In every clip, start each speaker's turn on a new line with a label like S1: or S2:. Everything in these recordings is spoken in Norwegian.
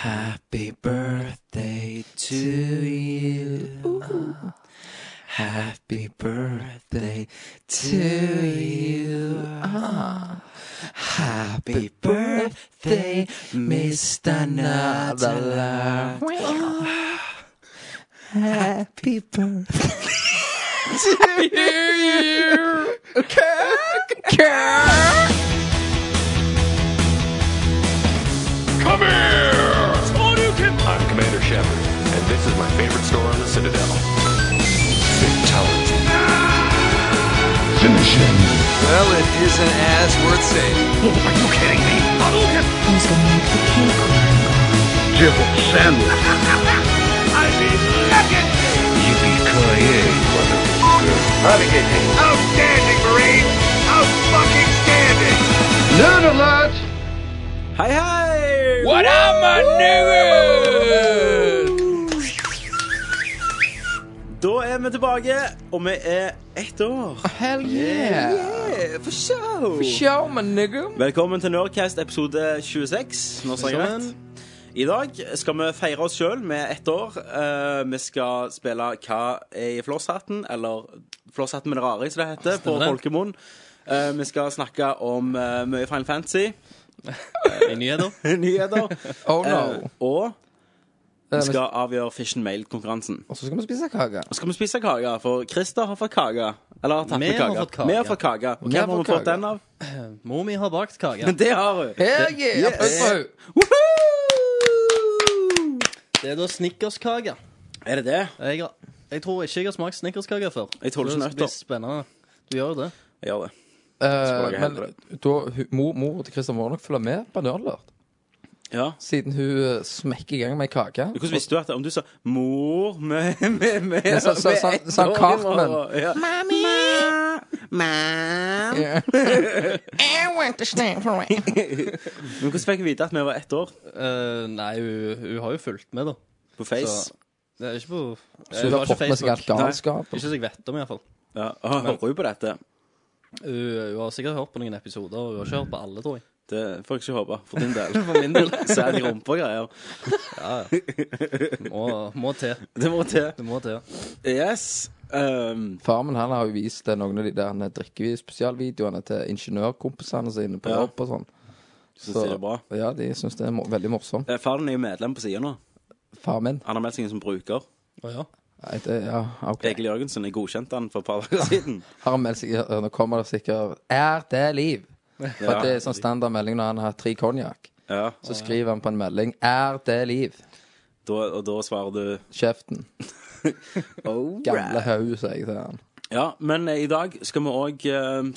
S1: Happy birthday to you. Happy birthday to you. Happy birthday, Mr. Nadler. Happy birthday to you.
S2: Come here! I'm Commander Shepard, and this is my favorite store on the Citadel. Fatality. Finish him. Oh,
S3: Well, it isn't as worth saying.
S2: Are you kidding me? I mean, look at me! Yippee-ki-yay, motherfucker. Outstanding, Marine! Out-fucking-standing! Nerd alert!
S1: Hei, hei!
S2: What up, my nigga?
S1: Da er vi tilbake, og vi er ett år.
S4: Hell yeah!
S1: Yeah, for show!
S4: Show, my nigga!
S1: Velkommen til Nerdcast episode 26. Nå sa jeg rett. I dag skal vi feire oss sjøl med ett år. Eh, vi skal spille Hva er i flosshatten? Eller Flosshatten med det rare, som det heter på
S5: det.
S1: folkemunn. Eh, vi skal snakke om eh, mye Final Fantasy,
S5: I nyheter.
S1: nyheter,
S4: Oh
S1: eh,
S4: no!
S1: og
S4: Eh,
S1: vi skal avgjøre Fish and Mail-konkurransen.
S4: Og så skal vi spise kake.
S1: Så skal vi spise kake, for Christer har fått kake. Eller har tatt
S5: Vi
S1: med
S5: har
S1: kake.
S5: fått kake.
S1: Vi har fått kake. Og
S4: Vi har
S1: hvem har vi
S4: fått
S1: fått
S4: kake.
S1: den av?
S5: Mor mi har bakt kake.
S1: Det har hun.
S4: Hell yeah!
S1: Yes.
S4: Pøy, pøy.
S1: Woohoo!
S5: Det er da snickerskake.
S1: Er det det?
S5: Jeg, har- jeg tror ikke jeg har smakt snickerskake før.
S1: Jeg tror det er
S5: Så blir
S1: nøtter.
S5: spennende. Du gjør jo det.
S1: Jeg gjør det.
S4: Eh,
S1: jeg
S4: men
S1: heller
S4: da, hun, mor, mor til Christian må nok følge med på Nerdlert,
S1: Ja.
S4: siden hun eh, smekker i gang med kake.
S1: Hvordan visste du at om du sa 'mor' med med med
S4: sa- sa-
S1: med
S4: sa-
S1: ett
S4: sa
S1: år i
S4: Cartman.
S1: morgen? Ja.
S4: Yeah.
S1: Men hvordan fikk jeg vite at vi var ett år?
S5: Eh, nei, hun, hun har jo fulgt med, da.
S1: På Face?
S5: Så- Det er ikke på
S4: Så hun har fått med seg alt galskap.
S5: Ikke så jeg vet om, iallfall.
S1: Ja. Å, hører hun på dette?
S5: Hun, hun har sikkert hørt på noen episoder, og hun har ikke hørt på alle, tror jeg.
S1: Det får jeg ikke håpe, for din del.
S5: For min del.
S1: Så er det rumpe og greier.
S5: Må, må til.
S1: Det må til.
S5: Det må til.
S1: Yes. Um,
S4: Far min han har jo vist eh, noen av de der drikkevis-spesialvideoene til ingeniørkompisene sine på
S1: Ja.
S4: jobb og sånn.
S1: synes de det er bra.
S4: Ja, de syns det er mo veldig morsomt.
S1: eh, Faren er jo medlem på sida nå.
S4: Far min.
S1: Han har meldt seg inn som bruker.
S5: Å ja.
S4: Nei, det, ja, ok.
S1: Egil Jørgensen jeg godkjente han for et par dager siden.
S4: Har han meldt seg ja, Nå kommer det sikkert Er det liv? For
S1: Ja.
S4: det er sånn standardmelding når han har tre konjakk.
S1: Ja.
S4: Så skriver han på en melding Er det liv?
S1: Da, og da svarer du
S4: Kjeften.
S1: oh,
S4: Gamle haug, sier jeg til han.
S1: Ja, men eh, i dag skal vi òg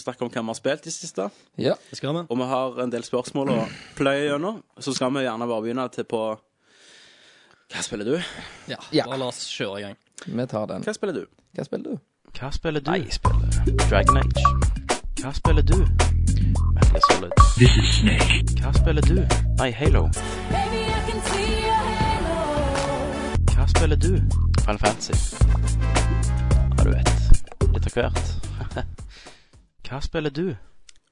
S1: snakke om hva vi har spilt i det siste.
S4: Ja.
S5: Det skal vi.
S1: Og vi har en del spørsmål å pløye gjennom. Så skal vi gjerne bare begynne til på Hva spiller du?
S5: Ja,
S4: Ja.
S5: Bare la oss kjøre i gang.
S4: Vi tar den.
S1: Hva spiller du?
S4: Hva spiller du?
S6: Hva spiller du? Jeg spiller Dragon Age. Hva spiller du? Metal Solid. This is Snake. Hva spiller du? Nei, Halo.
S7: Baby, I can see your halo.
S6: Hva spiller du? Final Fantasy. Ja, du vet. Litt av hvert. Hva spiller du?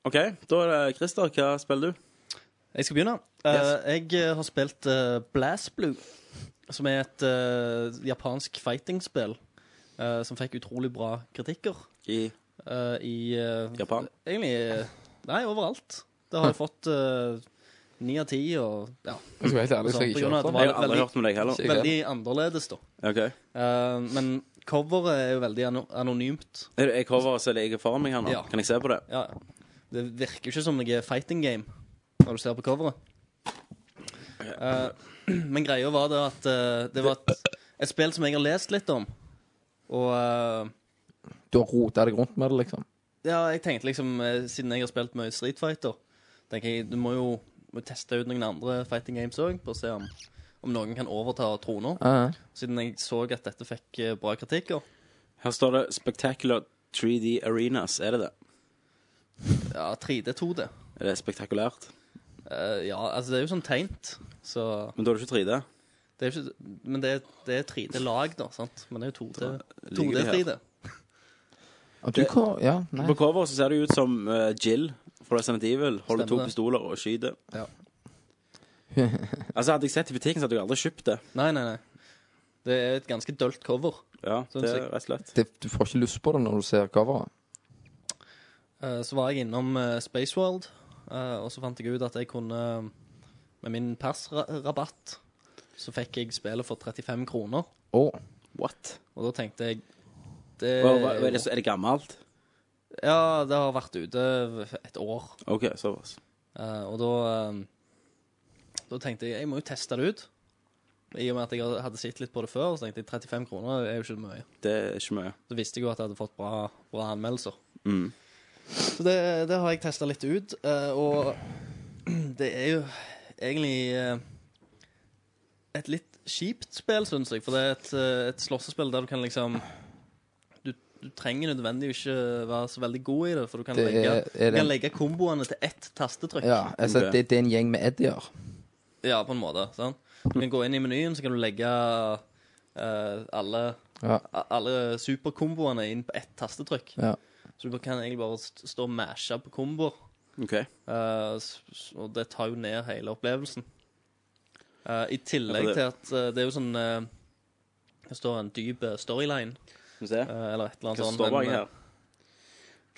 S1: OK, da er det Christer. Hva spiller du?
S5: Jeg skal begynne. Eh, Jeg eh, har spilt uh, Blazblue, som er et eh, japansk fighting-spill eh, som fikk utrolig bra kritikker
S1: I
S5: eh, i eh,
S1: Japan?
S5: Egentlig eh, Nei, overalt. Det har jeg fått eh, ni av ti, og ja,
S4: Hm. Jeg skal være helt ærlig, så
S5: Sånn,
S4: jeg
S5: på
S4: ikke
S5: grunn av
S4: hørt om.
S1: Jeg
S5: at det
S1: har aldri
S5: veldig-
S1: hørt om deg heller.
S4: Ikke
S5: veldig annerledes, da.
S1: OK.
S5: Eh, men coveret er jo veldig ano- anonymt.
S1: Er det- Jeg coverer så ligger foran meg her nå.
S5: Ja.
S1: Kan jeg se på det?
S5: Ja, det virker jo ikke som noe fighting game når du ser på coveret. Eh, men greia var det at eh, det var et, et spill som jeg har lest litt om. Og eh,
S4: Du har rota deg rundt med det, liksom.
S5: ja, jeg tenkte liksom, eh, siden jeg har spilt mye Street Fighter, tenker jeg du må jo må teste ut noen andre fighting games òg, for å se om, om noen kan overta trona.
S4: Ja, ja.
S5: Siden jeg så at dette fikk eh, bra kritikker.
S1: Her står det 'Spectacular 3D Arenas'. Er det det?
S5: Ja, 3D, 2D.
S1: Er det spektakulært?
S5: Eh, ja, altså det er jo sånn tegnt, så
S1: Men da er det ikke 3D.
S5: Det er jo ikke, men det, er- det er 3D-lag, da. sant? Men det er jo 2D.
S1: ligger vi her.
S5: 2D-3D.
S4: Og du hvor Ja, nei.
S1: På coveret så ser det ut som eh, Jill fra Resident Evil. Holder
S5: Stemmer
S1: to
S5: det.
S1: pistoler og skyter. Altså, hadde jeg sett i butikken, så hadde jeg aldri kjøpt det.
S5: Nei, nei, nei. Det er et ganske dølt cover.
S1: Ja,
S5: Sånn
S1: det er
S5: sikkert.
S1: rett og slett.
S4: Det, du får ikke lyst på det når du ser coveret.
S5: Eh, Så var jeg innom eh, Spaceworld, eh, og så fant jeg ut at jeg kunne eh, Med min persrabatt så fikk jeg spillet for 35 kroner.
S4: Å,
S1: What?
S5: Og da tenkte jeg det,
S1: Og, hva- er, det, så- er det gammelt?
S5: Ja, det har vært ute et år.
S1: OK, såpass.
S5: Eh, og da eh, Da tenkte jeg jeg må jo teste det ut. I og med at jeg hadde sett litt på det før, så tenkte jeg 35 kroner er jo ikke mye.
S1: Det er ikke mye.
S5: Så visste jeg jo at jeg hadde fått bra, bra anmeldelser.
S1: Mm.
S5: Så det, det har jeg testa litt ut, eh, og det er jo egentlig eh, et litt kjipt spill, syns jeg. For det er et, eh, et slåssespill der du kan liksom du, du trenger nødvendigvis ikke være så veldig god i det, for du kan,
S4: Det
S5: legge,
S4: er- er
S5: du
S4: det-
S5: kan legge komboene til ett tastetrykk.
S4: ja, altså,
S1: Ok.
S4: det, det er en gjeng med eddier.
S5: Ja, på en måte. Sant? Du kan gå inn i menyen, så kan du legge eh, alle,
S4: Ja.
S5: a- alle superkomboene inn på ett tastetrykk.
S4: Ja.
S5: Så du kan egentlig bare st stå og mashe på komboer.
S1: OK.
S5: Eh, s- s- og det tar jo ned hele opplevelsen. Eh, I tillegg
S1: Ja, for det-
S5: til at eh, det er jo sånn eh, Det står en dyp eh, storyline,
S1: Skal vi se.
S5: eh, eller et eller annet
S1: Hva
S5: sånt.
S1: står
S5: men,
S1: bak her? Altså, eh,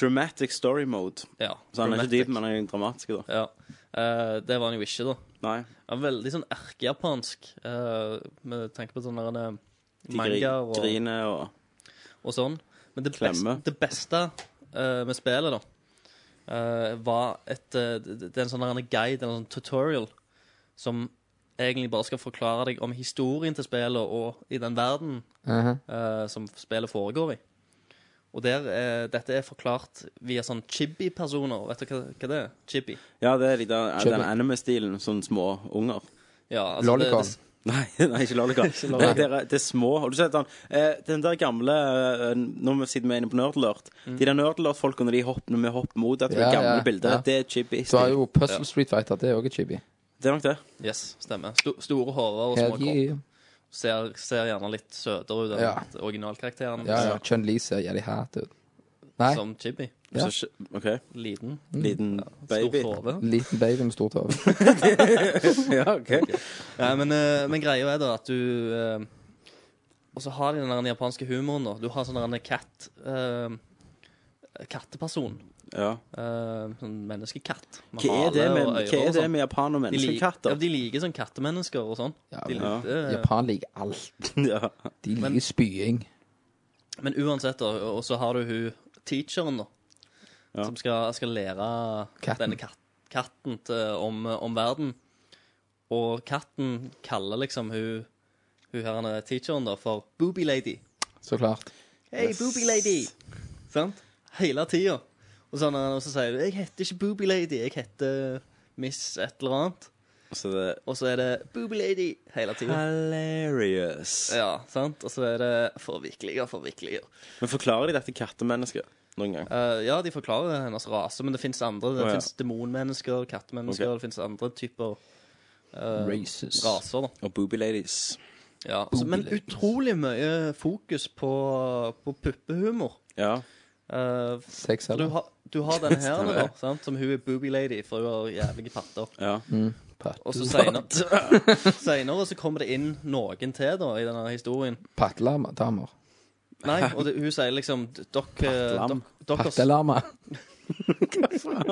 S1: Dramatic story mode.
S5: eh, Ja,
S1: Så han er ikke
S5: dramatic.
S1: dyp, men han er dramatisk, da.
S5: ja. Eh, Det var han jo ikke, da.
S1: Nei.
S5: Han var veldig sånn erkejapansk, eh, med tanke på sånne der, eh,
S1: De gri-
S5: mangaer og,
S1: griner og
S5: og sånn. Men det beste,
S1: Klemme.
S5: det beste eh, med spillet, da, eh, var et eh, Det det er en sånn der guide, eller en sånn tutorial, som egentlig bare skal forklare deg om historien til spillet og i den verden
S4: Mhm.
S5: eh, som spillet foregår i. Og der, eh, dette er forklart via sånn chibi-personer. Vet du hva, hva det er? Chibi.
S1: Ja, det er litt av
S4: Kjøper.
S1: den anime-stilen. Sånn små unger.
S5: Ja, altså, det-
S4: Lollicon.
S5: det-
S1: Nei, nei, ikke Lollicon. det, det, er- det er små. Og du ser sånn, eh, den der gamle eh, Nå må vi sitte med inne på Nerdlert. De der Nerdlert-folka når, de hopper- når vi hopper mot at det
S4: Ja,
S1: er gamle
S4: ja,
S1: bilder,
S4: ja.
S1: det er chibi.
S4: Du har jo Puzzle Street Fighter, det er òg et chibi.
S1: Det er nok det.
S5: Yes, stemmer. Sto, store hårer og små
S4: Hell
S5: kropp.
S4: yeah.
S5: Ser, ser gjerne litt søtere ut enn
S4: Ja.
S5: originalkarakteren.
S4: Ja, ja. Chun-Li ser jævlig hat ut. Nei,
S5: Som chibi.
S4: Ja.
S1: Så, OK.
S5: Liten.
S1: Liten baby.
S5: Stort hode.
S4: liten baby med stort hode.
S1: Ja, ok.
S5: Nei, men, eh, men greia er da at du eh, Og så har de den der japanske humoren, da. Du har sånn der en katt eh, Katteperson.
S1: Ja.
S5: Eh, sånn menneskekatt. med
S1: Hva er det
S5: hale
S1: med,
S5: og
S1: hva
S5: ører og
S1: er det
S5: sånn.
S1: med japaner og
S5: de liker, ja,
S1: menneskekatter?
S5: de liker sånn kattemennesker og sånn.
S4: Ja,
S5: De
S4: men
S1: Ja.
S5: liker, eh,
S4: Japan liker alt.
S1: Ja.
S4: De liker spying.
S5: Men uansett, da, og så har du hun teacheren, da.
S1: Ja.
S5: Som skal, skal lære
S4: Katten.
S5: denne kat katten til, om, om verden. Og katten kaller liksom hun, hun her denne teacheren da for Booby Lady.
S4: Så klart.
S5: Hei, Booby Lady! Sant? Hele tida. Og, sånn, og så sier du 'Jeg heter ikke Booby Lady, jeg heter Miss et eller annet'.
S1: Så det er
S5: Og så er det 'Booby Lady' hele tida.
S1: hilarious.
S5: Ja, sant? Og så er det forviklinger, forviklinger.
S1: Men forklarer de dette kattemennesket noen gang?
S5: Eh, ja, de forklarer hennes rase, men det fins andre. Det
S1: Å, ja.
S5: finnes fins demonmennesker, kattemennesker,
S1: Ok.
S5: det fins andre typer eh,
S4: Races.
S5: raser. da
S1: Og booby ladies.
S5: ja, altså, Men
S4: Boobies.
S5: utrolig mye fokus på, på puppehumor.
S1: Ja.
S5: Eh,
S4: Sex
S5: for du,
S4: eller
S5: har, du har denne her,
S1: Stemmer
S5: da,
S1: det.
S5: sant? som hun er booby lady, for hun har jævlige patter.
S1: ja.
S5: Og så seinere så kommer det inn noen til da i denne historien.
S4: Pattelamer.
S5: Nei, og det, hun sier liksom Dere
S1: Pattelam.
S5: dok- dere-
S4: Pattelama.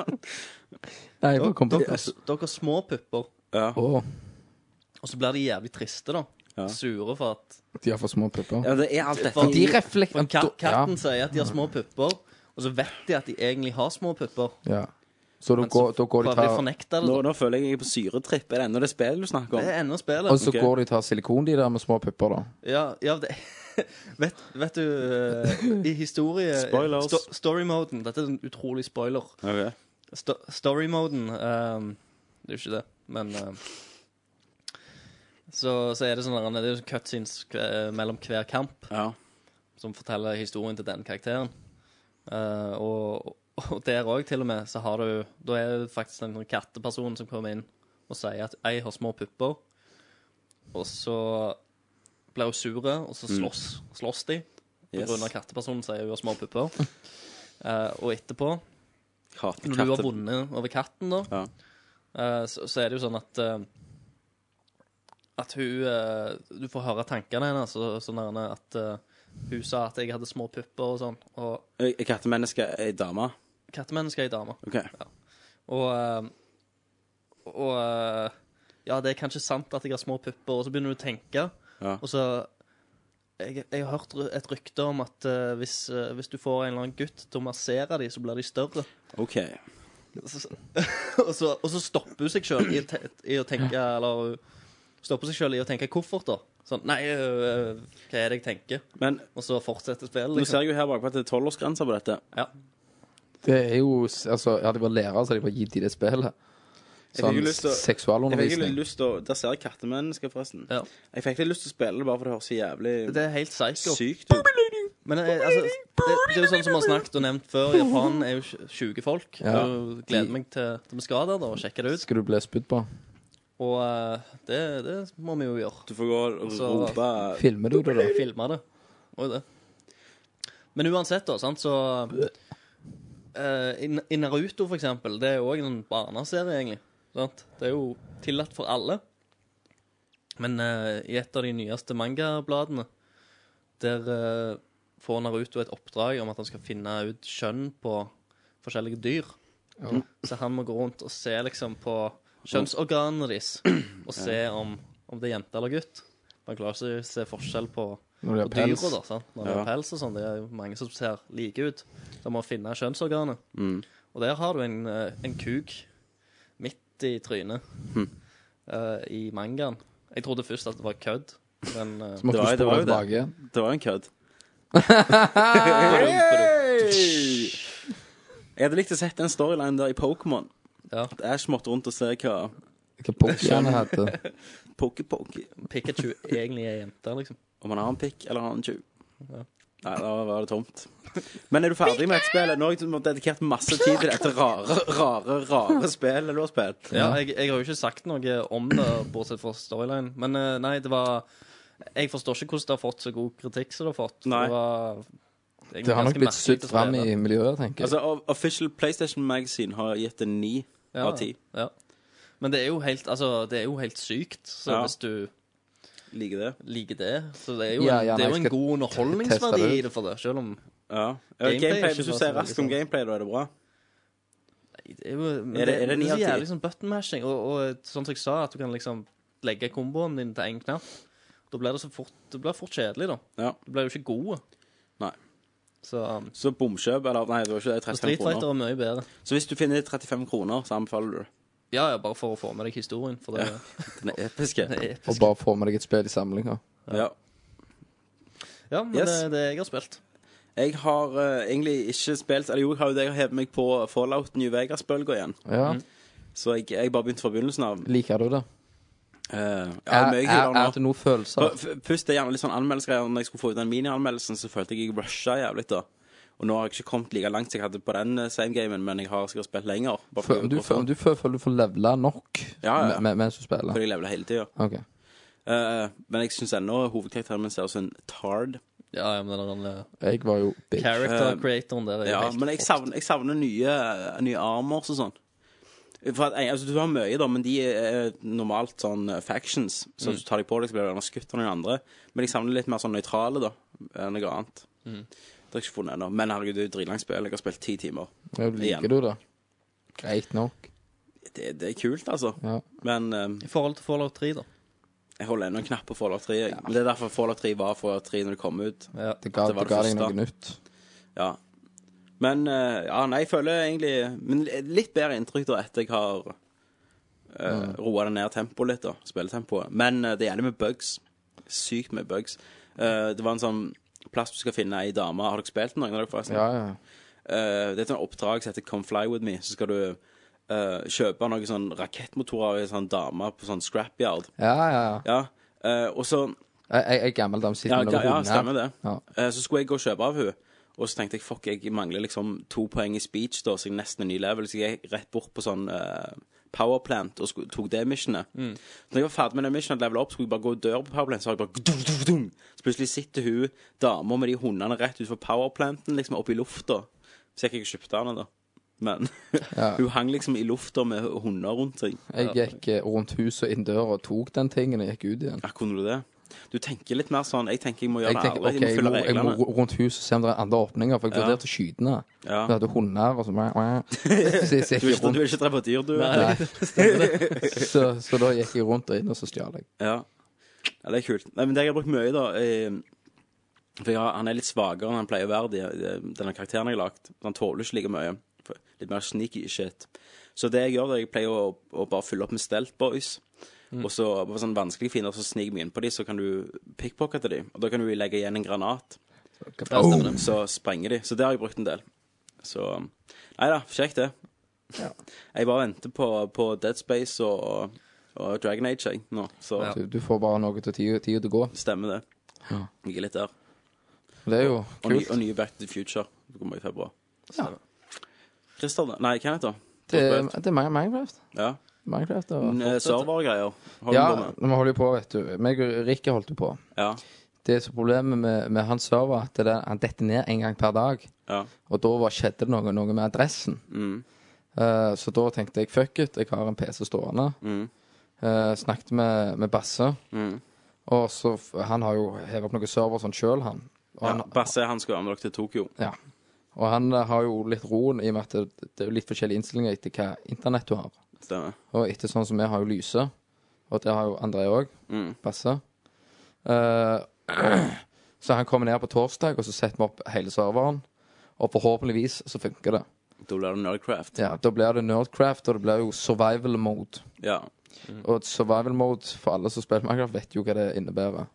S4: Nei, jeg bare kom på
S5: dere- Dere små pupper.
S1: ja.
S4: Å,
S5: Og så blir de jævlig triste, da.
S1: Ja.
S5: Sure for at
S4: de har for små pupper.
S1: Ja, det er alt dette
S5: For-
S4: De
S1: i
S5: for
S4: reflekterer
S5: kat Katten
S4: ja.
S5: sier at de har små pupper, og så vet de at de egentlig har små pupper.
S4: ja. Så da
S5: Men så
S4: går, da går de
S5: prøver de å
S4: tar,
S5: fornekte det.
S1: nå,
S5: da.
S1: nå føler jeg jeg er på syretripp. Er det ennå det spillet du snakker
S5: sånn.
S1: om?
S5: Det er ennå
S4: og
S5: spillet.
S4: så
S1: Ok.
S4: går de og tar silikon, de der med små pupper, da.
S5: Ja, ja, det vet, vet du eh, I historie
S1: Spoilers.
S5: Sto Story-moden. Dette er en utrolig spoiler.
S1: Ok.
S5: Sto Story-moden ehm, Det er jo ikke det, men ehm, så, så er det sånn der, det er jo cutscenes eh, mellom hver kamp.
S1: Ja.
S5: som forteller historien til den karakteren. Eh, og, og der òg, til og med, så har du Da er det faktisk en sånn katteperson som kommer inn og sier at jeg har små pupper. Og så blir hun sure, og så slåss, slåss de. På
S1: Yes.
S5: grunn av kattepersonen sier hun har små pupper. Eh, og etterpå,
S1: Katte,
S5: når du har
S1: katte.
S5: vunnet over katten, da,
S1: Ja.
S5: eh, så, så er det jo sånn at eh, at hun eh, Du får høre tankene hennes. så- Sånn der, at eh, hun sa at jeg hadde små pupper og sånn. Og
S1: Eh, Kattemenneske er ei dame.
S5: kattemennesker er ei dame.
S1: OK.
S5: Og, eh, og eh, Ja, det er kanskje sant at jeg har små pupper, og så begynner du å tenke.
S1: Ja.
S5: Og så jeg, jeg har hørt ry- et rykte om at eh, hvis, eh, hvis du får en eller annen gutt til å massere de, så blir de større.
S1: OK.
S5: Og så, og så, og så stopper hun seg sjøl i, å te- i å tenke Eller hun stopper seg selv i å tenke kofferter. Sånn Nei, øh, øh, hva er det jeg tenker?
S1: Men
S5: Og så fortsetter spillet.
S1: nå
S5: Liksom.
S1: ser jeg jo her bakpå at det er tolvårsgrense på dette.
S5: Ja.
S4: Det er jo altså, Hadde jeg vært lærer, så hadde jeg bare gitt de det spillet.
S1: fikk
S4: Sånn
S1: jo lyst til å- Jeg fikk
S4: seksualundervisning.
S1: litt lyst til å Der ser jeg kattemennesker, forresten.
S5: Ja.
S1: Jeg fikk litt lyst til å spille det bare for det høres så jævlig
S5: Det er helt psycho.
S1: sykt ut.
S5: Men eh, altså, det, det er jo sånn som vi har snakket og nevnt før. Japan er jo sj- sjuke folk.
S4: Ja.
S5: Jeg gleder meg til, til vi skal der da, og sjekke det ut.
S4: Skal du bli spydd på?
S5: Og eh, det, det må vi jo gjøre.
S1: Du får gå og
S5: Så-
S1: rope
S4: Filmer du det, da?
S5: Filme det. Og det. Men uansett, da, sant, så eh, i, I Naruto, for eksempel, det er jo òg en sånn barneserie, egentlig. Sant? Det er jo tillatt for alle. Men eh, i et av de nyeste mangabladene, der eh, får Naruto et oppdrag om at han skal finne ut kjønn på forskjellige dyr. Så han må gå rundt og se liksom på kjønnsorganene deres, og se om, om det er jente eller gutt. Man klarer ikke å se forskjell på,
S4: Når de
S5: på
S4: har pels.
S5: dyra, da. Sant? Når de
S1: Ja.
S5: har pels og sånn. Det er jo mange som ser like ut. Så man må finne kjønnsorganet.
S4: Mm.
S5: Og der har du en, eh, en kuk midt i trynet
S4: Hm.
S5: eh, i mangaen. Jeg trodde først at det var kødd, men eh,
S4: Måtte
S1: Det
S4: du
S1: var- det
S4: spole
S1: var jo det.
S4: tilbake?
S1: Det var jo en kødd. Jeg hadde likt å sett den storylinen der i Pokémon.
S5: Ja.
S1: At Ash måtte rundt og se hva
S4: Hva pokkene heter
S1: Poké-Poké
S5: Pikachu egentlig er jente, liksom.
S1: Om han har en pikk eller har en tjuv. Nei, da var det tomt. Men er du ferdig med et spill? Nå har jeg dedikert masse tid til dette rare, rare, rare spillet du har spilt.
S5: Ja, jeg, jeg har jo ikke sagt noe om det, bortsett fra storyline. Men eh, nei, det var Jeg forstår ikke hvordan det har fått så god kritikk som det har fått.
S1: Nei.
S5: Det, var, egentlig
S4: Det har nok
S5: ganske
S4: blitt
S5: merkelig
S4: sydd
S5: å
S4: fram
S5: spille.
S4: i miljøet, tenker jeg.
S1: Altså, o- Official PlayStation Magazine har gitt det ni
S5: Ja,
S1: av ti.
S5: Ja. Men det er jo helt, altså, det er jo helt sykt, så
S1: Ja.
S5: hvis du
S1: Liker det.
S5: liker det Så det er jo,
S4: Ja,
S5: en,
S4: ja,
S5: det
S4: nei,
S5: er jo en
S4: jeg skal
S5: god
S4: teste
S5: underholdningsverdi
S4: det ut.
S5: i det for det, selv om
S1: Ja.
S5: Gameplay
S1: Gameplay,
S5: er ikke
S1: hvis du
S5: så
S1: ser
S5: veldig
S1: raskt om
S5: sånn.
S1: gameplay, da er det bra.
S5: Det er jo men
S1: Er det- er det ni
S5: så
S1: av ti?
S5: jævlig sånn button mashing. Og, og sånn som jeg sa, at du kan liksom legge komboen din til én knapp. Da blir det så fort Det blir fort kjedelig, da.
S1: Ja.
S5: Du blir jo ikke god.
S1: Nei.
S5: Så um,
S1: Så bomkjøp, eller nei, det var ikke det.
S5: og
S1: 35
S5: Street
S1: kroner.
S5: Fighter er mye bedre.
S1: Så hvis du finner 35 kroner, så anbefaler du det.
S5: Ja, ja, bare for å få med deg historien. For det,
S1: Den er episke.
S5: det er
S4: Og
S5: episk.
S4: bare få med deg et spill i samlinga.
S1: Ja.
S5: Ja, men
S1: Yes.
S5: det er det jeg har spilt.
S1: Jeg har eh, egentlig ikke spilt Eller jo, jeg har jo det jeg har hevet meg på Fallout New Vegas-bølga igjen.
S4: Ja,
S1: Så jeg, jeg bare begynte fra begynnelsen av.
S4: Liker du det?
S1: Eh, ja,
S4: Er,
S1: mye
S4: er,
S1: kulere
S4: er det
S1: nå.
S4: noen følelser?
S1: F- f- Først det er gjerne litt sånn anmeldelsesgreier. Når jeg skulle få ut den mini-anmeldelsen, så følte jeg jeg rusha jævlig. da Og nå har jeg ikke kommet like langt som jeg hadde på den eh, same gamen, men jeg har sikkert spilt lenger. Bare
S4: Fø- Om du, fø- om du fø- føler du får levela nok
S1: Ja, ja, ja.
S4: me- me- mens du spiller?
S1: fordi jeg levde hele tida.
S4: Ok.
S1: men jeg syns ennå hovedkarakteren min ser ut som en tard.
S5: Ja, ja, men den der, eh,
S4: Jeg var jo bitch.
S5: character creatoren der er jo
S1: Eh, Ja,
S5: helt
S1: men jeg
S5: fucked.
S1: savner, jeg savner nye, nye armors og sånn. For at, eh, altså, Du har mye, da, men de er eh, normalt sånn eh, factions.
S5: Mm.
S1: Så hvis du tar deg på deg, så blir du gjerne skutt av noen andre. Men jeg savner litt mer sånn nøytrale, da. Enn noe annet.
S5: Mm.
S1: Det har jeg ikke funnet ennå. Men herregud, det er jo dritlangt spill. Jeg har spilt ti timer.
S4: Ja, liker
S1: Igjen.
S4: du det? Greit nok.
S1: Det, det er kult, altså.
S4: Ja.
S1: Men eh,
S5: I forhold til Fallout 3, da.
S1: jeg holder ennå en knapp på Fallout 3. jeg. Men Det er derfor Fallout 3 var Fallout 3 når det kom ut.
S5: Ja.
S4: Det ga,
S1: Det var
S4: det
S1: det
S4: ga deg noe
S1: første.
S4: nytt.
S1: Ja. Men eh, ja, nei, jeg føler egentlig Men litt bedre inntrykk da etter jeg har uh, roa det ned tempoet litt, da. Spilletempoet. Men eh, det gjelder med bugs. Sykt med bugs. Eh, det var en sånn plass du skal finne ei dame. Har dere spilt noen av dere, forresten?
S4: Ja, ja.
S1: Eh, det er et sånt oppdrag som heter Come Fly With Me. Så skal du eh, kjøpe noen sånn rakettmotorer av ei sånn dame på sånn scrapyard.
S4: ja, ja, ja.
S1: Ja. eh, og så
S4: Jeg, jeg, jeg er gammel dame sitter
S1: ja,
S4: med noen
S1: ja,
S4: hunder.
S1: stemmer det.
S4: Ja.
S1: Eh, Så skulle jeg gå og kjøpe av henne. Og så tenkte jeg fuck, jeg mangler liksom to poeng i speech, da, så jeg nesten er ny level. Så jeg gikk rett bort på sånn eh, powerplant og skulle, tok det missionet. Så når jeg var ferdig med det missionet, level up, skulle jeg bare gå og dør på powerplant, så har jeg bare gdum, gdum, gdum. Så plutselig sitter hun dama med de hundene rett utenfor powerplanten, liksom oppe i lufta. Så jeg gikk og kjøpte henne, da. men
S4: Ja.
S1: hun hang liksom i lufta med hunder rundt seg.
S4: Jeg gikk eh, rundt huset og inn døra og tok den tingen og gikk ut igjen.
S1: Ja, kunne du det? Du tenker litt mer sånn Jeg tenker jeg må gjøre
S4: Jeg
S1: det
S4: tenkte,
S1: ærlig.
S4: ok, jeg
S1: jeg må
S4: må,
S1: følge
S4: jeg må
S1: reglene.
S4: ro- rundt huset og se om det er andre åpninger, for jeg
S1: Ja.
S4: vurderte å skyte den.
S1: Ja.
S4: Vi hadde hunder og sånn. wah, wah. Så, så,
S1: Du
S4: gikk jeg
S1: vil ikke, du
S4: rundt,
S1: vil ikke drepe dyr, du?
S5: Nei.
S4: så, så da gikk jeg rundt og inn, og så stjal jeg.
S1: Ja. ja, det er kult. Nei, men det jeg har brukt mye, da eh, For jeg har, han er litt svakere enn han pleier å være, de, de, denne karakteren jeg har lagd. Han tåler ikke like mye. Litt mer sneaky shit. Så det jeg gjør, det er jeg pleier å, å bare fylle opp med stelt boys. Og så på sånn vanskelige fiender så sniker vi inn på dem, så kan du pickpockete dem. Og da kan du legge igjen en granat,
S5: Ja, stemmer det.
S1: så sprenger de. Så det har jeg brukt en del. Så Nei da, kjekt det. Jeg bare venter på, på Dead Space og, og Dragon Age, jeg, nå. Så
S5: Ja.
S4: Du, du får bare noe til tida tida til å gå.
S1: Stemmer det.
S4: Ja.
S1: Jeg er litt der.
S4: Det er jo
S1: Og, ny,
S4: kult.
S1: og nye Back to the Future. Det kommer i februar.
S4: Ja.
S1: Christer, da? Nei, Kenneth, da?
S4: Det, er- det er Mi- Minecraft.
S1: Ja.
S4: Minecraft og
S1: Men, eh, Servergreier. Holder
S4: Ja,
S1: ja. på med.
S4: vi holder jo på, vet du. Meg og Rikke holdt jo på.
S1: Ja.
S4: Det som er problemet med, med hans server, at det er, han detter ned en gang per dag.
S1: ja.
S4: Og da var, skjedde det noe, noe med adressen.
S1: Mm.
S4: Eh, så da tenkte jeg fuck it, jeg har en PC stående.
S1: Mm.
S4: Eh, snakket med, med Basse. Og så f- Han har jo hevet opp noen server sånn sjøl, han. Og
S1: ja.
S4: han,
S1: Basse han skulle være med dere til Tokyo.
S4: ja. og han eh, har jo litt roen i og med at det, det er jo litt forskjellige innstillinger etter hva internett du har.
S1: Stemmer.
S4: Og etter sånn som vi har jo lyse, og det har jo André òg,
S1: Mm.
S4: Basse. Eh, så han kommer ned på torsdag, og så setter vi opp hele serveren. Og forhåpentligvis så funker det.
S1: Da blir det Nerdcraft.
S4: Ja, Da blir det Nerdcraft, og det blir jo survival mode.
S1: Ja. Mm.
S4: Og survival mode, for alle som spiller Minecraft, vet jo hva det innebærer.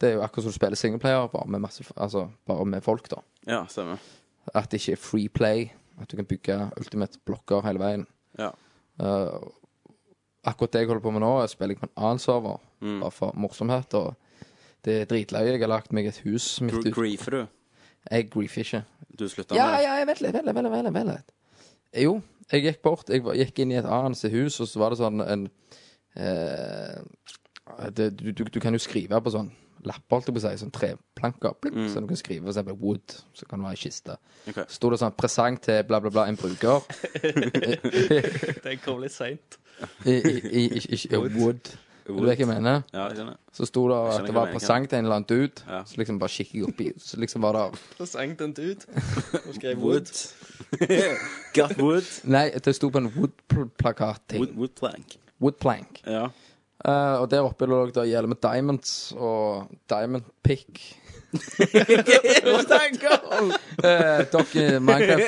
S4: Det er jo akkurat som du spiller singleplayer, bare med, masse, altså, bare med folk, da.
S1: ja, stemmer.
S4: At det ikke er free play. At du kan bygge ultimate blokker hele veien.
S1: Ja.
S4: Eh, akkurat det jeg holder på med nå, jeg spiller jeg på en annen server.
S1: Mm.
S4: Bare for morsomhet. Og det er dritløye. Jeg har lagt meg et hus midt
S1: Gr-
S4: ute.
S1: Griefer du?
S4: Jeg griefer ikke.
S1: Du slutta
S4: Ja,
S1: med det?
S4: ja, jeg vet litt, vet litt, vet litt, vet litt, vet litt. Eh, Jo, jeg gikk bort, jeg var- gikk inn i et annet hus, og så var det sånn en eh, det, du, du, du kan jo skrive på sånn lapper, holdt jeg på å si, sånn treplanker, blikk, så du kan skrive for eksempel wood, så kan det være i kiste.
S1: Ok.
S4: Så Stod det sånn presang til bla, bla, bla, en bruker.
S5: Den kom litt seint.
S4: I, i, i, i, i, i wood. Du vet hva jeg mener?
S1: Ja, jeg skjønner.
S4: Så sto det
S1: skjønner
S4: at det
S1: hva
S4: var
S1: du mener.
S4: presang til en eller annen dude,
S1: Ja.
S4: så liksom bare kikker jeg oppi, så liksom var det
S5: Da sang den ut. Og skrev
S1: Wood.
S5: Wood.
S1: Got wood.
S4: Nei, det sto på en wood-plakat-ting.
S1: wood. Wood plank.
S4: wood plank.
S1: Ja.
S4: Eh, og der oppe lå det gjelder med diamonds og diamond pick. Eh, dere Minecraft dere vet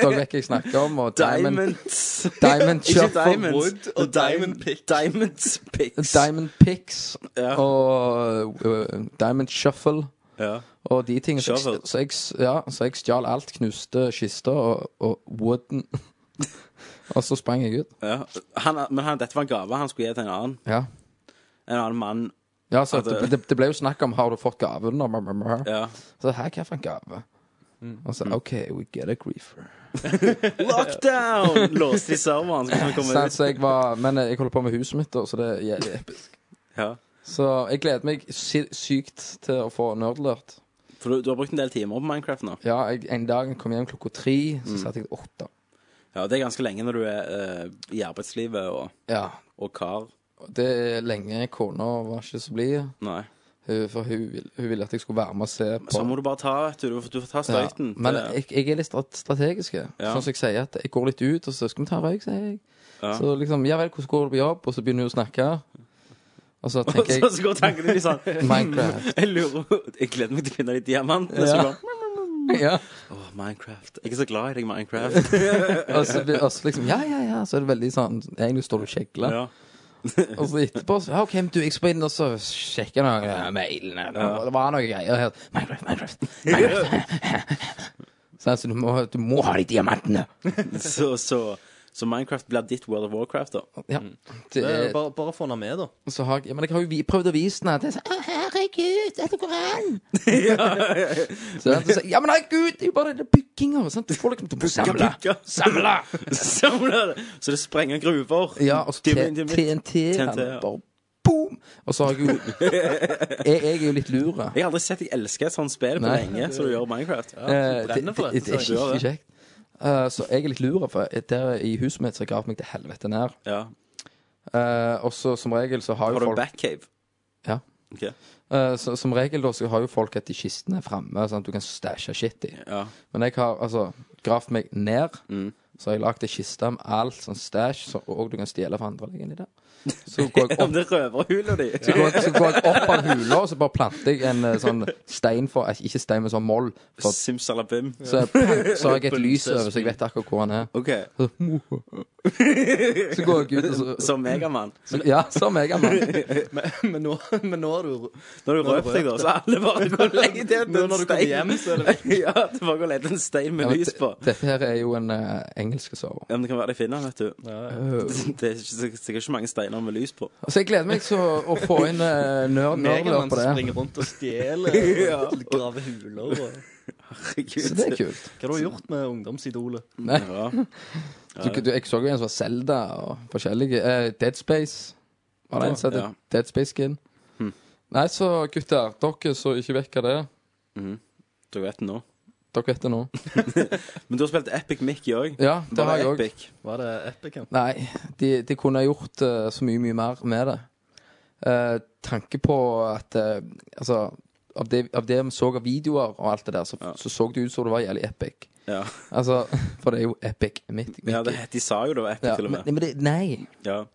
S4: hva jeg snakker om, og diamond,
S1: Diamonds.
S4: diamond
S1: Ikke
S4: shuffle.
S1: diamonds.
S5: Wood og diamond pick.
S1: Diamonds picks.
S4: Diamond picks
S1: Ja.
S4: og eh, diamond shuffle
S1: Ja.
S4: og de tingene. Så jeg-
S1: Shuffle.
S4: Så jeg, s- ja, så jeg stjal alt, knuste kista og, og wooden. og så sprang jeg ut.
S1: ja. Han, men han, dette var en gave han skulle gi til en annen.
S4: Ja.
S1: En annen mann.
S4: Ja, så
S1: At det-
S4: det, det, det ble jo snakk om har du fått gaven. Og brr, brr, brr.
S1: Ja.
S4: Så her hva for en gave?
S1: Mm.
S4: Og så OK, we get a griefer.
S1: Lockdown! Låst i serveren. Så kan vi komme
S4: Sant,
S1: ut.
S4: så jeg var, men jeg holder på med huset mitt, da, så det er jævlig episk.
S1: Ja.
S4: Så jeg gleder meg sy sykt til å få nerdlert.
S1: For du, du har brukt en del timer på Minecraft nå.
S4: Ja, jeg, en dag jeg kom hjem klokka tre,
S1: Mm.
S4: så satt jeg åtte.
S1: Ja, Det er ganske lenge når du er eh, i arbeidslivet og,
S4: Ja.
S1: og kar.
S4: og Det er lenge kona var ikke så blid,
S1: Nei.
S4: Hun- for hun, vil- hun ville at jeg skulle være med og se på.
S1: Så må du bare ta, vet du. Du, får- du får ta
S4: ja.
S1: støyten.
S4: Men
S1: Det-
S4: jeg, jeg er litt strat strategisk. jeg.
S1: Ja.
S4: Sånn som jeg sier at jeg går litt ut, og så skal vi ta røyk, sier jeg.
S1: Ja.
S4: Så liksom Ja vel, hvordan går det på jobb? Og så begynner hun å snakke. Og så tenker
S1: så,
S4: jeg
S1: så går tankene dine sånn
S4: Minecraft.
S1: Jeg lurer Jeg gleder meg til å finne de diamantene. Så
S4: Ja.
S1: bare,
S4: Ja.
S1: Åh, Minecraft. Jeg er så glad i deg, Minecraft.
S4: Og så, blir- og så liksom Ja, ja, ja. Så er det veldig sånn Egentlig står du og kjegler.
S1: Ja.
S4: Og så etterpå så, ja, OK, men du, jeg skal bare inn og så sjekke noen ja, mailene. og Det var noen greier her. Minecraft, Minecraft, Minecraft. så altså, du, må, du må ha de diamantene.
S1: Så, så, så Minecraft blir ditt World of Warcraft, da.
S4: Ja. Det,
S5: Det er jo
S4: er-
S5: Eh, Bare, bare få den med, da.
S4: så har, jeg- ja, men jeg har jo vi- prøvd å vise den. her. Det er sånn, Å, herregud, dette går an! så, han sier, ja, men herregud, det er jo bare det bygginga. sant? Du får liksom Du må samle.
S1: Ja.
S4: Samle!
S1: Samler det. Så det sprenger gruver.
S4: Ja, og så T-
S1: Dim- dim-
S4: TNT. han
S1: TNT, ja.
S4: Bare boom! Og så har jeg jo Jeg, jeg er jo litt lure.
S1: Jeg har aldri sett deg elske et sånt spill på
S4: Nei.
S1: lenge som du gjør Minecraft.
S4: Eh, det,
S5: brenner for
S4: det,
S5: dette,
S4: det er
S5: så jeg
S4: ikke
S5: gjør
S4: kjekt. Eh, så jeg er litt lur, for der i huset mitt så har jeg gravd meg til helvete ned.
S1: Ja.
S4: Eh, og så som regel så har jo
S1: Har du en
S4: folk
S1: backcave?
S4: Ja.
S1: Ok.
S4: Eh, så, Som regel da så har jo folk etter kistene framme, sånn at du kan stæsje shit i.
S1: Ja.
S4: Men jeg har altså gravd meg ned. Så har jeg lagd ei kiste med alt sånn stæsj, så, og du kan stjele for andre. Legge inn i det. Så går jeg
S1: Om
S4: opp,
S1: det røverhula di?
S4: så går jeg, så går jeg opp av hula, og så bare planter jeg en eh, sånn stein for eh, Ikke stein, men sånn moll. For,
S1: Simsalabim.
S4: så, jeg- så har jeg et lys over, så jeg vet akkurat hvor han er.
S1: OK.
S4: Så går jeg ut, og så,
S1: Som Megamann.
S4: Ja, som jeg er mann.
S5: Men, men, nå, men nå har du
S1: Når du røper deg, da, så alle bare går og leter etter en
S5: Nå når du kommer
S1: stein.
S5: hjem, så er det
S1: Ja, du bare går og leter etter en stein med
S4: Ja, men
S1: lys på.
S4: d- Dette her er jo en eh, engelsk sover.
S1: Ja, men Det kan være de finner den, vet du. Det er ikke- sikkert ikke mange steiner med lys på.
S4: Altså, jeg gleder meg Øh. så å få inn uh, nerdlør
S5: Megamann
S4: på
S5: som
S4: det.
S5: springer rundt og stjeler og graver huler og
S1: Herregud.
S4: Så det er kult.
S5: Hva har du gjort med ungdomsidolet?
S4: Nei.
S1: Ja.
S4: Du, du, jeg så jo en som var Zelda og forskjellige. Eh, Dead Space var det en som het.
S1: Ja. Hm.
S4: Dead Space Skin. Nei, så gutter, dere så ikke vekk av det.
S1: Mhm. Du vet det nå.
S4: Dere vet det nå.
S1: Men du har spilt Epic Mickey òg.
S4: Ja, det har jeg òg.
S1: Epic.
S5: Var det Epicam?
S4: Nei, de, de kunne ha gjort eh, så mye, mye mer med det. Eh, tanke på at eh, Altså, av det, av det vi så av videoer og alt det der, så
S1: Ja.
S4: så, så det ut som det var jævlig epic.
S1: Ja.
S4: Altså, for det er jo epic mitt.
S1: ja det, de sa jo det var Epic,
S4: Ja,
S1: til og
S4: men,
S1: med.
S4: men det, nei.
S1: Ja.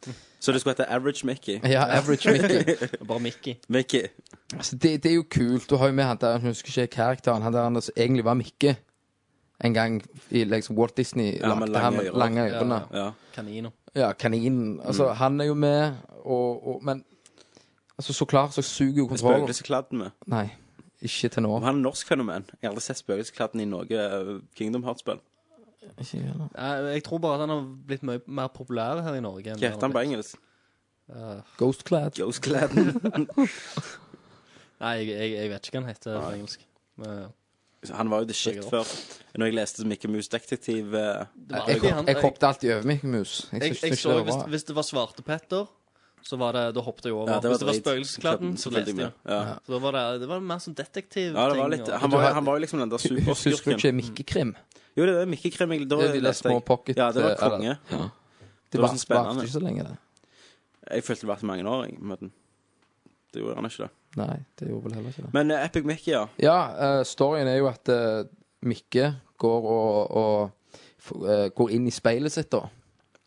S1: Så det skulle hete Average Mickey.
S4: Ja, average Mickey.
S5: Bare Mickey.
S1: Mickey.
S4: Altså, det, det er jo kult. Du har jo med han der, jeg husker ikke karakteren, han der han som egentlig var Mikke. En gang i liksom Walt Disney
S1: Ja, med
S4: lagde han
S1: lange
S4: med
S1: ører.
S4: lange ørene. Ja,
S1: Ja.
S5: Kaniner.
S4: kaninen. Altså, han er jo med, og, og Men altså, så klart så suger jo kontrollen.
S1: Spøkelseskladden med.
S4: Nei, ikke til nå.
S1: Og han er norsk fenomen. Jeg har aldri sett Spøkelseskladden i noe eh, Kingdom Hearts-spill.
S4: Ikke heller.
S5: Jeg, jeg tror bare at han har blitt mye mer populær her i Norge. enn
S1: Hva heter han på
S5: har blitt.
S1: engelsk?
S4: Ghostclad.
S1: Ghost-kladden.
S5: Nei, jeg, jeg, jeg vet ikke hva han heter på engelsk. Men,
S1: Han var jo the shit
S5: Søker
S1: før. Når jeg leste Mickey Mouse Detektiv eh,
S5: det var
S4: Jeg,
S5: alltid han-
S4: jeg hoppet alltid over Mikke Mus. Jeg
S5: jeg,
S4: synes
S5: jeg
S4: ikke
S5: så,
S4: det var
S5: hvis,
S4: bra.
S5: hvis det var svarte Petter, så var det, da hoppet jeg over.
S1: ja,
S5: hvis det var
S1: drit.
S5: Spøkelseskladden, så leste jeg.
S1: med.
S5: det.
S1: Ja.
S5: Så da var det, det var mer sånn detektiv
S1: ja, det var litt Han
S4: Du
S1: var,
S4: har-
S1: han var jo liksom den der
S4: Husker du
S1: superskurken.
S4: ikke Mikkekrim?
S1: Jo, det er Mikke Krim. jeg- Da
S4: Ja, de der
S1: leste jeg.
S4: små pocket- eh,
S1: Ja, det var konge.
S4: eller- Ja.
S1: Det
S4: Det
S1: var
S4: var,
S1: sånn spennende.
S4: varte ikke så lenge, det.
S1: Jeg følte det var så mange år, jeg, med den. Det gjorde han ikke, det.
S4: Nei, det gjorde vel heller ikke det.
S1: Men eh, Epic Mickey, ja.
S4: Ja, eh, storyen er jo at eh, Mikke går og, og f eh, går inn i speilet sitt, da.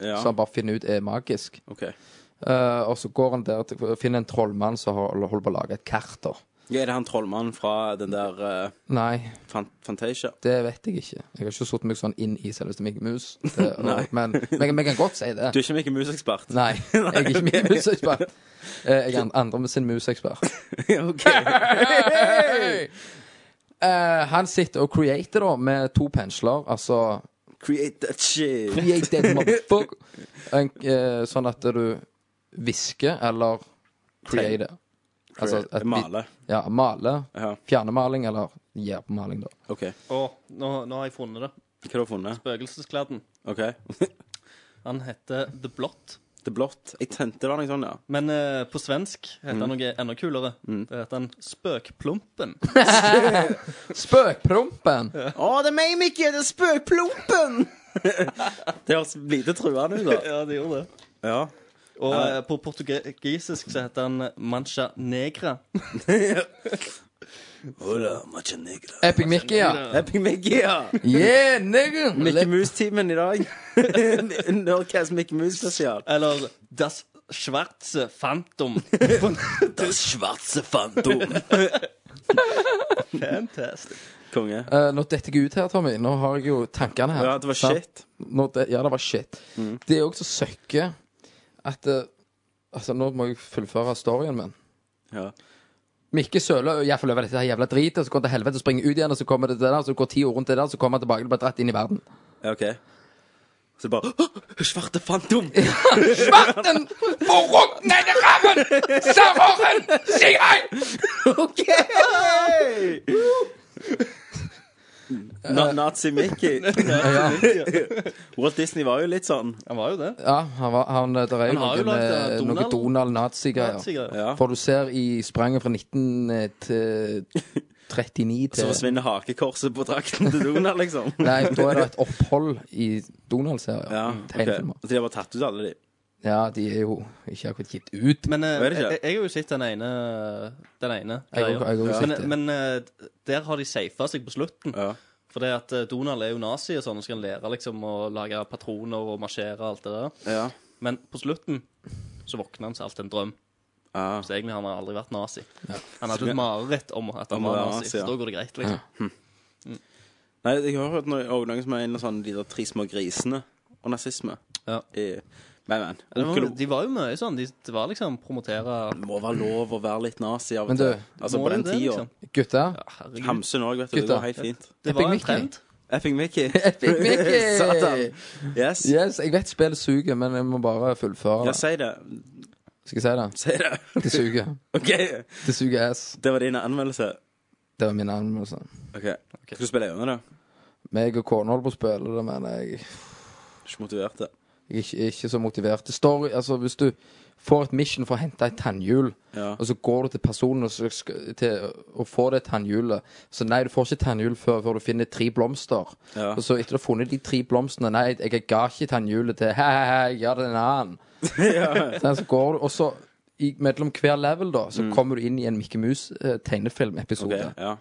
S1: ja.
S4: Så han bare finner ut er magisk.
S1: OK.
S4: Eh, og så går han der til, finner en trollmann som har- holder på å lage et kart, da.
S1: Ja, er det han trollmannen fra den der eh,
S4: Nei,
S1: Fan- Fantasia?
S4: det vet jeg ikke. Jeg har ikke satt meg sånn inn i selveste Mikke Mus. Det-
S1: Nei.
S4: Men men vi kan godt si det.
S1: Du er ikke Mikke Mus-ekspert?
S4: Nei, jeg er ikke Mikke Mus-ekspert. Eh, jeg er an- andre med sin musekspert.
S1: OK.
S4: Eh, han sitter og creater, da, med to pensler. Altså
S1: Create that shit.
S4: Create that motherfucker. En, eh, sånn at du hvisker eller create. Altså, at vi-
S1: Male.
S4: Ja, male.
S1: Ja.
S4: Fjernemaling eller gjærpemaling, da.
S1: OK.
S5: Å, nå, nå har jeg funnet det.
S1: Hva har du funnet?
S5: Spøkelseskladden.
S1: OK.
S5: Han heter The Blot.
S1: Det er blått. Jeg tente det var noe sånn, ja.
S5: Men eh, på svensk heter
S1: Mm.
S5: han noe enda kulere. Det heter han Spøkplumpen.
S4: Spøkprompen!
S1: Å, det er meg, Mikke! Det er spøkplumpen! det høres lite truende ut, da.
S5: ja, det gjorde det.
S1: Ja.
S5: Og eh, på portugisisk så heter han Mancha Negra.
S1: Hola, macha negra.
S4: Epic Mickey, ja.
S1: Epic Mickey, ja.
S4: Yeah, nigga!
S1: Mickey
S4: Let-
S1: Mouse-timen i dag. Nerdcast Mickey Mouse-spesial.
S5: Eller Das Schwarze Phantom.
S1: Schwarze Fantom.
S5: Fantastic.
S1: Konge.
S4: Eh, nå detter jeg ut her, Tommy. Nå har jeg jo tankene her.
S1: Ja, det var
S4: Sant?
S1: shit. Mm.
S4: Nå, det, ja, det var shit. Det er òg så søkke at eh, Altså, nå må jeg fullføre storyen min.
S1: Ja.
S4: Mikke søler iallfall over dette her jævla dritet, så går han til helvete og springer ut igjen, og så kommer det til det der, så går ti år rundt det der, så kommer han tilbake og blir dratt inn i verden.
S1: Ja, OK. Så bare «Åh, Svarte Fantom!
S4: Smerten forruknede rammen! Serveren! Sigrid!
S1: OK! Na Nazi Mickey.
S4: Ja,
S1: Walt Disney var jo litt sånn.
S5: Han var jo det.
S4: ja han, var, han, der er jo
S5: Han har jo
S4: noe
S5: lagd, eh,
S4: med noe
S5: Donald-
S4: Donald-nazi-greier.
S5: Sikkert.
S1: Ja.
S4: For du ser i spranget fra 19 til 39
S1: Så
S4: eh, til
S1: forsvinner hakekorset på drakten til Donald, liksom.
S4: Nei, Mm, da er det et opphold i Donald-serien.
S1: Ja, ok.
S4: Tegnefilmer.
S1: Så de har bare tatt ut alle de.
S4: Ja, de er jo ikke akkurat gitt ut.
S5: Men eh,
S1: Hva er det ikke?
S5: jeg, jeg har jo sett den ene Den ene
S4: Jeg har- jeg har jo
S5: greia.
S4: sett
S5: men,
S4: det.
S5: men eh, der har de safa seg på slutten.
S1: Ja.
S5: For det at eh, Donald er jo nazi og sånn, og skal han lære liksom å lage patroner og marsjere og alt det der.
S1: Ja.
S5: Men på slutten så våkner han til alt en drøm.
S1: Ah.
S5: Så egentlig har han aldri vært nazi. Han hadde et mareritt om at han
S1: Om å
S5: var
S1: være
S5: nazi,
S1: nazi,
S5: så
S1: ja.
S5: da går det greit, liksom.
S1: Nei, jeg har hørt noe, og noen som er inne sånn de der tre små grisene og nazisme.
S5: Ja.
S1: I, men, men.
S5: Det var-
S1: Onkel O.
S5: De var jo mye sånn. De, det var liksom promotere
S1: Det må være lov å være litt nazi av
S4: Men
S1: og
S4: du,
S1: til. Altså
S5: Må
S1: på den
S5: det det,
S1: tida.
S5: liksom?
S4: Gutter,
S5: Ja, herregud.
S1: Hamsun òg, vet du. Det
S4: Gutta.
S1: går helt fint.
S5: Det
S4: Epic
S5: var en
S4: Mickey.
S5: trend.
S1: Epic Mickey.
S4: Epic Mickey!
S1: Satan. Yes.
S4: Yes, jeg vet spillet suger, men jeg må bare fullføre.
S1: Ja,
S4: det.
S1: si det.
S4: Skal jeg si det?
S1: Si det.
S4: Det suger.
S1: OK.
S4: Det suger ass.
S1: Det var din anmeldelse.
S4: Det var min anmeldelse.
S1: OK. Skal du spille gjennom det?
S4: Meg og kona holder på å spille det, men jeg,
S1: Ikke motivert til det.
S4: jeg er ikke, ikke så motivert. Det står, altså Hvis du får et mission for å hente et tannhjul,
S1: Ja.
S4: og så går du til personen og, så skal, til, og får det tannhjulet Så nei, du får ikke tannhjul før, før du finner tre blomster.
S1: Ja.
S4: Og så etter du har funnet de tre blomstene Nei, jeg ga ikke tannhjulet til Hei, hei, hei, jeg ga det til en annen. Sånn, så går du, og så i, mellom hver level, da, så kommer du inn i en Mikke
S1: Mm. Ok,
S4: Mus-tegnefilmepisode.
S1: ja.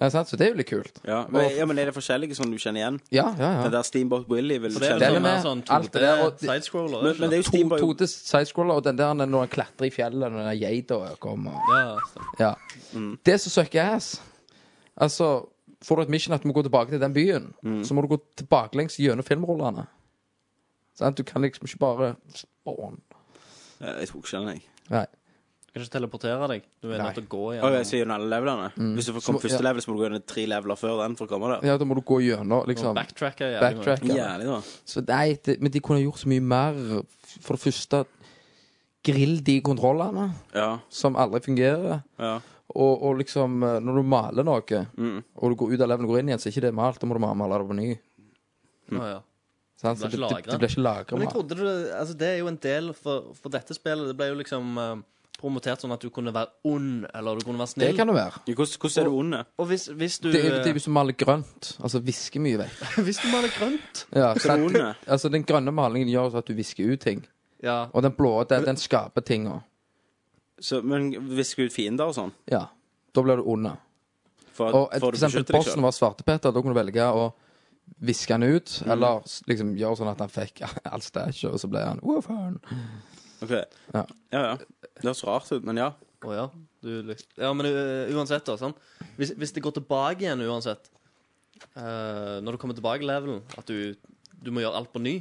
S4: Ja, sant? så det er jo litt kult.
S1: Ja. Men, ja, men er det forskjellige som du kjenner igjen?
S4: Ja, ja, ja.
S1: Den der Steamboat Willy vil du
S5: For det er sånn-
S1: kjenne.
S4: Den
S5: vel
S4: er
S5: sånn,
S4: med.
S5: mer sånn
S4: Alt det der, og-
S5: 2D-sidescroller.
S1: Men, men det er jo
S4: To,
S1: Steamboat
S4: to til sidescroller, og den der når han klatrer i fjellet, når den der geita kommer.
S5: Ja, stemmer.
S4: Ja.
S5: Mm.
S4: Det som søker ass Altså, får du et mission at du må gå tilbake til den byen,
S5: Mm.
S4: så må du gå tilbakelengs gjennom filmrullene. Sant? Du kan liksom ikke bare spawn.
S1: Eh, Jeg tok ikke den, jeg.
S4: Nei.
S5: Du kan ikke teleportere deg. Du er nødt til å gå
S1: Å,
S5: igjen.
S1: jeg skal gjennom alle levelene. Hvis du får komme
S4: Så-
S1: første
S4: ja.
S1: level, så må du gå gjennom tre leveler før den for å komme der.
S4: Ja, da må du gå gjennom, liksom.
S5: Backtracker jævlig mye.
S4: Backtrack. Ja.
S1: Jævlig, da.
S4: Så nei, det, men de kunne gjort så mye mer. For det første, grill de kontrollene
S1: Ja.
S4: som aldri fungerer.
S1: ja.
S4: Og, og liksom, eh, når du maler noe,
S5: Mm.
S4: og du går ut av levelen og går inn igjen, så er ikke det malt. Da må du bare male det på ny.
S5: Å, ja.
S4: Mm. Sant? Så
S5: Det
S4: Det,
S5: blir
S4: det,
S5: ikke
S4: det blir ikke lagra
S5: Men jeg trodde du, altså Det er jo en del for, for dette spillet. Det ble jo liksom eh, promotert sånn at du kunne være ond, eller du kunne være
S4: Det
S5: snill.
S4: kan det være.
S1: Jo, Hvordan, hvordan er du ond?
S5: Og hvis, hvis du eh,
S4: Det, er- det er hvis du maler grønt. Altså visker mye vekk.
S5: Hvis du maler grønt
S4: Ja,
S1: er
S4: sant?
S1: det onde?
S4: altså, den grønne malingen gjør så at du visker ut ting.
S5: Ja.
S4: Og den blå, den, den skaper tinga.
S1: Så, men visker ut fiender og sånn?
S4: Ja. Da blir du onde.
S1: For,
S4: Og et, for
S1: for å
S4: eksempel
S1: beskytte deg
S4: bossen
S1: selv?
S4: var Svartepetter. Da kunne du velge å viske han ut,
S5: Mm.
S4: eller s- liksom gjøre sånn at han fikk all stæsjet, og så ble han Woofern.
S1: Ok.
S4: Ja.
S1: Ja. ja, Det høres rart ut, men ja.
S5: Å ja. Du, lyst- ja, men eh, uansett, da. sant? Hvis, hvis det går tilbake igjen uansett eh, Når du kommer tilbake i levelen, at du, du må gjøre alt på ny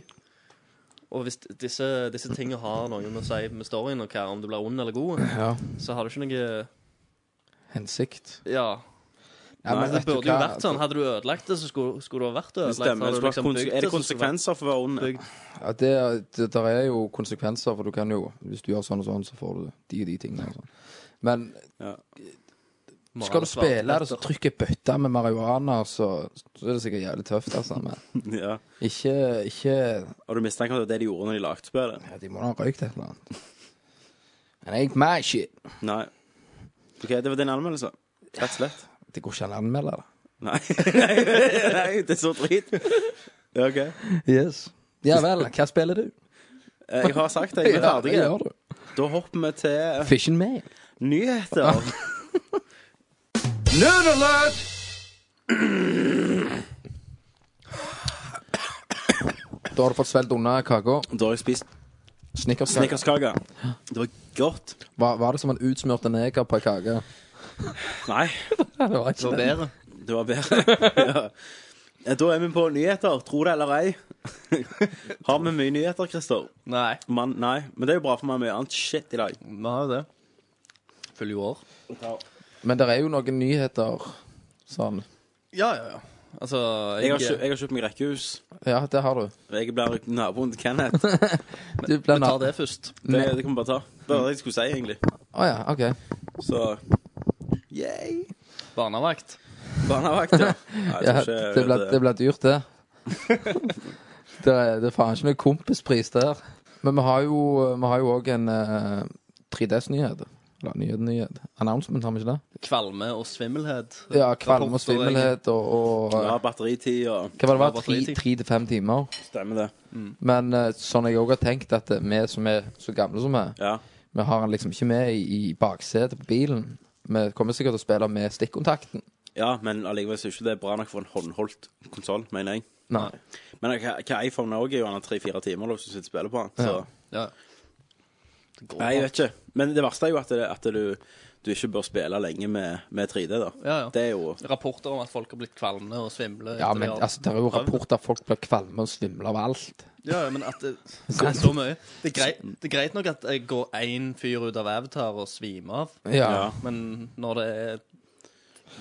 S5: Og hvis disse, disse tingene har noe med å si med storyen, og hva, om du blir ond eller god,
S4: Ja.
S5: så har du ikke noe
S4: Hensikt.
S5: Ja.
S4: Ja, men
S5: det
S4: vet du
S5: burde jo
S4: hva?
S5: vært sånn. Hadde du ødelagt det, så skulle, skulle du ha vært
S1: Det
S5: ødelagt.
S1: stemmer.
S5: Hadde
S1: Det
S5: du
S1: er,
S5: liksom bygd
S1: er det
S5: så skulle vært
S1: konsekvenser for å være ond?
S5: bygd.
S4: Ja, det, det der er jo konsekvenser, for du kan jo Hvis du gjør sånn og sånn, så får du de og de tingene. Og sånn. Men skal du
S5: Male svarte
S4: spille det, så trykker jeg bøtta med marihuana, så, så er det sikkert jævlig tøft, altså. Men
S1: Ja.
S4: ikke, ikke
S1: Har du mistanke om at det er det de gjorde når de lagde spillet?
S4: ja, De må da ha røykt et eller annet. Men jeg my shit.
S1: Nei. OK, det var din anmeldelse. Rett og slett.
S4: Det går ikke an å anmelde det.
S1: Nei. Nei, det er så drit. Ja, OK.
S4: Yes. Ja vel, hva spiller du?
S1: Eh, Jeg har sagt det. Jeg er ferdig.
S4: Ja, gjør du.
S1: Da hopper vi til eh,
S4: Fish and mail.
S1: nyheter.
S3: Nerd alert!
S4: Da har du fått svelget unna kaka.
S1: Da har jeg spist
S4: Snickers.
S1: snickerskake. Det var godt.
S4: Var, var det som en utsmurt neger på ei kake?
S1: Nei,
S4: Det var ikke det.
S5: bedre.
S1: det var bedre. ja. Eh, Da er vi på nyheter, tro det eller ei. Har vi mye nyheter, Christer?
S5: Nei.
S1: Man, nei, men det er jo bra for meg mye annet shit i dag.
S5: Vi har jo det. Fyller jo år.
S4: Men det er jo noen nyheter sånn.
S5: Ja, ja, ja. Altså,
S1: Jeg har, kjø- jeg har kjøpt meg rekkehus.
S4: Ja, det har du.
S1: Jeg blir naboen til Kenneth. Det,
S4: Du blir
S5: Vi tar det først.
S1: det kan vi bare ta. Det var det jeg skulle si, egentlig.
S4: Å ja, OK.
S1: Så yay.
S5: Barnevakt.
S1: Barnevakt, ja. Nei, jeg
S4: Ja,
S1: tror ikke
S4: det, ble, det ble dyrt, det. det, er, det er faen ikke noe kompispris der. Men vi har jo vi har jo òg en eh, 3DS-nyhet. Eller nyhet-nyhet. announcement, har vi ikke det?
S5: Kvalme og svimmelhet.
S4: Ja, kvalm
S5: Rapporter,
S4: og svimmelhet og, og
S1: Ja, batteritid og
S4: Hva var det?
S5: Ja,
S4: var? Tre-
S5: batteritid.
S4: Tre til fem timer.
S1: Stemmer det.
S4: Men eh, sånn jeg òg har tenkt, at eh, vi som er så gamle som vi er,
S1: Ja.
S4: vi har han liksom ikke med i, i baksetet på bilen. Vi kommer sikkert til å spille med stikkontakten.
S1: ja, men allikevel så er ikke det bra nok for en håndholdt konsoll, mener jeg.
S4: Nei.
S1: Men hva, hva iPhone er også, er jo gjerne tre-fire timer da, hvis du sitter og spiller på den. Så.
S5: Ja. Det går
S1: Nei, jeg vet ikke. Men det verste er jo at, det, at du, du ikke bør spille lenge med, med 3D, da.
S5: Ja, ja.
S1: Det er jo
S5: Rapporter om at folk har blitt kvalme og svimle.
S4: Ja,
S5: etter
S4: men
S5: de har-
S4: altså, det er jo rapporter at folk blir kvalme og svimler av alt.
S5: Ja, ja, men at det, så, så mye. Det er, greit,
S4: Mm.
S5: det er greit nok at jeg går én fyr ut av Avatar og svimer av,
S1: Ja.
S5: men når det er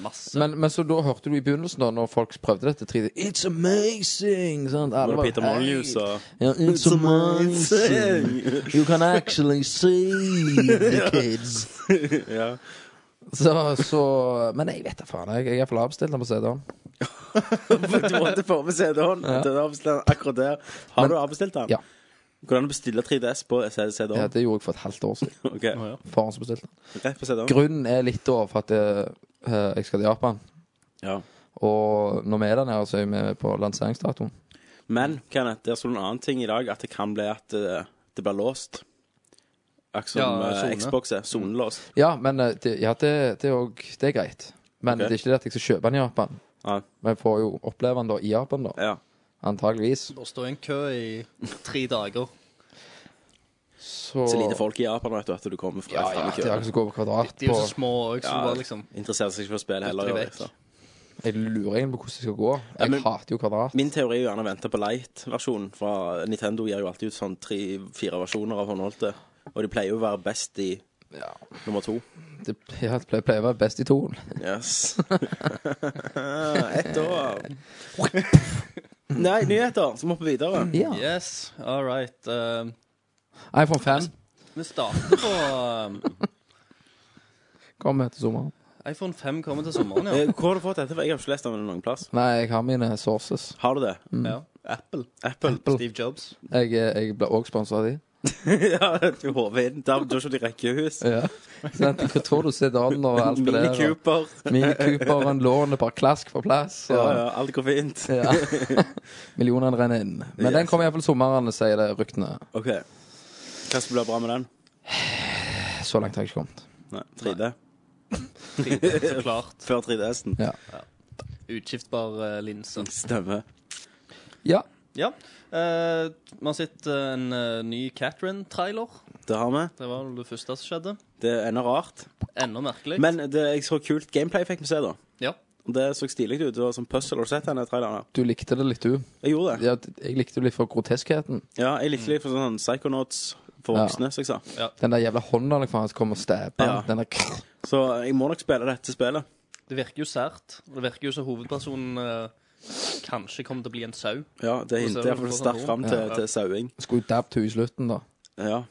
S5: masse
S4: Men, men så da hørte du i begynnelsen, da, når folk prøvde dette 3D It's amazing! Sant? Alle
S1: Var det
S4: var,
S1: Peter
S4: «Hey!»
S1: Molyneux og
S4: Ja, it's amazing. You can actually see the kids.
S1: ja.
S4: Så, så Men jeg vet da faen. Jeg, jeg er for avbestilt den på CD-en.
S1: Du måtte få med CD-en. Den er avbestilt Akkurat der. Har du avbestilt den?
S4: Ja.
S1: Hvordan bestille 3DS på CD-en?
S4: Ja, det gjorde jeg for et halvt år siden.
S1: Ok,
S4: Faren som bestilte den.
S1: Rett på CD-en.
S4: Grunnen er litt da for at eh, jeg skal til Japan.
S1: Ja.
S4: Og når vi er der nede, så er vi på lanseringsdatoen.
S1: Men Kenneth, der sto det en annen ting i dag, at det kan bli at eh, det blir låst. Akkurat som
S5: Ja,
S1: eh,
S5: zone.
S1: Xbox er
S4: Mm.
S1: sonelåst.
S4: Ja, men eh, det, ja, det, det, er òg Det er greit. Men
S1: Ok.
S4: det er ikke det at jeg skal kjøpe den i Japan.
S1: Ja.
S4: Men jeg får jo oppleve den da i Japan, da.
S1: Ja.
S4: Antageligvis.
S5: Å stå i en kø i tre dager
S4: Så,
S1: Så lite folk i Japan vet du, at du kommer fra
S4: Ja, ja, det er
S1: fremmedkøen.
S4: ikke som å gå på kvadrat
S5: De er
S4: på
S5: jo så små òg, så
S1: Ja.
S5: du bare liksom
S1: Interesserer seg ikke for spill heller.
S5: Dytter de
S1: gjør
S5: vekk.
S1: jeg, så.
S4: Jeg lurer egentlig på hvordan jeg skal gå. Jeg
S1: men-
S4: hater jo kvadrat.
S1: Min teori er jo gjerne å vente på Light-versjonen. For Nintendo gir jo alltid ut sånn tre-fire versjoner av håndholdte. Og de pleier jo å være best i
S4: Ja.
S1: nummer to.
S4: Det pleier det pleier å være best i toen.
S1: Yes. Ett år. Nei, nyheter. Så må vi videre.
S4: Ja.
S5: Yes, all right. eh,
S4: iPhone 5
S5: vi starter på eh,
S4: kommer til sommeren.
S5: iPhone 5 kommer til sommeren, ja.
S1: Eh, Hvor har du fått dette? fra? Jeg har ikke lest om det noen plass.
S4: Nei, jeg har mine sources.
S1: Har du det?
S4: Mm.
S5: ja. Apple.
S1: Apple?
S5: Steve Jobs.
S4: Jeg, eh, jeg ble òg sponsa av de.
S1: ja, du håver inn. Der da ser du rekkehus.
S4: Ja. Sånn, hva tror du sedanen og alt det
S1: Mini
S4: der? og-
S1: Cooper.
S4: Mini Cooperen låner bare klask for plass. Og,
S1: Ja, ja, alt går fint.
S4: Ja. Millionene renner inn. Men den kommer iallfall sommeren, sier det ryktene.
S1: OK. Hva skal bli bra med den?
S4: Så langt har jeg ikke kommet.
S1: Nei, 3D.
S5: Så klart.
S1: Før 3DS-en.
S4: Ja.
S5: Utskiftbar eh, linse.
S1: Stemmer.
S4: ja.
S5: Ja. eh, Vi har sett eh, en eh, ny Catherine-trailer.
S1: Det har vi.
S5: Det var det første som skjedde.
S1: Det er ennå rart.
S5: Enda merkelig.
S1: Men det jeg så kult gameplay fikk vi se, da.
S5: Ja.
S1: Og Det så stilig ut. Det var sånn puzzle. Har du sett denne traileren? her?
S4: Du likte det litt, du.
S1: Jeg gjorde det.
S4: Ja, jeg likte det litt for groteskheten.
S1: Ja, jeg likte litt for sånn Psychonauts for
S4: Ja.
S1: voksne, som jeg sa.
S4: Den der jævla hånda liksom, han kommer og stabber.
S1: Ja.
S4: Den der
S1: Så jeg må nok spille dette spillet.
S5: Det virker jo sært. og Det virker jo som hovedpersonen eh, kanskje kommer til å bli en sau.
S1: Ja, det
S5: ser
S1: hinter
S5: du
S1: jeg for
S5: på
S1: sterkt
S5: sånn
S1: fram til,
S5: Ja.
S1: til sauing.
S4: skulle jo dabbet henne i slutten, da.
S1: Ja.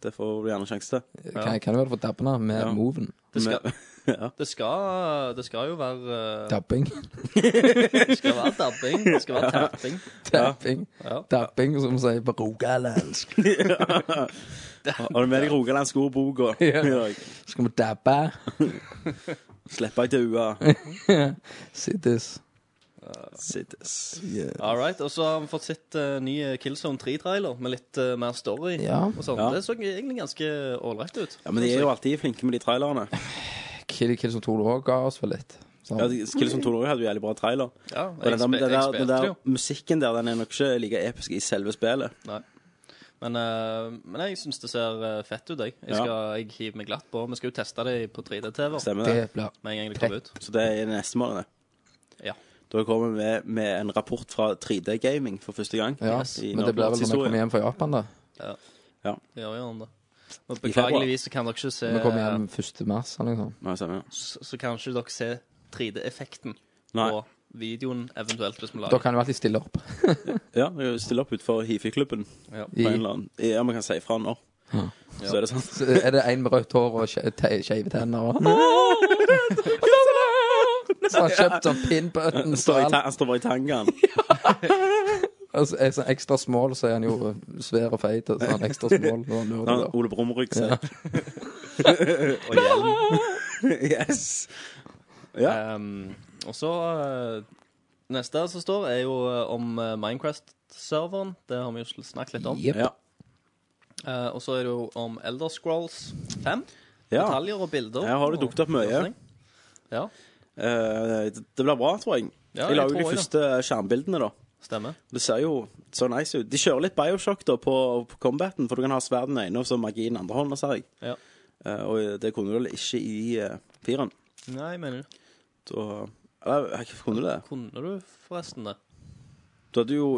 S1: Det får du gjerne sjanse til.
S4: Kan, kan jo være for dabbene med
S1: Ja.
S4: moven.
S5: Det skal,
S1: Ja.
S5: det skal, det skal jo være eh,
S4: Dabbing.
S5: Det skal være dabbing. Det skal være tapping.
S4: Dabbing,
S5: Ja.
S4: dabbing som vi sier på rogalandsk.
S1: Har du med deg Rogalandsk ordbok og
S4: Ja.
S1: ja.
S4: Skal vi dabbe?
S1: slipper jeg til ua?
S4: Sittes.
S1: Sittes.
S5: All right. Og så har vi fått sett uh, ny Killzone 3-trailer med litt eh, mer story.
S4: Ja.
S5: Og sånn.
S1: Ja.
S5: Det så egentlig ganske ålreit ut.
S1: Ja, men de er jo alltid flinke med de trailerne.
S4: Kill Kill som Tolo òg ga oss vel litt. Sånn.
S1: Ja, Killson 2 hadde jo jævlig bra trailer.
S5: Ja,
S1: Og den
S5: jeg,
S1: der,
S5: spe-
S1: den
S5: jeg
S1: der, den
S5: spilte
S1: der
S5: jo.
S1: musikken der, den er nok ikke like episk i selve spillet.
S5: Nei. Men, eh, men jeg syns det ser eh, fett ut, jeg. Jeg,
S1: Ja.
S5: skal, jeg hiver meg glatt på. Vi skal jo teste det på 3D-TV
S1: Stemmer det?
S4: det blir
S5: med en gang det kommer ut.
S1: Så det er neste måned, det.
S5: Ja.
S1: Da kommer vi med, med en rapport fra 3D Gaming for første gang.
S4: Ja,
S1: Yes, i
S4: men det blir vel når vi
S1: norgeshistorien.
S4: kommer hjem fra Japan, da.
S5: Det gjør jo han det.
S1: I
S5: Og
S1: februar.
S5: beklageligvis så kan dere ikke se
S4: Når vi kommer hjem 1. mars, eller noe sånt.
S1: Ja, stemmer.
S5: så, så kan ikke dere se 3D-effekten
S1: Nei.
S5: på videoen, eventuelt hvis vi
S4: Da
S5: lager
S4: kan du alltid stille opp.
S1: Ja, vi stiller opp utenfor hifi-klubben.
S5: ja.
S1: på en eller annen- Ja, vi kan si fra når. Så er det sånn.
S4: Så er det en med rødt hår og skje- te- skeive tenner og Så har han kjøpt sånn
S1: Han
S4: pinbuttons
S1: står,
S4: og
S1: i ta
S4: alt.
S1: han står bare i tangaen.
S4: Og så er sånn ekstra small, så er han jo svær og
S1: Sånn,
S4: feit. og Så er han ekstra small og
S1: Han har
S4: nerd.
S1: Ole Brumm-ryggsekk.
S5: Og hjelm.
S1: yes. Ja.
S5: Ehm, og så eh, Neste som står, er jo eh, om eh, Minecraft-serveren. Det har vi jo sl- snakket litt om.
S4: Jep.
S1: Ja.
S5: Eh, og så er det jo om Elder Scrolls 5.
S1: ja.
S5: Detaljer og bilder.
S1: Her har det
S5: og-
S1: dukket opp mye.
S5: Ja,
S1: Eh, det det blir bra, tror jeg.
S5: Ja,
S1: jeg
S5: jeg
S1: lager
S5: tror
S1: de
S5: jeg
S1: første skjermbildene, da.
S5: stemmer.
S1: Det ser jo så nice ut. De kjører litt Bioshock da på, på combaten, for du kan ha sverden i den ene og så magi i den andre hånda, ser jeg.
S5: Ja.
S1: Eh, og det kunne du vel ikke i uh, fireren.
S5: Nei, mener du.
S1: Da Eller jeg kunne du det?
S5: Kunne du forresten det?
S1: Du hadde jo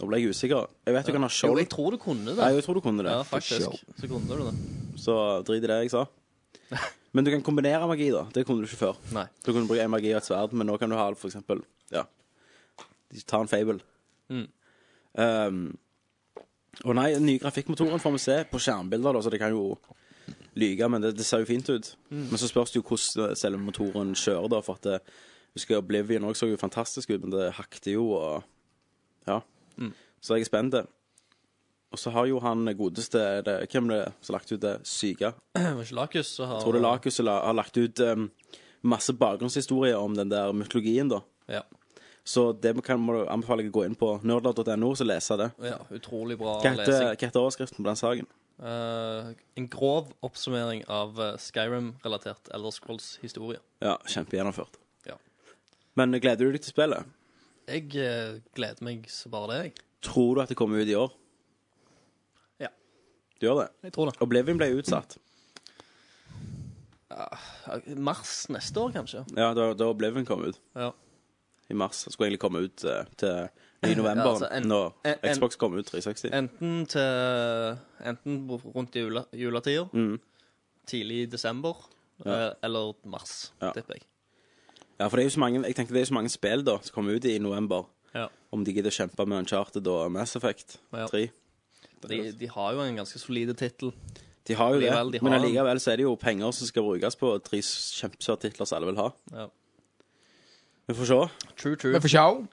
S1: Nå ble jeg usikker. Jeg vet du kan ha
S5: Jo,
S1: skjold.
S5: jeg tror du kunne
S1: Nei,
S5: det.
S1: jeg tror du kunne det.
S5: Ja, faktisk. Så kunne du det.
S1: Så drit i det jeg sa. Men du kan kombinere magi, da. Det kunne du ikke før.
S5: Nei.
S1: Du kunne bruke en magi og et sverd, men nå kan du ha for eksempel Ja. Ta en fable.
S5: Mm.
S1: Um, og nei, den nye grafikkmotoren får vi se på skjermbilder, da, så det kan jo lyge, men det, det ser jo fint ut. Men så spørs det jo hvordan eh, selve motoren kjører, da, for at det, husker jeg Oblivion også så jo fantastisk ut, men det hakte jo og Ja. Så jeg er spent. Og så har jo han godeste er det, Hvem er det som har lagt ut det syke
S5: Det var ikke Lakus som har
S1: tror det Lakus har la- har lagt ut em, masse bakgrunnshistorier om den der mytologien, da.
S5: Ja.
S1: Så det kan, må du anbefale deg å gå inn på nerdler.no og lese det.
S5: ja. Utrolig bra
S1: Hva heter,
S5: lesing.
S1: hva heter overskriften på den saken?
S5: Eh, en grov oppsummering av eh, Skyrim-relatert Elder Scrolls-historie.
S1: Ja, kjempegjennomført.
S5: Ja.
S1: Men gleder du deg til spillet?
S5: Jeg eh, gleder meg så bare det, jeg.
S1: Tror du at det kommer ut i år?
S5: Ja.
S1: Du gjør det?
S5: Jeg tror det.
S1: Oblivion ble utsatt.
S5: Mars neste år, kanskje.
S1: Ja, da, da Oblivion kom ut.
S5: Ja.
S1: I mars. Skulle egentlig komme ut eh, til i november,
S5: Ja, altså, en-
S1: når
S5: en- en-
S1: Xbox kom ut 360.
S5: Enten til Enten rundt jula, juletida,
S1: Mm.
S5: tidlig i desember, eh, eller mars,
S1: Ja.
S5: tipper jeg.
S1: Ja, for det er jo så mange, jeg tenkte det er så mange spill da som kommer ut i november.
S5: Ja.
S1: Om de gidder å kjempe med Uncharted og Mass Effect
S5: Ja.
S1: 3.
S5: De, de har jo en ganske solid tittel.
S1: De har jo det,
S5: Likevel, de har
S1: men
S5: den.
S1: allikevel så er det jo penger som skal brukes på tre kjempesvære titler som alle vil ha.
S5: Ja.
S1: Vi får se.
S5: True, true.
S4: Men for sjau.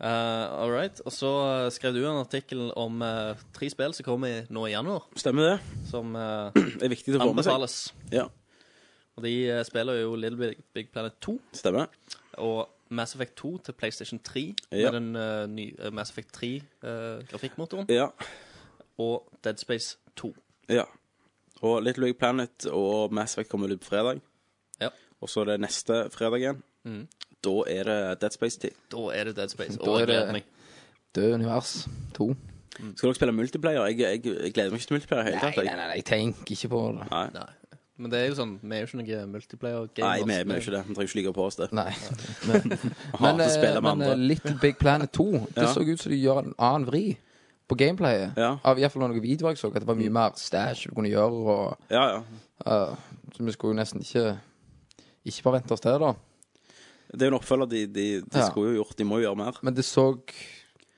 S5: all right. Og så eh, skrev du en artikkel om eh, tre spill som kommer i- nå i januar,
S1: Stemmer det?
S5: som eh,
S1: Det er viktig å få med seg.
S5: anbefales.
S1: Ja,
S5: Og de eh, spiller jo Little Big, Big Planet 2
S1: stemmer.
S5: og Mass Effect 2 til PlayStation 3
S1: Ja.
S5: med den eh, nye eh, Mass Effect eh, 3-grafikkmotoren.
S1: Ja.
S5: og Dead Space 2.
S1: ja. Og Little Big Planet og Mass Effect kommer ut på fredag.
S5: Ja.
S1: Og så er det neste fredag igjen.
S5: Mhm.
S1: Da er det Dead Space-tid.
S5: Da er det Dead Space.
S4: Da
S5: Og jeg
S4: er det-
S5: gleder meg.
S4: Død univers to.
S1: Skal dere spille multiplayer? Jeg, jeg, jeg gleder meg ikke til multiplayer i det hele
S4: Nei,
S1: tatt.
S4: nei,
S1: jeg.
S4: nei, jeg tenker ikke på det.
S1: Nei.
S5: Nei. Men det er jo sånn, vi er jo ikke noe
S1: Nei,
S5: multiplayer-gamers.
S1: vi vi er jo ikke det. Vi trenger ikke ligge på oss det.
S4: Nei.
S1: Hater
S4: Men,
S1: å spille
S4: eh,
S1: med
S4: men eh,
S1: andre.
S4: Little Big Planet 2 Det
S1: Ja.
S4: så ut som de gjør en annen vri på gameplayet.
S1: Ja. Mm.
S4: Av iallfall noen videoer jeg så, at det var mye mer stæsj du kunne gjøre. Og,
S1: Ja, ja.
S4: eh, så vi skulle jo nesten ikke Ikke forvente oss det, da.
S1: Det er jo en oppfølger de, de, de
S4: Ja.
S1: skulle jo gjort. De må jo gjøre mer.
S4: Men det så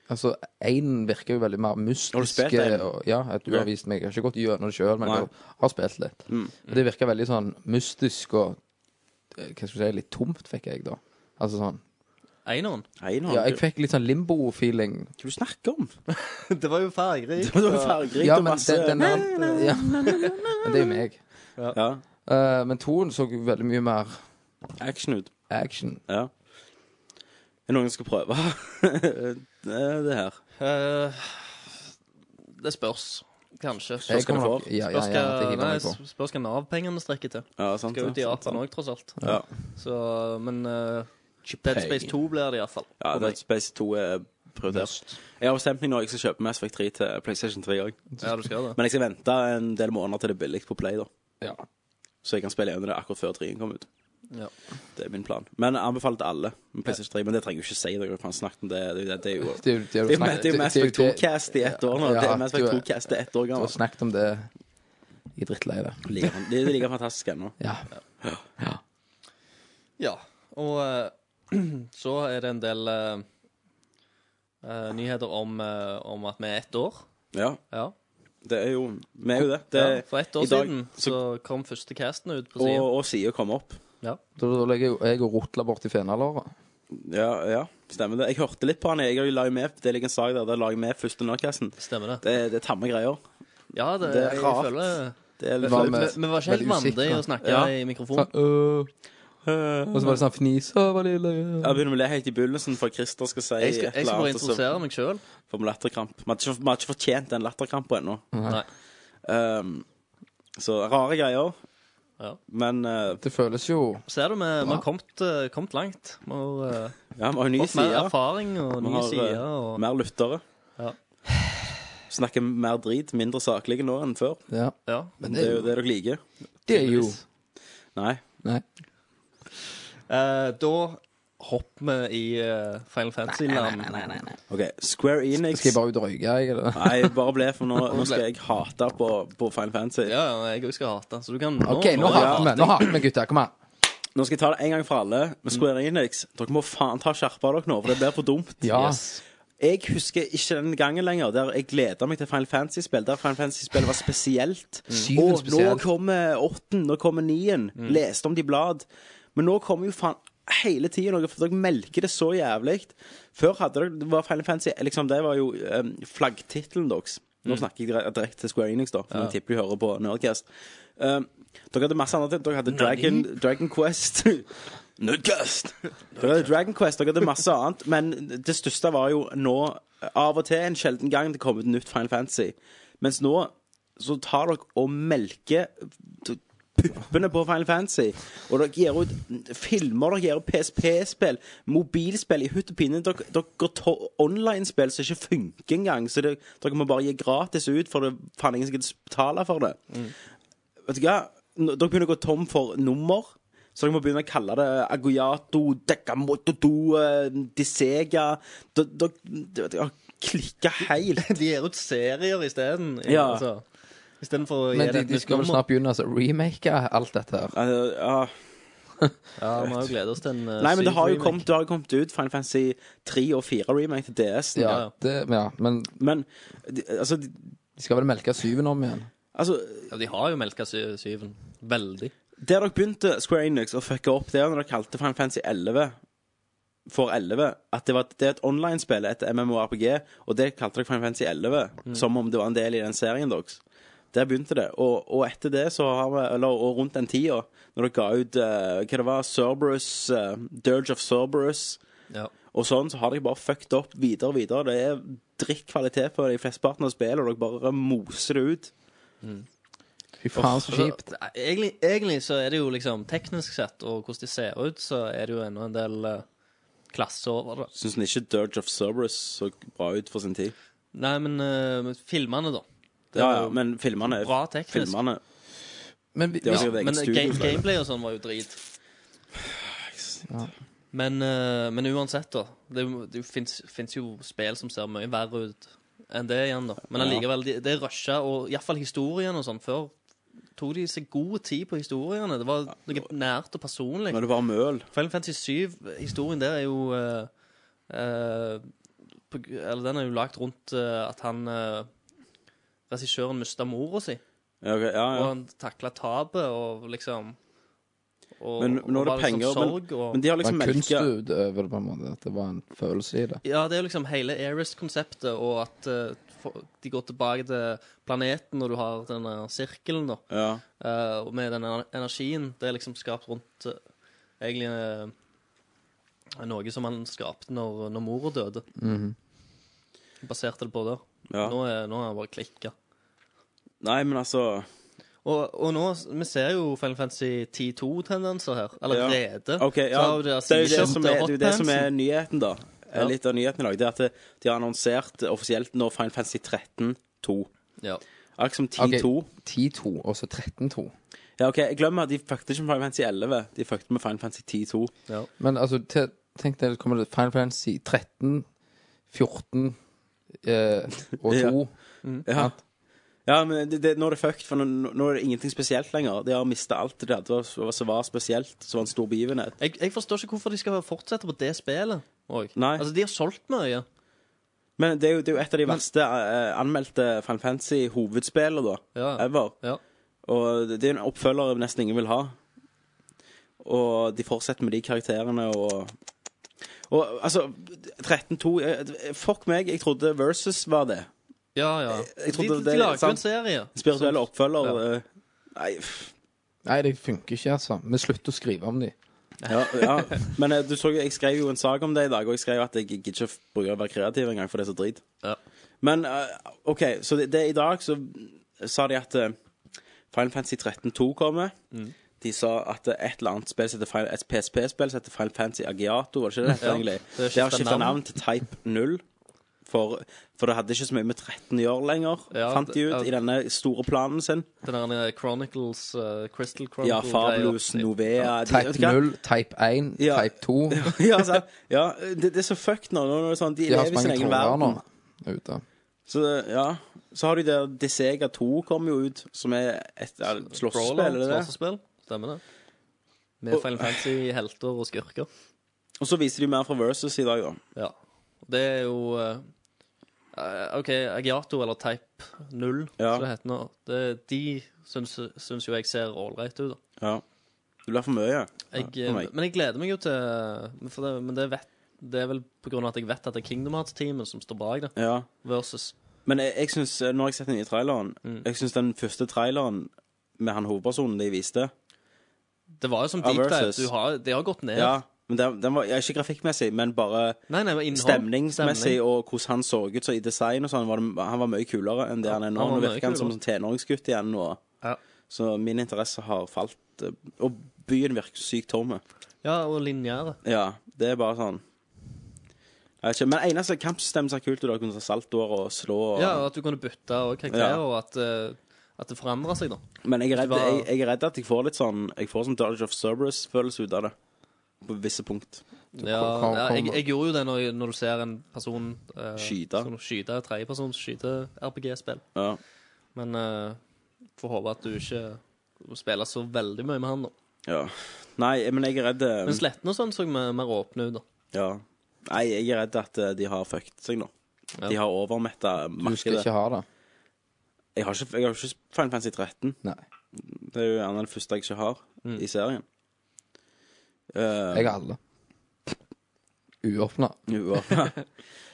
S4: Altså, én virker jo veldig mer mystisk.
S1: Har du spilt en?
S4: og- Ja, at du har
S1: Ok.
S4: vist meg. Jeg har ikke gått gjennom det sjøl, men
S1: Nei. Mm.
S4: jeg har- har spilt litt. Og det virker veldig sånn mystisk og eh, Hva skal jeg si, litt tomt, fikk jeg, da. Altså sånn
S5: Eineren.
S1: Nei, nå,
S4: Ja, jeg
S1: jeg,
S4: fikk litt sånn limbo-feeling.
S1: hva du snakker om?
S5: Det var jo fargerik.
S1: Det var jo fargerikt
S4: Ja,
S1: og
S4: men
S1: masse
S4: den, den der ja. Men det er jo meg.
S1: ja,
S4: Eh, men toen så jo veldig mye mer
S1: action ut.
S4: action.
S1: Ja. Er det noen som skal prøve det, det her?
S5: Eh, det spørs, kanskje.
S1: Hva skal du få?
S4: nok- ja, ja,
S5: Spørs
S4: ja, det
S5: hva-
S4: hiver
S5: nei,
S4: meg på.
S5: spørs hva Nav-pengene strekker til.
S1: Ja, sant.
S5: Skal ut i
S1: ja.
S5: Japan òg, tross alt.
S1: Ja.
S5: Så, men eh, Dead Space 2 blir det iallfall.
S1: ja, Dead Space 2 er prioritert. Jeg har bestemt meg nå, jeg skal kjøpe Mass Effect 3 til PlayStation 3 òg.
S5: Ja, du skal det.
S1: Men jeg skal vente en del måneder til det er billig på Play, da.
S4: Ja.
S1: Så jeg kan spille gjennom det akkurat før 3-en kom ut.
S5: Ja.
S1: Det er min plan. Men jeg anbefaler til alle med PlayStation 3. Men det trenger jeg jo ikke si, dere har snakket om det. Det, det, det er
S4: Det er
S1: jo
S4: jo det er jo
S1: Det er jo-
S4: snakket-
S1: det er jo Mass Effect
S4: det- det-
S1: 2-cast i ett år nå.
S4: Ja,
S1: det er Mass
S4: du
S1: Effect
S4: er-
S1: 2-cast er ett år
S4: Du har
S1: gammel.
S4: snakket om det i drittleiet.
S1: Ligger- Det er like fantastisk ennå.
S4: Ja. ja.
S5: Ja, og eh, så er det en del eh, eh, nyheter om, eh, om at vi er ett år.
S1: Ja,
S5: Ja.
S1: det er jo Vi er jo det. det
S5: ja, for ett år
S1: eh, i dag-
S5: siden så, kom første casten ut på
S1: og,
S5: siden.
S1: og sida kommer opp.
S4: Da, da legger jeg, jeg og rotler borti fenalåret.
S1: Ja, ja, stemmer det. Jeg hørte litt på han. Jeg la jo med, det ligger en sak der der la jeg med første Nordcasten.
S5: Stemmer det?
S1: Det, det er tamme greier.
S5: Ja, det,
S1: det er
S5: jeg
S1: rart.
S5: føler
S1: Det er litt
S4: Hva
S1: flaut.
S5: Vi
S4: med-
S5: vi var ikke helt
S4: veldig
S5: vant til
S4: usikre.
S5: å snakke
S1: Ja.
S5: i mikrofon.
S4: Sånn, øh. Og så var det sånn fnis «Å, hva lille øh».
S1: Jeg begynner med det helt i begynnelsen, for Christer skal si
S5: Jeg skal,
S1: et
S5: jeg
S1: eller
S5: skal bare
S1: annet, og så
S5: introdusere meg sjøl.
S1: får vi latterkramp. Vi hadde ikke, vi hadde ikke fortjent den latterkrampen ennå.
S5: Nei.
S1: Ehm, så rare greier.
S5: Ja.
S1: Men eh,
S4: Det føles jo
S5: Ser du, vi, vi har kommet, eh, kommet langt. Vi har eh,
S1: ja, vi har jo nye
S5: fått mer
S1: sider.
S5: erfaring og
S1: Vi
S5: nye
S1: har, eh,
S5: sider. Og,
S1: Mer lyttere.
S5: Ja.
S1: Snakker mer drit, mindre saklige nå enn før.
S4: Ja.
S5: ja.
S4: Men
S1: Det er jo det dere liker.
S4: det er jo
S1: Nei.
S4: Nei.
S5: Eh, da hopper vi i eh, Final Fantasy-land.
S1: OK. Square Enix
S4: Skal jeg bare ut og røyke, jeg, eller?
S1: Nei, bare ble, for nå, nå skal jeg hate på, på Final Fantasy.
S5: Ja, ja, jeg òg skal hate. Så du kan nå,
S4: OK, nå hater vi. Nå hater vi, gutter. Kom her.
S1: Nå skal jeg ta det en gang for alle med Square
S5: Mm.
S1: Enix. Dere må faen ta skjerpa dere nå, for det blir for dumt.
S4: Ja.
S5: Yes.
S1: Jeg husker ikke den gangen lenger der jeg gleda meg til Final Fantasy-spill. Der Final Fantasy-spill var spesielt.
S4: Syven
S1: Og nå
S4: spesielt.
S1: kommer åtten, nå kommer nien. Leste om de blad. Men nå kommer jo faen hele tida noe, for dere melker det så jævlig. Før hadde dere det var Final Fantasy liksom, Det var jo um, flaggtittelen deres. Nå snakker jeg dire- direkte til Square Enix, da, for jeg tipper de hører på Nerdcast. Um, dere hadde masse andre ting. Dere hadde Dragon, Dragon Quest. Nerdcast! Dere hadde Dragon Quest, dere hadde masse annet, men det største var jo nå Av og til, en sjelden gang, det kom ut nytt Final Fantasy. Mens nå så tar dere og melker t- puppene på Final Fantasy. Og dere gir ut filmer, dere gir ut PSP-spill, mobilspill i hutt og pinne. Dere, dere går to- online-spill som ikke funker engang, så det, dere må bare gi gratis ut, for det faen ingen som gidder betale for det. Vet du hva? Nå- Dere begynner å gå tom for nummer. Så dere må begynne å kalle det Agoyato, Dekamotodo, eh, Disega Dere dere- dere klikker helt.
S5: De gir ut serier isteden.
S1: Ja.
S5: Altså. Istedenfor å gi
S4: Men de,
S5: det et
S4: de
S5: nytt
S4: skal vel
S5: nummer.
S4: snart begynne å altså, remake alt dette her.
S1: Altså, ja.
S5: Ja, vi har jo gledet oss til en eh,
S1: Nei, men det har jo kommet, det har jo kommet ut Final Fantasy 3 og 4 remake til DS.
S4: Ja,
S5: ja.
S4: det, ja. Men
S1: Men de- altså, de-
S4: de skal vel melke syven om igjen.
S1: altså
S5: Ja, de har jo melka sy syven. Veldig.
S1: Der dere begynte Square Enix å fucke opp, det er når dere kalte Final Fantasy 11 for 11. At det, var, det er et online-spill, et MMORPG, og det kalte dere Final Fantasy 11. Som om det var en del i den serien deres. Der begynte det. Og, og etter det, så har vi Eller og rundt den tida, når dere ga ut eh, hva det var, Cerberus, eh, Dirge of Cerberus
S5: Ja.
S1: Og sånn så har de bare fucked opp videre og videre. Det er drittkvalitet på de flesteparten av spillet, og dere bare moser det ut.
S4: Fy faen, så kjipt.
S5: Nei, Altså, Egentlig, egentlig så er det jo liksom teknisk sett, og hvordan de ser ut, så er det jo ennå en del eh, klasse over det.
S1: Syns den ikke Dirge of Cerberus så bra ut for sin tid?
S5: Nei, men eh, men filmene, da. Det
S1: Ja,
S5: var
S1: ja,
S5: jo
S1: men filmene er
S5: Bra teknisk.
S1: Filmene
S4: Men vi,
S1: Det var
S4: vi-
S1: sikkert eget
S5: Men eh,
S1: studio.
S5: game,
S1: for det.
S5: gameplay og sånn var jo drit. Men, eh, men uansett, da. Det, er jo- det fins jo spill som ser mye verre ut enn det igjen, da. Men allikevel, de- det er rusha, og iallfall historien og sånn. Før tok de seg god tid på historiene. Det var noe nært og personlig.
S1: Nå er det bare møl.
S5: Final Fantasy 7, historien der er jo eh, eh, på, gr- Eller den er jo lagt rundt eh, at han eh, Regissøren mista mora si,
S1: Ja, ok, ja,
S5: og
S1: ja.
S5: han takla tapet og liksom og,
S1: Men nå er
S5: og
S1: det
S5: var liksom
S1: penger.
S5: sorg,
S1: Men,
S5: og,
S1: men de har
S4: det var
S1: liksom
S4: en
S1: melka
S4: kunstutøver, på en måte. At det var en følelse i det.
S5: Ja, det er jo liksom hele Ares-konseptet, og at eh, for, de går tilbake til planeten når du har denne sirkelen, da.
S1: ja.
S5: Eh, og med den ener- energien Det er liksom skapt rundt eh, Egentlig eh, noe som han skapte når, når mora døde. Baserte det på det.
S1: Mhm. Ja.
S5: Nå, er, nå har han bare klikka.
S1: Nei, men altså
S5: Og, og nå vi ser jo Final Fantasy 10-2-tendenser her. Allerede.
S1: OK, ja.
S5: Så har jo
S1: Det
S5: det,
S1: er jo det som er, det er, jo det som er nyheten, da. Eh,
S5: Ja.
S1: Litt av nyheten i dag. Det er at det- de har annonsert eh, offisielt nå Final Fantasy 13-2.
S5: ja.
S1: Akkurat som 10-2.
S4: Ok, 10-2, og så 13-2.
S1: Ja, ok, jeg glemmer at de fuckte ikke med Final Fantasy 11 De fuckte med Final Fantasy 10-2
S4: Men altså, te, tenk deg, kommer det Final Fantasy 13, 14 eh, og 2.
S1: Ja. Ja, ja men det, det, nå er det fucked For nå, nå er det ingenting spesielt lenger De har mistet alt det der Det var- det var- som var spesielt Som var en stor begivenhet
S5: Jeg, jeg forstår ikke hvorfor de skal fortsette på det spillet. Og,
S1: Nei.
S5: Altså, de har solgt mye.
S1: Men det er jo, det er jo et av de verste eh, Anmeldte Final Fantasy hovedspillene da
S5: Ja.
S1: Ever
S5: Ja.
S1: Og det det er jo en oppfølger nesten ingen vil ha Og de fortsetter med de karakterene Og, og altså 13-2 eh, Fuck meg, jeg trodde Versus var det
S5: ja, ja.
S1: jeg trodde
S5: de,
S1: det-
S5: de lager jo
S1: sant.
S5: en serie.
S1: Spirituelle oppfølger
S5: Ja.
S1: eh, Nei, pff.
S4: Nei, det funker ikke, altså. Vi slutter å skrive om de.
S1: ja, ja. Men eh, du så jo, jeg skrev jo en sak om det i dag, og jeg skrev at jeg gidder ikke bruke å være kreativ engang, for det er så drit.
S5: Ja.
S1: Men eh, OK, så det, det er i dag så sa de at eh, Final Fantasy 13 2 kommer.
S5: Mm.
S1: De sa at eh, et eller annet spill som heter Final- et PSP-spill som heter Final Fantasy Agiato, var det ikke det det het
S5: Ja,
S1: egentlig?
S5: det
S1: Det
S5: har
S1: har
S5: skiftet
S1: skifta
S5: navn.
S1: navn til Type 0. For, for det hadde ikke så mye med 13 å gjøre lenger,
S5: Ja,
S1: fant de ut,
S5: det- ja.
S1: i denne store planen sin.
S5: Den der Chronicles eh, Crystal
S1: Ja,
S5: Chronicle
S1: Fabulous, Novea de- vet
S4: Type
S1: du hva?
S4: 0, type 1,
S1: Ja.
S4: type 2.
S1: ja, altså, ja det, det er så fucked nå. nå er det sånn, de,
S4: De har så
S1: lever i sin
S4: mange
S1: egen
S4: tråder nå
S1: verden.
S4: ute.
S1: Så, ja. så har de der Desega 2 kom jo ut, som er et ja, slåssespill,
S5: Brawler,
S1: er det det?
S5: slåssespill. Stemmer det. Med Final Fantasy-helter og skurker.
S1: Og så viser de mer fra Versus i dag, da.
S5: Ja. Det er jo eh, eh, OK, Agiato, eller Type 0,
S1: Ja.
S5: som det heter nå, det, de syns, syns jo jeg ser ålreit ut. da.
S1: Ja. Det blir for mye.
S5: Jeg, eh,
S1: Ja, for meg.
S5: men jeg gleder meg jo til for det, Men det, vet, det er vel på grunn av at jeg vet at det er Kingdom Hearts-teamet som står bak det,
S1: Ja.
S5: versus
S1: Men jeg, jeg syns, eh, når jeg har sett den nye traileren Jeg syns den første traileren med han hovedpersonen de viste
S5: Det var jo som
S1: Ja,
S5: deep dive.
S1: versus.
S5: Du har, det har gått ned.
S1: Ja, men den, den var ja, Ikke grafikkmessig, men bare
S5: Nei, nei, men innhold.
S1: stemningsmessig
S5: Stemning.
S1: og hvordan han så ut. Så i design og sånn var det, han var mye kulere enn det han er nå.
S5: han var
S1: Nå
S5: mye
S1: virker han som
S5: kulere.
S1: en tenåringsgutt igjen. Og,
S5: Ja.
S1: Så min interesse har falt. eh, Og byen virker sykt tom.
S5: Ja, og linjære.
S1: Ja, det er bare sånn jeg vet ikke, Men eneste kampsystemet som er kult, er at du kunne ta saltoer og slå. Og,
S5: Ja, og at du kunne bytte og karakterer,
S1: Ja.
S5: og at, eh, at det forandrer seg, da.
S1: men jeg er, redd,
S5: det var-
S1: jeg, jeg er redd at jeg får litt sånn Jeg får sånn Dodge of Cerberus-følelse ut av det. På visse punkt.
S5: Ja,
S4: kom-
S5: ja, jeg,
S4: kom-
S5: jeg gjorde jo det når, når du ser en person eh,
S1: Skyte.
S5: som skyter, tredjepersons skyte-RPG-spill.
S1: Ja.
S5: Men eh, får håpe at du ikke spiller så veldig mye med han, da.
S1: ja. Nei, men jeg er redd eh,
S4: Mm.
S5: Men slettene og sånn så mer, mer åpne ut, da.
S1: ja. Nei, jeg er redd at eh, de har fucket seg nå.
S5: Ja.
S1: De har overmetta
S4: Du skal
S1: markedet.
S4: ikke ha det.
S1: Jeg har ikke, jeg har ikke Final Fantasy 13.
S4: Nei.
S1: Det er jo gjerne den første jeg ikke har
S4: Mm.
S1: i serien. Eh,
S4: Jeg har alle. Uåpna.
S1: uavhengig.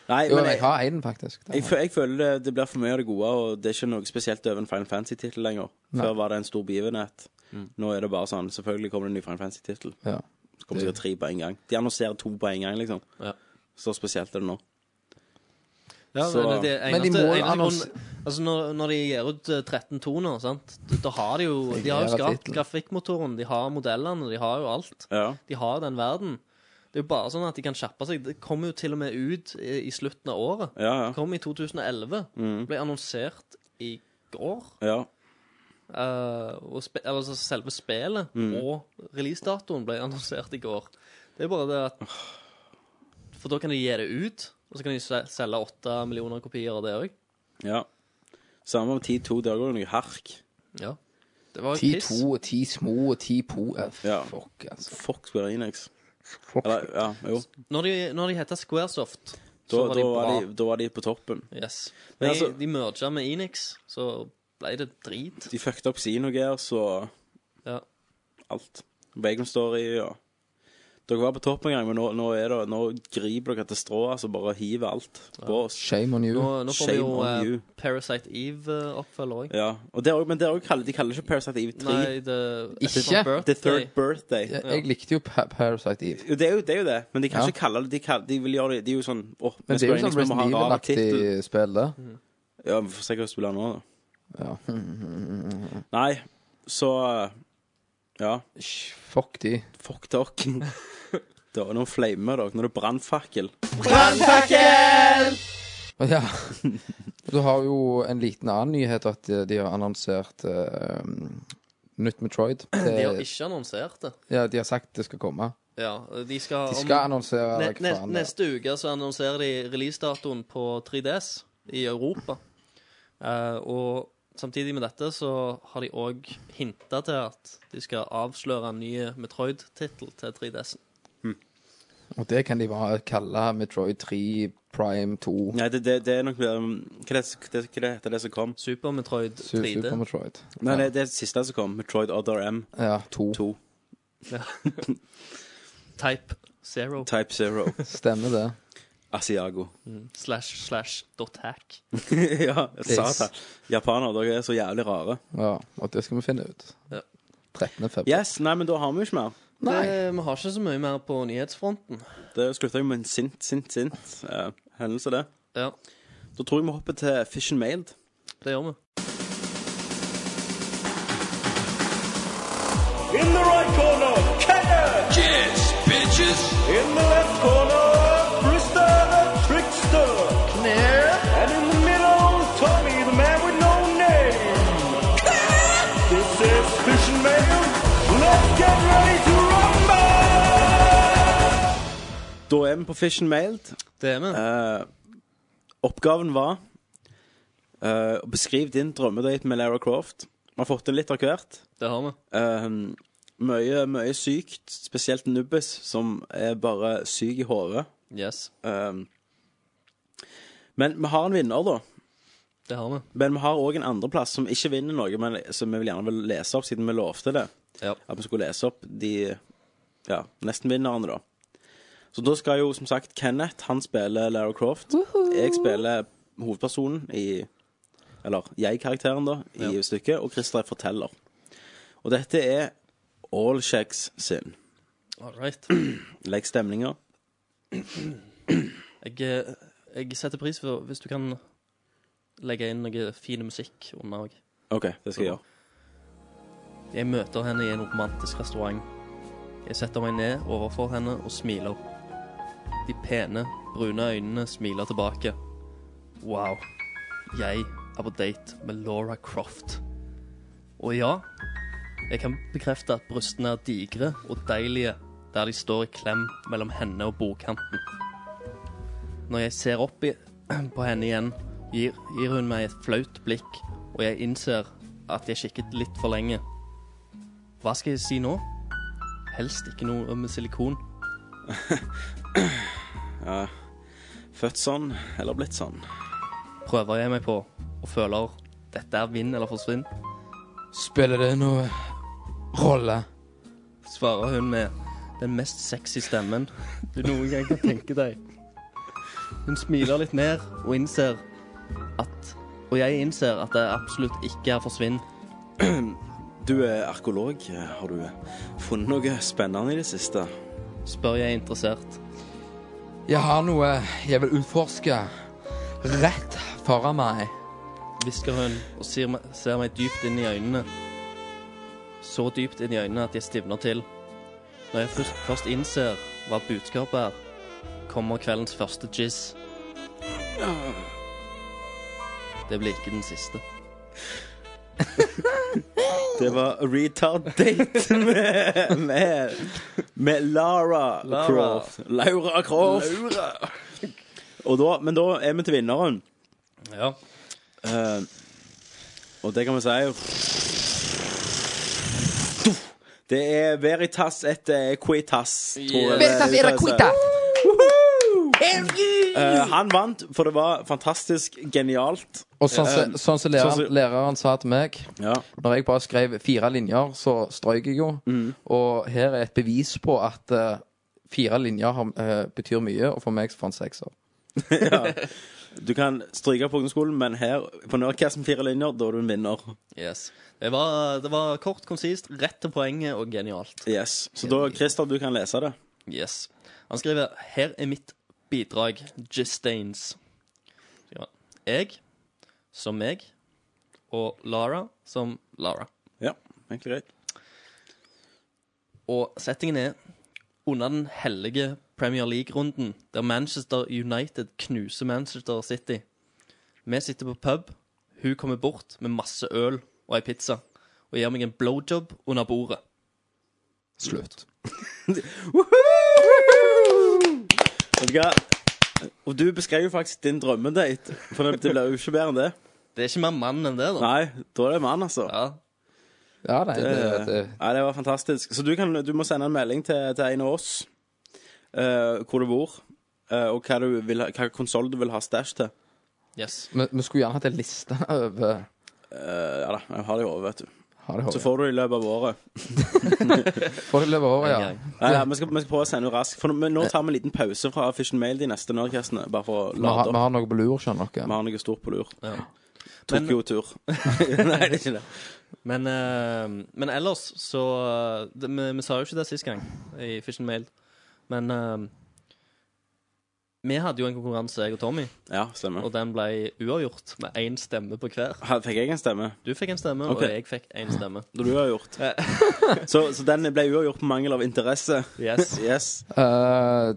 S1: Nei,
S4: Jo,
S1: men
S4: jeg
S1: jeg,
S4: har én, faktisk. Det
S1: jeg,
S4: har jeg.
S1: fø- jeg føler det, det blir for mye av det gode, og det er ikke noe spesielt over en Final Fantasy-tittel lenger. Før var det en stor begivenhet.
S4: Mm.
S1: Nå er det bare sånn Selvfølgelig kommer det en ny Final Fantasy-tittel.
S4: Ja.
S1: Så kommer sikkert tre på en gang. De annonserer to på en gang, liksom.
S5: Ja.
S1: Så spesielt er det nå.
S5: Ja,
S1: Så-
S5: men det
S4: Men de
S5: eneste,
S4: må
S5: eneste
S4: annons-
S5: grunn- altså når, når de gir ut eh, 13.2 nå, sant? da har de jo De har jo
S4: Jævla
S5: skrapt
S4: titlen.
S5: grafikkmotoren, de har modellene, de har jo alt.
S1: Ja.
S5: De har den verden. Det er jo bare sånn at de kan kjappe seg. Det kommer jo til og med ut i, i slutten av året.
S1: Ja, Mm.
S5: Det
S1: ja.
S5: kom i 2011. Ble annonsert i går.
S1: ja.
S5: eh, og spe, eller altså selve spillet
S1: Mm.
S5: og releasedatoen ble annonsert i går. Det er bare det at For da kan de gi det ut, og så kan de se- selge åtte millioner kopier av det òg.
S1: ja. Samme om 10-2. Det går jo noe hark.
S5: Ja. Det var jo
S4: Ti
S5: piss.
S4: to, ti små, ti po eh,
S1: Ja.
S4: Fuck, altså.
S1: Fuck Square Enix.
S4: Fuck.
S1: Eller, ja, jo.
S5: Når de, når de heter Squaresoft,
S1: Da,
S5: så var de
S1: da,
S5: bra.
S1: var de, da var de på toppen.
S5: Yes.
S1: Men
S5: Men
S1: altså-
S5: de merga med Enix, så ble det drit.
S1: De fucket opp Xenogears og
S5: Ja.
S1: alt. Bacon Story og Dere var på topp en gang, men nå, nå, er det, nå griper dere til strået altså bare hiver alt på oss.
S4: Shame on you.
S5: Nå, nå får vi
S1: Shame
S5: jo
S1: on
S5: eh,
S1: you.
S5: Parasite eh, Eve-oppfølger òg.
S1: Ja. Og det er, også- men det er også, kaller- de kaller det ikke Parasite Eve 3.
S5: Nei, The,
S4: Ikke?
S5: It's My
S1: The
S5: Birthday.
S1: Third Birthday.
S4: Jeg, jeg likte jo Pa- Parasite Eve.
S1: Jo, det, er jo, det er jo det, men de kan
S4: Ja.
S1: ikke kalle det De, kaller, de vil gjøre det De er jo sånn Åh, vi
S4: Men det er
S1: spør
S4: jo
S1: Enix,
S4: sånn
S1: vi må
S4: Resident
S1: ha en rar tittel.
S4: Evil-aktig spill, det.
S1: Ja, vi får se hva vi spiller nå, da.
S4: Ja.
S1: Nei, så Ja,
S4: Sh, Fuck de.
S1: fuck dere. det var noen flamer, dere. Nå er det brannfakkel.
S4: Ja. Du har jo en liten annen nyhet, at eh, de har annonsert eh, um, nytt Metroid.
S5: De har
S4: Det,
S5: ikke annonsert det.
S4: ja, de har sagt det skal komme.
S5: Ja, de skal,
S4: De
S5: om-
S4: skal annonsere
S5: ne,
S4: hva
S5: ne,
S4: faen det er.
S5: Neste uke så annonserer de releasedatoen på 3DS i Europa. Eh, og samtidig med dette så har de òg hinta til at de skal avsløre en ny Metroid-tittel til 3DS-en.
S4: Og det kan de bare kalle Metroid 3 Prime 2.
S1: Nei, det, det, det er nok um, Hva det, det, hva det heter det som kom?
S5: Super Metroid
S4: Su- Super
S5: 3D.
S4: Metroid.
S1: Nei, det, det er det siste som kom. Metroid Other M2.
S4: Ja, to.
S5: Type Zero.
S1: Type Zero.
S4: Stemmer det.
S1: Asiago.
S5: Slash, slash, dot hack.
S1: ja, satan. Japanere, dere er så jævlig rare.
S4: Ja, og det skal vi finne ut.
S5: Ja.
S4: 13. februar.
S1: Yes, nei, men da har vi jo ikke mer.
S4: Nei.
S5: Det, vi har ikke så mye mer på nyhetsfronten.
S1: Det slutta jo med en sint, sint, sint eh, hendelse, det.
S5: Ja,
S1: Da tror jeg vi hopper til Fish and Mailed.
S5: det gjør vi.
S8: In the right corner, Kenneth.
S3: Yes, bitches.
S8: In the left corner, Brister the Trickster. And in the middle, Tommy, the man with no name. This is Fish and Mail. Let's get ready to rumble!
S1: Da er vi på Fish and Mailed.
S5: Det er vi.
S1: Eh, oppgaven var eh, å beskrive din drømmedate med Lara Croft. Vi har fått inn litt av hvert.
S5: Det har vi.
S1: Ehm, mye, mye sykt, spesielt Nubbes, som er bare syk i hodet.
S5: Yes,
S1: Ehm, men vi har en vinner, da.
S5: det har vi.
S1: Men vi har òg en andreplass som ikke vinner noe, men som vi vil gjerne vil lese opp, siden vi lovte det.
S5: Ja.
S1: At vi skulle lese opp de ja, nestenvinnerne, da. Så da skal jo som sagt Kenneth, han spiller Lara Croft. Jeg spiller hovedpersonen i Eller jeg-karakteren, da, i stykket. Og Christer er forteller. Og dette er All Shacks sin.
S5: All right.
S1: Legg stemninger.
S5: Jeg, eh, jeg setter pris for hvis du kan legge inn noe fin musikk under òg.
S1: OK, det skal jeg gjøre.
S5: Jeg møter henne i en romantisk restaurant. Jeg setter meg ned overfor henne og smiler. De pene, brune øynene smiler tilbake. Wow. Jeg er på date med Laura Croft. Og ja, jeg kan bekrefte at brystene er digre og deilige der de står i klem mellom henne og bordkanten. Når jeg ser opp i, på henne igjen, gir, gir hun meg et flaut blikk, og jeg innser at jeg kikket litt for lenge. Hva skal jeg si nå? Helst ikke noe med silikon.
S1: Født sånn, eller blitt sånn.
S5: Prøver jeg meg på og føler dette er vinn eller forsvinn,
S4: Spiller det noe rolle?
S5: svarer hun med den mest sexy stemmen du noen gang kan tenke deg. Hun smiler litt mer og innser at Og jeg innser at det absolutt ikke er forsvinn.
S1: Du er arkeolog. Har du funnet noe spennende i det siste?
S5: Spør jeg interessert.
S4: Jeg har noe jeg vil utforske rett foran meg.
S5: hvisker hun og ser meg, ser meg dypt inn i øynene. Så dypt inn i øynene at jeg stivner til. Når jeg først, først innser hva budskapet er, kommer kveldens første jizz. Det blir ikke den siste.
S1: Det var Retardate med, med, med Lara,
S5: Lara.
S1: Croft. Laura Croft. Og da, men da er vi til vinneren.
S5: Ja.
S1: Eh, og det kan vi si Det er Veritas etter Quitas. tror jeg det uttales. Eh, han vant, for det var fantastisk genialt.
S4: Og sånn som sånn som
S1: Sånn
S4: læreren,
S1: som-
S4: læreren sa til meg
S1: Ja.
S4: Når jeg bare skrev fire linjer, så strøyk jeg jo. Og her er et bevis på at eh, fire linjer har, eh, betyr mye, og for meg så får han sekser.
S1: Du kan stryke på ungdomsskolen, men her på Nerdcasten fire linjer, da er du en vinner.
S5: Yes. Det var, det var kort, konsist, rett til poenget og genialt.
S1: Yes. Så da, Christer, du kan lese det.
S5: Yes. Han skriver Her er mitt bidrag, Gistains. Ja. Jeg som meg, og Lara som Lara.
S1: Ja, egentlig greit.
S5: Og settingen er under den hellige Premier League-runden, der Manchester United knuser Manchester City. Vi sitter på pub, hun kommer bort med masse øl og ei pizza, og gir meg en blowjob under bordet.
S4: Slutt.
S1: Vet du hva? Og du beskrev jo faktisk din drømmedate, for det det blir jo ikke bedre enn det.
S5: Det er ikke mer mann enn det, da.
S1: Nei, da er det mann, altså.
S5: Ja,
S4: Ja, nei, det,
S1: Eh,
S4: det,
S1: Nei, det var fantastisk. Så du, kan, du må sende en melding til, til en av oss eh, hvor du bor, eh, og hva, du vil ha- hva konsoll du vil ha stæsj til.
S5: yes.
S4: vi, vi skulle gjerne hatt en liste over
S1: Eh, ja da, jeg har det i hodet, vet du.
S4: Ha det,
S1: Så får du det i løpet av året.
S4: Får det løpe over, ja.
S1: Nei, nei, vi, skal, vi skal prøve å sende det raskt. For nå, men nå tar vi en liten pause fra Fish and Mail de neste Nerdcastene. Bare for å
S4: Vi har,
S1: lade
S4: vi
S1: opp.
S4: har noe på lur, skjønner
S1: Vi
S4: dere.
S1: har noe stort på lur.
S5: Men-
S1: Tokyo-tur. nei, det er ikke det.
S5: Men, eh, men ellers så eh, det, vi, vi sa jo ikke det sist gang i Fish and Mail, men eh, Vi hadde jo en konkurranse, jeg og Tommy,
S1: Ja, stemmer.
S5: og den ble uavgjort med én stemme på hver.
S1: Her fikk jeg en stemme.
S5: Du fikk en stemme,
S1: Ok.
S5: og jeg fikk én stemme.
S1: Det du har gjort. så, så den ble uavgjort på mangel av interesse.
S5: Yes.
S1: Yes.
S4: Eh,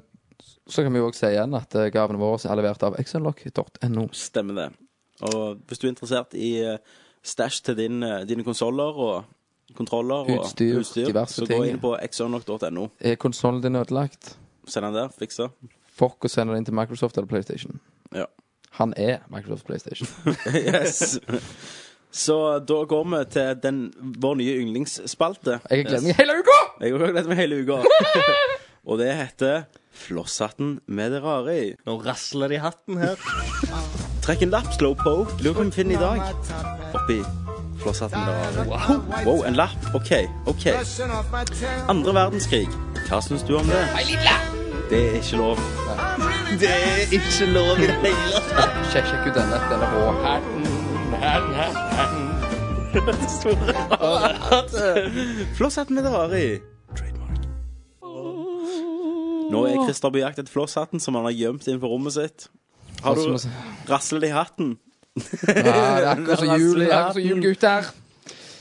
S4: så kan vi jo også si igjen at eh, gavene våre er levert av xunlock.no.
S1: Stemmer det. Og hvis du er interessert i eh, stæsj til din, eh, dine konsoller og kontroller og
S4: Utstyr, diverse
S1: så
S4: ting.
S1: gå inn på exonlock.no.
S4: Er konsollen din ødelagt?
S1: Send den der, fiksa.
S4: Fuck å sende den inn til Microsoft eller PlayStation.
S1: Ja.
S4: Han er Microsoft PlayStation.
S1: Yes. Så da går vi til den, vår nye yndlingsspalte.
S4: Jeg har gledet meg hele uka!
S1: Jeg har gledet meg hele uka. Og det heter Flosshatten med det rare i.
S5: Nå rasler det i hatten her.
S1: Trekk en lapp, slowpoke. Lurer på om vi finner i dag. Oppi flosshatten med det rare. i. Wow, en lapp. OK, OK. Andre verdenskrig. Hva syns du om det? Det er ikke lov.
S4: Sjekk sjekk ut denne. Den er rå.
S1: Flosshatten med det rare i. Trademark. Nå er Christer på jakt etter flosshatten som han har gjemt inn på rommet sitt. Har
S4: Sånn
S1: du
S4: som-
S1: raslet i hatten?
S4: Ja, det er akkurat som jul, det er akkurat som jul, gutter.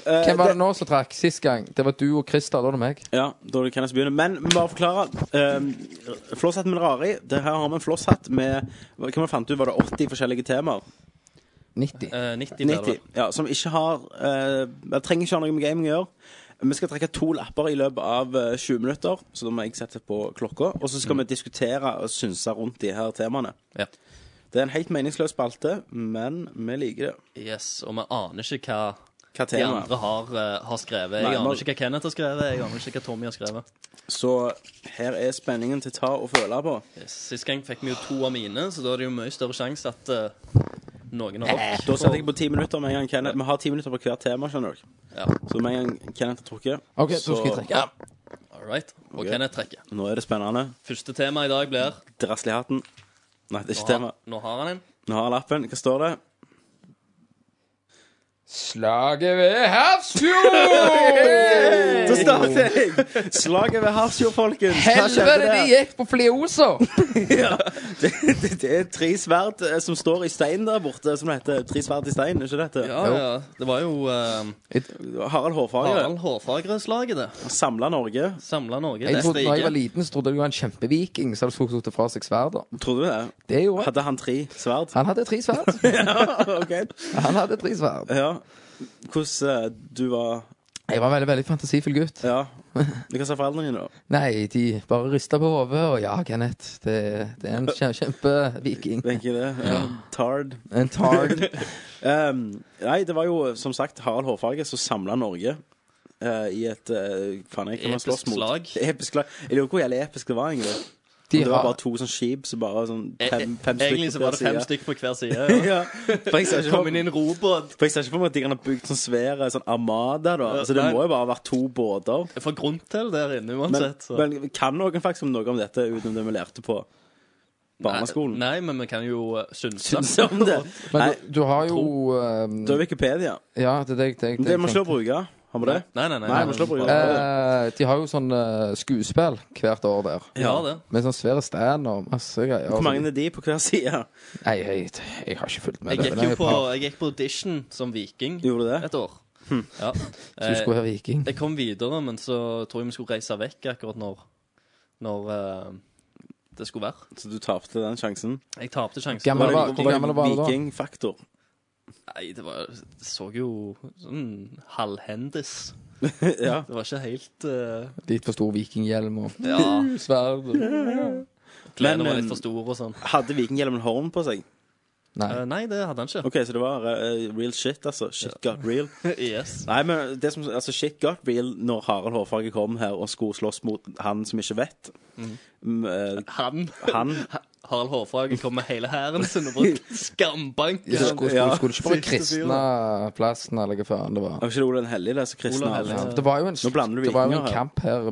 S4: Hvem var det nå som trakk sist gang? Det var du og Christer, da var det meg.
S1: Ja, da kan jeg begynne. Men bare forklare. Um, flosshatt med det rare i. Det her har vi en flosshatt med Hva hva fant du, var det 80 forskjellige temaer?
S4: 90.
S5: Eh, 90 ble det.
S1: 90. Ja, som ikke har eh, Jeg trenger ikke ha noe med gaming å gjøre. Vi skal trekke to lapper i løpet av eh, 20 minutter, så da må jeg sette på klokka. Og så skal vi diskutere og synse rundt de her temaene.
S5: Ja.
S1: Det er en helt meningsløs spalte, men vi liker det.
S5: Yes, og vi aner ikke hva
S1: Hva
S5: de
S1: tema?
S5: andre har, eh, har skrevet. Jeg
S1: Nei,
S5: aner
S1: men-
S5: ikke hva Kenneth har skrevet, jeg aner ikke hva Tommy har skrevet.
S1: Så her er spenningen til å ta og føle på.
S5: Yes. Sist gang fikk vi jo to av mine, så da er det jo mye større sjanse at eh, noen har hoppet.
S1: Eh, Da setter jeg på ti minutter med en gang Kenneth. Vi har ti minutter på hvert tema, skjønner dere.
S5: Ja.
S1: Så med en gang Kenneth har trukket,
S4: OK, så skal jeg trekke.
S5: All right. Og Kenneth trekker.
S1: nå er det spennende.
S5: Første tema i dag blir
S1: Drassel i hatten. Nei, det er
S5: nå
S1: ikke
S5: har,
S1: tema.
S5: nå har han en.
S1: Nå har jeg lappen. Hva står det?
S4: Slaget ved Hafrsfjord!
S1: Så starter jeg! Slaget ved Hafrsfjord, folkens. Hva skjedde
S4: Helvete, de
S1: der?
S4: gikk på flioser!
S1: Det, det, det er tre sverd eh, som står i stein der borte, som det heter. Tre sverd i stein, er ikke dette?
S5: Ja,
S4: Jo.
S5: ja. Det var jo uh,
S1: Harald Hårfagre
S5: Harald Hårfagre-slaget, det.
S1: samla Norge.
S5: Samla Norge.
S4: Jeg
S5: Det
S4: trodde, når jeg var
S5: rike.
S4: liten, så trodde jeg det var en kjempeviking som hadde tatt fra seg sverdet.
S1: Trodde du det?
S4: Det gjorde jeg.
S1: Hadde han tre sverd?
S4: Han hadde tre sverd.
S1: OK.
S4: Han hadde tre sverd.
S1: Ja. Hvordan eh, du var
S4: Jeg var en veldig veldig fantasifull gutt.
S1: Ja. Hva sa foreldrene dine, da?
S4: Nei, de bare rista på hodet, og ja, Kenneth, det, det er en kjem- kjempeviking.
S1: Tenker jeg det. Ja. Tard.
S4: En tard.
S1: Ehm, nei, det var jo som sagt Harald Hårfagre som samla Norge. eh, I et uh, faen, jeg, kan man
S5: Episk
S1: slåss mot?
S5: slag.
S1: Episk slag. Jeg lurer på hvor jævlig episk det var, egentlig.
S4: De
S1: det var
S4: har-
S1: bare to sånn skip, så bare sånn fem, fem stykker
S5: E- Eh, Egentlig så var det
S1: på hver
S5: fem
S1: side.
S5: stykker på hver side. Ja.
S1: ja. For jeg ser ikke
S5: Kom inn i
S1: for-
S5: en robåt.
S1: for jeg ser ikke for meg at de kan ha bygd sånn svære sånn armada, da.
S5: Ja,
S1: Altså, det
S5: nei.
S1: må jo bare ha vært to båter.
S5: Jeg får grunntil der inne
S1: Men,
S5: uansett. så.
S1: men kan noen faktisk om noe om dette, utenom det vi lærte på barneskolen?
S5: Nei, nei, men vi kan jo eh, synse.
S1: Syns om det?
S4: Men
S1: Nei,
S4: du, du har jo ehm,
S1: det er Wikipedia.
S4: Ja, det er det jeg tenkte.
S1: Det må ikke lov å bruke. Har vi det?
S5: Nei, nei, nei.
S1: Nei, vi slår på
S5: Bare-
S1: jorda.
S4: Eh, de har jo sånn eh, skuespill hvert år der.
S5: Ja, det.
S4: Med sånn svære stand og masse greier.
S1: Hvor mange er de på hver side?
S4: Nei, jeg, jeg har ikke fulgt med.
S5: Jeg
S4: det.
S5: gikk
S4: Det er
S5: jo på,
S4: par-
S5: jeg gikk på audition som viking
S1: Gjorde du det?
S5: et år. Ja.
S4: Så Du skulle være viking.
S5: eh, Jeg kom videre, men så tror jeg vi skulle reise vekk akkurat når, når eh, det skulle være.
S1: Så du tapte den sjansen?
S5: Jeg tapte sjansen.
S4: Gammel
S5: Det
S4: var-
S5: jo-
S4: hvor gammel var du da?
S1: Vikingfaktor.
S5: Nei, det var Det så jo sånn halvhendis.
S1: Ja.
S5: Det var ikke helt eh,
S4: Litt for stor vikinghjelm og
S5: Ja,
S4: sverd. og-
S5: klærne var
S1: Men,
S5: litt for store og sånn.
S1: Hadde vikinghjelmen horn på seg?
S4: Nei.
S5: Eh, nei, det hadde han ikke.
S1: OK, så det var eh, real shit, altså. Shit got real.
S5: Yes.
S1: Nei, men det som, altså Shit got real når Harald Hårfarge
S4: Mhm.
S1: kom her og skulle slåss mot han som ikke vet. Mm. eh,
S5: Han.
S1: han
S5: Harald Hårfagre kom med hele hæren sin og bare skambanker.
S4: Skulle,
S5: han.
S4: skulle,
S1: Ja.
S4: skulle, skulle ikke bare
S5: Siste fyr,
S4: kristne plassen, eller hva faen det var.
S1: Var ikke det Olav den hellige, det som kristne
S5: Olav
S1: alle?
S5: Hellig.
S1: Ja.
S4: Det var jo en,
S1: Nå blander du
S4: det var jo en
S1: vikinger her.
S4: kamp her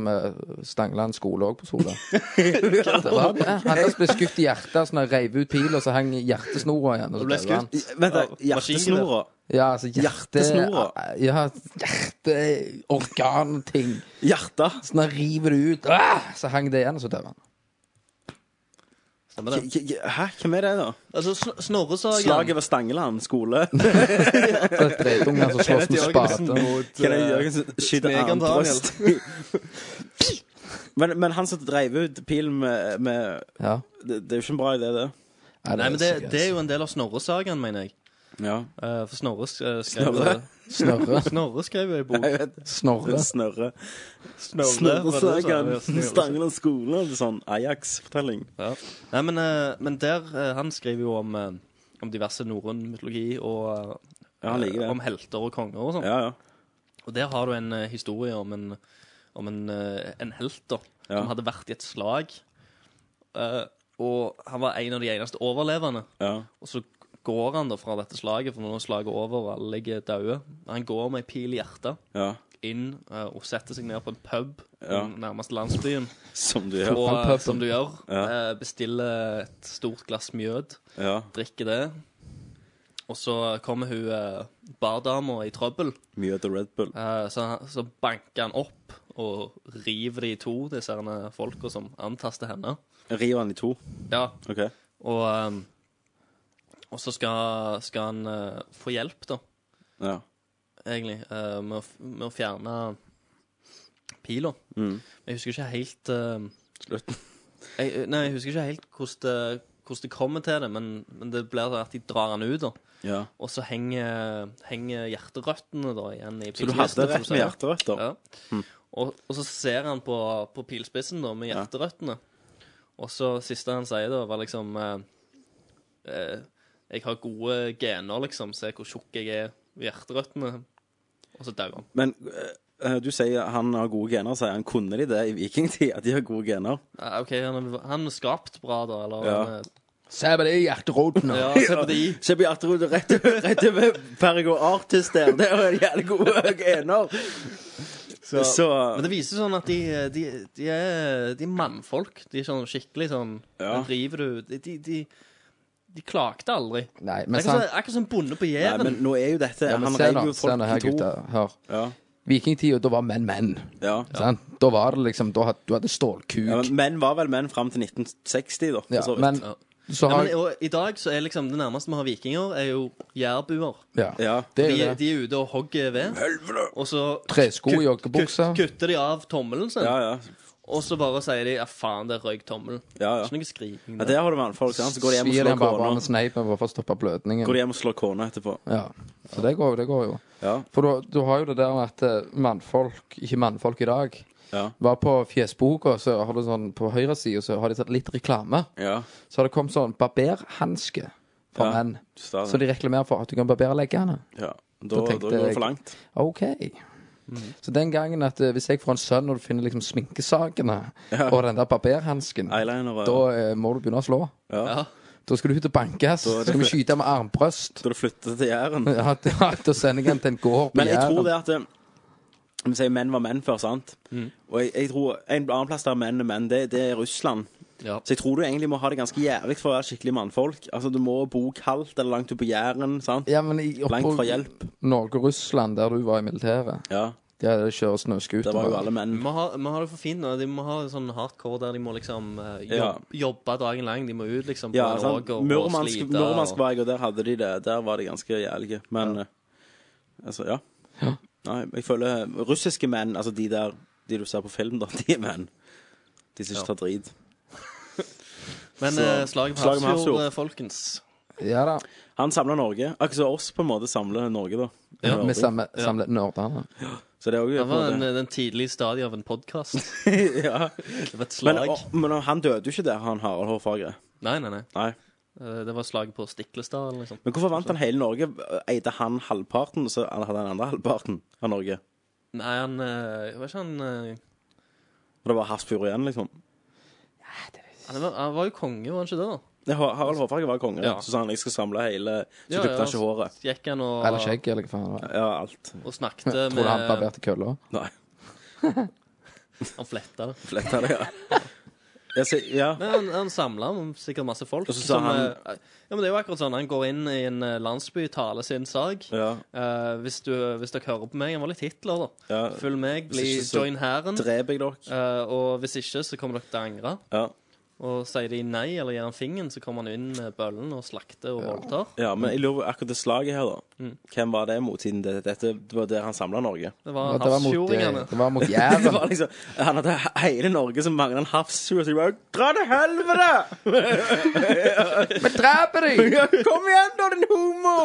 S4: med Stangland skole òg på Sola. Det var det. Han der som ble skutt i hjertet, sånn at han reiv ut pila, så hang hjertesnora igjen. Og så
S5: ble
S4: døde han.
S1: I- Vent, da.
S5: Ja,
S1: Hjertesnora.
S4: Ja, altså hjerte,
S1: Hjertesnora.
S4: Ja, hjerteorganting.
S1: Hjerte.
S4: Sånn at han river det ut, ah! så hang det igjen, og så døde han.
S5: Stemmer
S1: K
S5: det.
S1: k hæ, hvem er det, da?
S5: Altså, Sn- Snorre
S1: Slaget
S5: Sagen
S1: ved Stangeland skole.
S4: Så er det Dritungen som slåss med spade.
S1: Kenneth
S5: eh,
S1: Jørgensen skyter
S5: Snegen
S1: armbrøst. men, men han som dreiv ut pilen med, med
S4: Ja.
S1: det, det er jo ikke en bra idé, det.
S5: Nei, men det, det er jo en del av Snorre Sagen, mener jeg.
S1: Ja.
S5: Eh, for Snorre eh, skrev
S1: Snorre?
S4: Snorre.
S5: Snorre skrev jo en bok.
S1: Jeg vet.
S4: Snorre.
S1: Den snørre.
S5: Snorre,
S1: Snorre
S5: var det som-
S1: Sagan.
S5: ja, Snorre Sagen.
S1: Stangeland skole. Det er sånn Ajax-fortelling.
S5: Ja. Nei, men, eh, men der eh, Han skriver jo om, eh, om diverse norrøn mytologi og
S1: Ja, han liker
S5: eh, om
S1: det.
S5: helter og konger og sånn.
S1: Ja, ja.
S5: Og der har du en eh, historie om en, om en, eh, en helt da,
S1: Ja.
S5: som hadde vært i et slag. Eh, og han var en av de eneste overlevende.
S1: ja.
S5: Og så går han da fra dette slaget, for nå er slaget over, og alle ligger døde. Han går med ei pil i hjertet
S1: ja.
S5: inn eh, og setter seg ned på en pub
S1: Ja.
S5: den nærmeste landsbyen.
S1: Som du
S5: Og
S1: gjør.
S4: han
S5: eh,
S4: puben.
S5: som du gjør,
S1: Ja.
S5: eh, bestiller et stort glass mjød,
S1: Ja.
S5: drikker det. Og så kommer hun eh, bardama i trøbbel.
S1: Mye av The Red Bull.
S5: Eh, Så, så banker han opp og river de i to, disse herne folka som antaster henne.
S1: River han i to.
S5: Ja,
S1: OK.
S5: Og, ehm, og så skal, skal han eh, få hjelp, da,
S1: Ja.
S5: egentlig, eh, med, å, f- med å fjerne pila.
S1: Mm.
S5: Men Jeg husker ikke helt ehm,
S1: Slutt.
S5: jeg, Nei, jeg husker ikke helt hvordan det, hvordan det kommer til det, men, men det blir at de drar han ut, da.
S1: Ja.
S5: Og så henger, henger hjerterøttene da igjen i
S1: Så du hadde
S5: pilkisten, som
S1: rett med Hm.
S5: sier.
S1: hjerterøtter?
S5: Ja. Og, og så ser han på, på pilspissen da, med hjerterøttene. Og så siste han sier da, var liksom eh, eh, Jeg har gode gener, liksom. Se hvor tjukk jeg er i hjerterøttene. Og så dauer han.
S1: Men eh, eh, du sier han har gode gener, sier han. Kunne de det i vikingtid? At de har gode gener?
S5: Eh, OK, han er, han er skapt bra, da. Eller
S1: Ja.
S5: han,
S4: Se på det i hjerteroten.
S5: er- ja, se på de.
S1: Se på hjerterot rett over- rett over Pergo Artist der. Det er jo jævlig gode gener. Så,
S5: Men det viser sånn at de, de, de, er, de er mannfolk. De er sånn skikkelig sånn
S1: Ja.
S5: River du De, de, de, de klagde aldri.
S4: Nei,
S5: Det er
S4: men
S5: ikke
S4: sant.
S5: sånn- akkurat som bonde på
S1: Nei, men
S5: Jæren.
S1: nå er jo dette
S4: Ja, men
S1: Han
S4: se
S1: reiv
S4: nå,
S1: jo
S4: se nå
S1: folk
S4: her,
S1: i to.
S4: gutta. Hør.
S1: Ja,
S4: Vikingtida, da var menn menn.
S1: ja.
S4: Sant? Da var det liksom da had, Du hadde stålkuk.
S1: ja
S4: Ja,
S1: men Menn var vel menn fram til 1960, da. Altså, for så vidt.
S4: men
S5: Ja.
S4: så
S5: Ja,
S4: har
S5: men, og I dag så er liksom det nærmeste vi har vikinger, er jo jærbuer.
S4: Ja.
S1: ja.
S4: Det er
S5: De,
S4: jo det.
S5: de er ute og hogger ved, og så
S4: Tresko,
S5: kut-
S4: joggebukser.
S5: kut- kutter de av tommelen sin,
S1: ja, ja.
S5: og så bare sier de 'ja, faen, det røyk tommelen'.
S1: Ja, ja.
S5: Ikke noe skriking.
S1: ja Der har du mannfolk. sant? Så går de hjem og
S4: Svir
S1: slår
S4: den bare med
S1: kona.
S4: sneipen bare for å stoppe blødningen.
S1: Går de hjem og slår kona etterpå.
S4: Ja. Så det går, det går jo.
S1: Ja.
S4: For du, du har jo det der at eh, mannfolk, ikke mannfolk i dag
S1: Ja.
S4: Var på fjesboka, så har du sånn på høyresida, så har de tatt litt reklame.
S1: ja.
S4: Så har det kommet sånn barberhanske for
S1: Ja.
S4: menn.
S1: Så
S4: Så de reklamerer for at du kan barbere leggene.
S1: ja. Da, da,
S4: tenkte
S1: går det
S4: jeg-
S1: for langt.
S4: OK. Så den gangen at eh, hvis jeg får en sønn og du finner liksom sminkesakene og den der barberhansken,
S1: Eyeliner
S4: da
S1: og
S4: eh, må du begynne å slå.
S1: Ja.
S5: Ja.
S4: Da skal du ut og bankes.
S1: Da
S4: Så
S1: er det
S4: skal vi
S1: fett.
S4: skyte med armbrøst.
S1: Da du flytter til Jæren.
S4: Ja, da da sender jeg den til en gård på
S1: Men jeg tror
S4: Jæren.
S1: det at eh, Vi sier menn var menn før, sant?
S4: Mm.
S1: Og jeg, jeg tror en annen plass der menn er menn, det, det er Russland.
S5: Ja.
S1: Så jeg tror du egentlig må ha det ganske jævlig for å være skikkelig mannfolk. Altså, Du må bo kaldt eller langt ute på Jæren. sant?
S4: Ja, men i, oppå
S1: Langt fra hjelp.
S4: Norge og Russland, der du var i militæret,
S1: Ja,
S4: der de kjører
S1: Der
S4: snøscooter
S1: var jo alle menn.
S5: Vi har, vi har det for fint nå. De må ha sånn hardcore der de må liksom eh, jobb,
S1: Ja.
S5: jobbe dagen lang. De må ut liksom på
S1: Ja,
S5: en
S1: sant?
S5: åker og
S1: Murmansk,
S5: slite,
S1: Murmansk
S5: og,
S1: var jeg, og der hadde de det. Der var de ganske jævlige. Men eh, altså, ja. Nei, jeg føler russiske menn, altså de der De du ser på film, da, de er menn. De som
S5: Ja.
S1: ikke tar drit.
S5: Men
S1: så-
S5: eh, slaget på
S1: slaget på Hafrsfjord.
S5: Hafrsfjord, eh, folkens.
S4: Ja da.
S1: Han samla Norge. Akkurat som oss på en måte samler Norge, da.
S5: Ja,
S4: Vi samler samler nerdene.
S1: Så det er jo
S5: Det var eh, den, den tidlige stadiet av en eh, podkast.
S1: ja.
S5: Det var et
S1: men,
S5: slag.
S1: å, men han døde jo ikke der, han Harald Hårfagre.
S5: Nei, nei, nei.
S1: Nei.
S5: Eh, Det var slaget på Stiklestad eller noe sånt.
S1: Men hvorfor vant han hele Norge? Eide han halvparten, og så hadde han andre halvparten av Norge?
S5: Nei, han eh, Var ikke han eh,
S1: Og det var Hafrsfjord igjen, liksom?
S5: Han var, han var jo konge, var han ikke det, da?
S1: Ja, Har- Harald Hårfagre var konge.
S5: Ja.
S1: Så sa han jeg skal samle hele Så
S5: Ja,
S1: klippte
S5: ja,
S1: han ikke håret.
S5: så Gikk han og,
S4: Eller skjegg, eller hva faen. det var.
S1: Ja, alt.
S5: og snakket
S4: Tror du
S5: med
S4: han barberte kølla?
S1: Nei.
S5: Han fletta det.
S1: Fletta det, ja. Jeg ser, ja.
S5: Men han, han samla sikkert masse folk.
S1: Og så sa han-
S5: eh, ja, men det er jo akkurat sånn. Han går inn i en eh, landsby, taler sin sak.
S1: ja.
S5: Eh, hvis, du, hvis dere hører på meg Han var litt Hitler, da.
S1: Ja.
S5: Følg meg, bli,
S1: ikke, så
S5: join hæren.
S1: Dreper jeg dere?
S5: Eh, og hvis ikke, så kommer dere til å angre.
S1: Ja.
S5: Og sier de nei eller gir han fingeren, så kommer han inn med bøllen og slakter og voldtar.
S1: ja, men jeg lurer på akkurat det slaget her,
S5: Mm.
S1: da. Hvem var det mot siden det, dette det var der han samla Norge?
S5: Det var
S4: Det var mot,
S5: havsfjordingene.
S4: eh, det var mot
S1: Det
S4: Jæren.
S1: var liksom, han hadde hele Norge som mangla en havsfjord, så jeg bare Dra til helvete!
S4: Vi dreper dem!
S1: Kom igjen, da, din homo!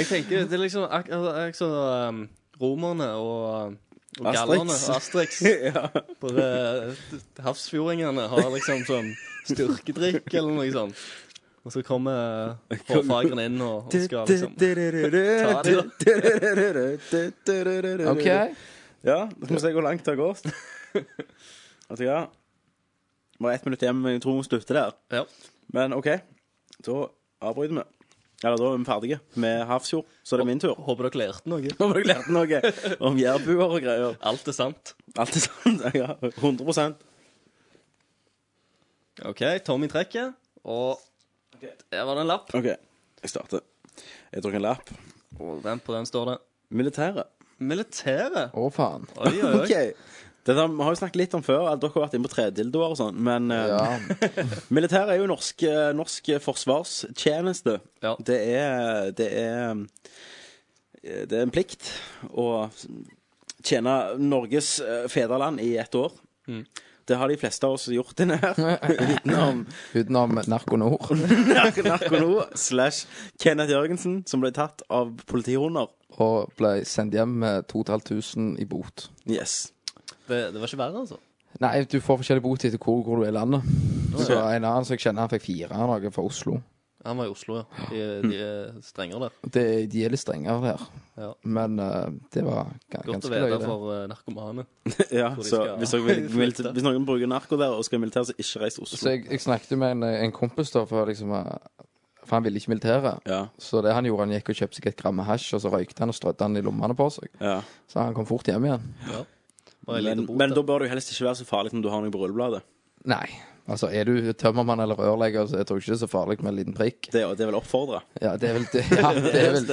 S5: Jeg tenker, det er liksom ak altså, ak så, um, romerne og, og
S1: Asterix.
S5: gallerne og Asterix.
S1: Ja.
S5: Bare eh, havsfjordingene har liksom sånn styrkedrikk eller noe sånt. Og så kommer hårfageren inn og, og skal liksom Ta
S4: OK.
S1: Ja, nå skal vi se hvor langt det har gått. Vet du hva? Vi har ett minutt igjen, men jeg tror vi slutter der.
S5: Ja.
S1: Men OK, da avbryter vi. Eller da er vi ferdige med Havsfjord, så det er min tur.
S5: Håper dere lærte noe.
S1: Nå har dere lært noe om jærbuer og greier.
S5: Alt er sant.
S1: Alt er sant. Ja, 100
S5: OK, Tommy trekker, og der var det en lapp.
S1: OK, jeg starter. Jeg tok en lapp.
S5: Og den på den står det
S1: Militæret.
S5: Militæret.
S4: Å, faen.
S5: Oi, oi, oi.
S1: OK. Det der, vi har jo snakket litt om før at dere har vært inne på tredildoer og sånn, men eh,
S4: Ja.
S1: Militæret er jo norsk, eh, norsk forsvarstjeneste.
S5: Ja.
S1: Det er Det er eh, Det er en plikt å tjene Norges eh, fedreland i ett år.
S5: Mm.
S1: Det har de fleste av oss gjort inne her. Utenom
S4: Utenom Narkonor.
S1: Narkono slash Kenneth Jørgensen, som ble tatt av politihunder.
S4: Og ble sendt hjem med 2500 i bot.
S1: Yes.
S5: Det, det var ikke verre, altså.
S4: Nei, du får forskjellig bot etter hvor, hvor du er i landet. Så en annen som jeg kjenner, han fikk fire av noe fra Oslo.
S5: Han var i Oslo, ja. De, de er strengere der.
S4: Det, de er litt strengere der.
S5: Ja.
S4: Men eh, det var ga-
S5: Godt å
S4: ganske løye.
S5: vite
S4: det.
S5: for eh, narkomane.
S1: Ja,
S5: de
S1: så
S5: skal
S1: hvis, dere vil, vil,
S5: flytte.
S1: hvis noen bruker narko der og skal i militæret, så ikke reis til
S4: Så
S1: Oslo.
S4: jeg, jeg snakket med en, en kompis, da, for liksom eh, For han ville ikke militæret.
S1: Ja,
S4: Så det han gjorde, han gikk og kjøpte seg et gram med hasj, og så røykte han og strødde han i lommene på seg.
S1: ja.
S4: Så han kom fort hjem igjen.
S5: Bare
S1: Men,
S5: en liten bot.
S1: men
S5: der.
S1: da bør det jo helst ikke være så farlig som du har noe på rullebladet.
S4: Nei. Altså, er du tømmermann eller rørlegger, så jeg tror ikke det er så farlig med en liten prikk.
S1: Det, det vil oppfordre.
S4: Ja, det er vel det. Ja, det er vel.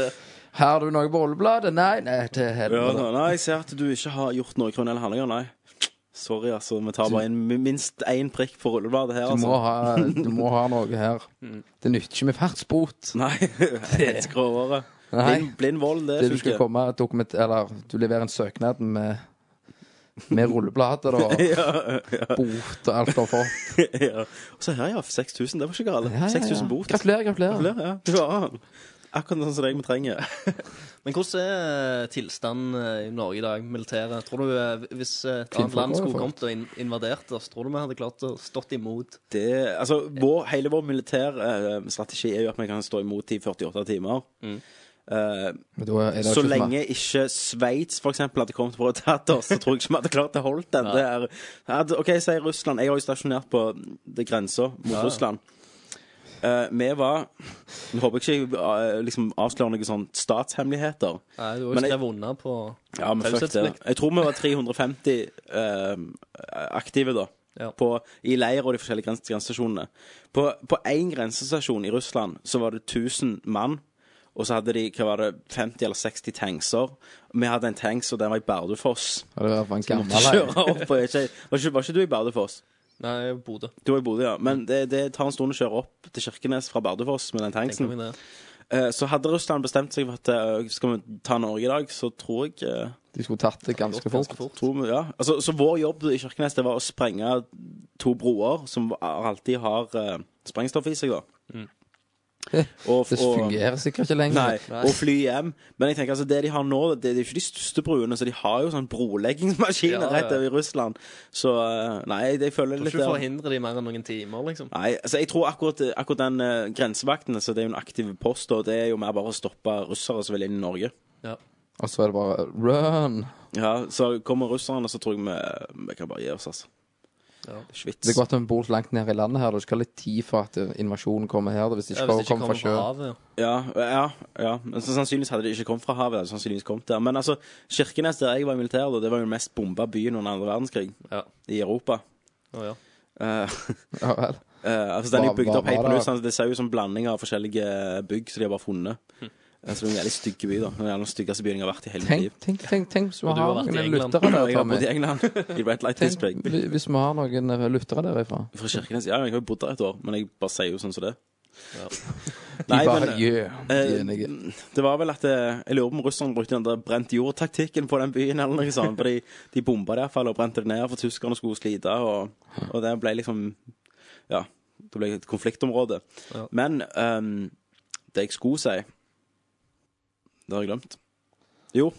S4: Har du noe på rullebladet? Nei, nei, til
S1: Ja,
S4: helvete.
S1: da, nei, jeg ser at du ikke har gjort noen kriminelle handlinger, nei. Sorry, altså. Vi tar bare inn mi- minst én prikk på rullebladet her,
S4: Du må,
S1: altså.
S4: ha, du må ha noe her.
S1: Mm.
S4: Det nytter ikke med fartsbot.
S1: Nei, helt grovere.
S4: Nei.
S1: Blind, blind vold, det,
S4: Det du skal
S1: funker.
S4: komme er dokument... Eller du leverer en søknad med med rullebladet og bot og alt du har fått.
S1: ja. Og så her, ja. 6000. Det var ikke galt.
S4: Ja, ja, ja.
S1: 6000 bot.
S4: Gratulerer, gratulerer.
S1: Ja, ja. Akkurat sånn som deg vi trenger.
S5: Men hvordan er tilstanden eh, i Norge i dag, militæret? Tror du eh, Hvis eh, et annet
S4: Kvinnfolk
S5: land
S4: har
S5: skulle
S4: fått.
S5: kommet og in invadert oss, tror du vi hadde klart å stått imot?
S1: Det, altså, vår, hele vår militære eh, strategi er jo at vi kan stå imot i 48 timer.
S4: Mm.
S1: Eh,
S4: Men da er det
S1: Så
S4: ikke som-
S1: lenge ikke Sveits for eksempel hadde kommet for å tatt oss, så tror jeg ikke vi hadde klart å holde den. Det er, hadde- OK, sier Russland. Jeg har jo stasjonert på det grensa mot Russland. Eh, vi var Nå håper jeg ikke jeg eh, liksom, avslører noen sånne statshemmeligheter.
S5: Nei, du har
S1: Men
S5: jo
S1: jeg-
S5: skrevet unna på
S1: Ja, men fuck det.
S5: Taushetsplikt.
S1: Jeg tror vi var 350 eh, aktive da.
S5: Ja.
S1: På, I leir og de forskjellige grens- grensestasjonene. På på én grensestasjon i Russland så var det 1000 mann. Og så hadde de hva var det, 50 eller 60 tankser. Vi hadde en tanks, og den var i Bardufoss.
S4: Ja, Det var for en gammel leir.
S1: Kjøre opp, og jeg ikke, var, ikke, var ikke du i Bardufoss?
S5: Nei, Bodø.
S1: Du var i Bodø, ja. Men det, det tar en stund å kjøre opp til Kirkenes fra Bardufoss med den
S5: Tenker
S1: tanksen.
S5: vi det.
S1: Eh, Så hadde Russland bestemt seg for at eh, skal vi ta Norge i dag, så tror jeg eh,
S4: De skulle tatt det ganske fort.
S1: Tror vi, ja. altså, så vår jobb i Kirkenes det var å sprenge to broer som alltid har eh, sprengstoff i seg, da.
S5: Mm.
S1: Og,
S4: Det
S1: og,
S4: fungerer sikkert ikke lenger.
S1: nei, og fly hjem. Men jeg tenker altså, det de har nå, det, det er jo ikke de største bruene, så de har jo sånn broleggingsmaskiner
S5: Ja, ja.
S1: rett over i Russland. Så eh, nei, jeg, jeg føler
S5: Tror
S1: litt
S5: ikke du
S1: der.
S5: forhindrer de mer enn noen timer, liksom.
S1: Nei, altså jeg tror akkurat, akkurat den eh, grensevakten altså, Det er jo en aktiv post, og det er jo mer bare å stoppe russere som vil inn i Norge.
S5: Ja.
S4: Og så er det bare run.
S1: Ja, Så kommer russerne, så tror jeg vi, vi kan bare gi oss, altså. Ikke
S4: Det er
S1: Vits.
S4: godt at vi bor så langt nede i landet her. Det skal litt tid for at eh, invasjonen kommer her. da, Hvis det ikke,
S5: Ja, hvis det ikke
S4: kommer fra
S5: kommer
S4: sjøen.
S5: fra havet. ja.
S1: Ja, ja, ja. Men så sannsynligvis hadde det ikke kommet fra havet. Det hadde sannsynligvis kommet der. Men altså, Kirkenes, der jeg var i militæret, da, det var jo den mest bomba byen under andre verdenskrig
S5: Ja.
S1: i Europa.
S5: Å, ja.
S1: Eh,
S4: Ja, vel.
S1: eh, altså, Den er
S4: Hva-
S1: jo bygd
S4: hva
S1: opp helt
S4: var
S1: på nytt.
S4: det?
S1: sånn at Det ser ut som blanding av forskjellige bygg som de har bare funnet. Eh, Så det er en veldig stygg by, da. Det er Den styggeste byen jeg har vært i hele mitt
S4: Tenk,
S1: liv.
S4: tenk, tenk, tenk hvis vi
S5: Og du
S4: har
S5: har vært i
S4: noen
S5: England.
S4: lyttere der,
S1: Jeg har
S4: Tommy.
S1: bodd i England, i Red Light
S4: Tenk,
S1: District.
S4: hvi- hvis vi har noen eh, lyttere derifra.
S1: Fra Kirkenes? Ja, jeg har jo bodd der et år, men jeg bare sier jo sånn som det.
S4: De
S1: Nei,
S4: bare
S1: men
S4: yeah, de er enige.
S1: eh, det var vel at eh, Jeg lurer på om russerne brukte den der brent jord-taktikken på den byen, eller noe sånt. Fordi de bomba det iallfall og brente det ned, for tyskerne skulle slite, og, og det ble liksom Ja, det ble et konfliktområde.
S5: Ja.
S1: Men ehm, det jeg skulle si Det har jeg glemt. Jo.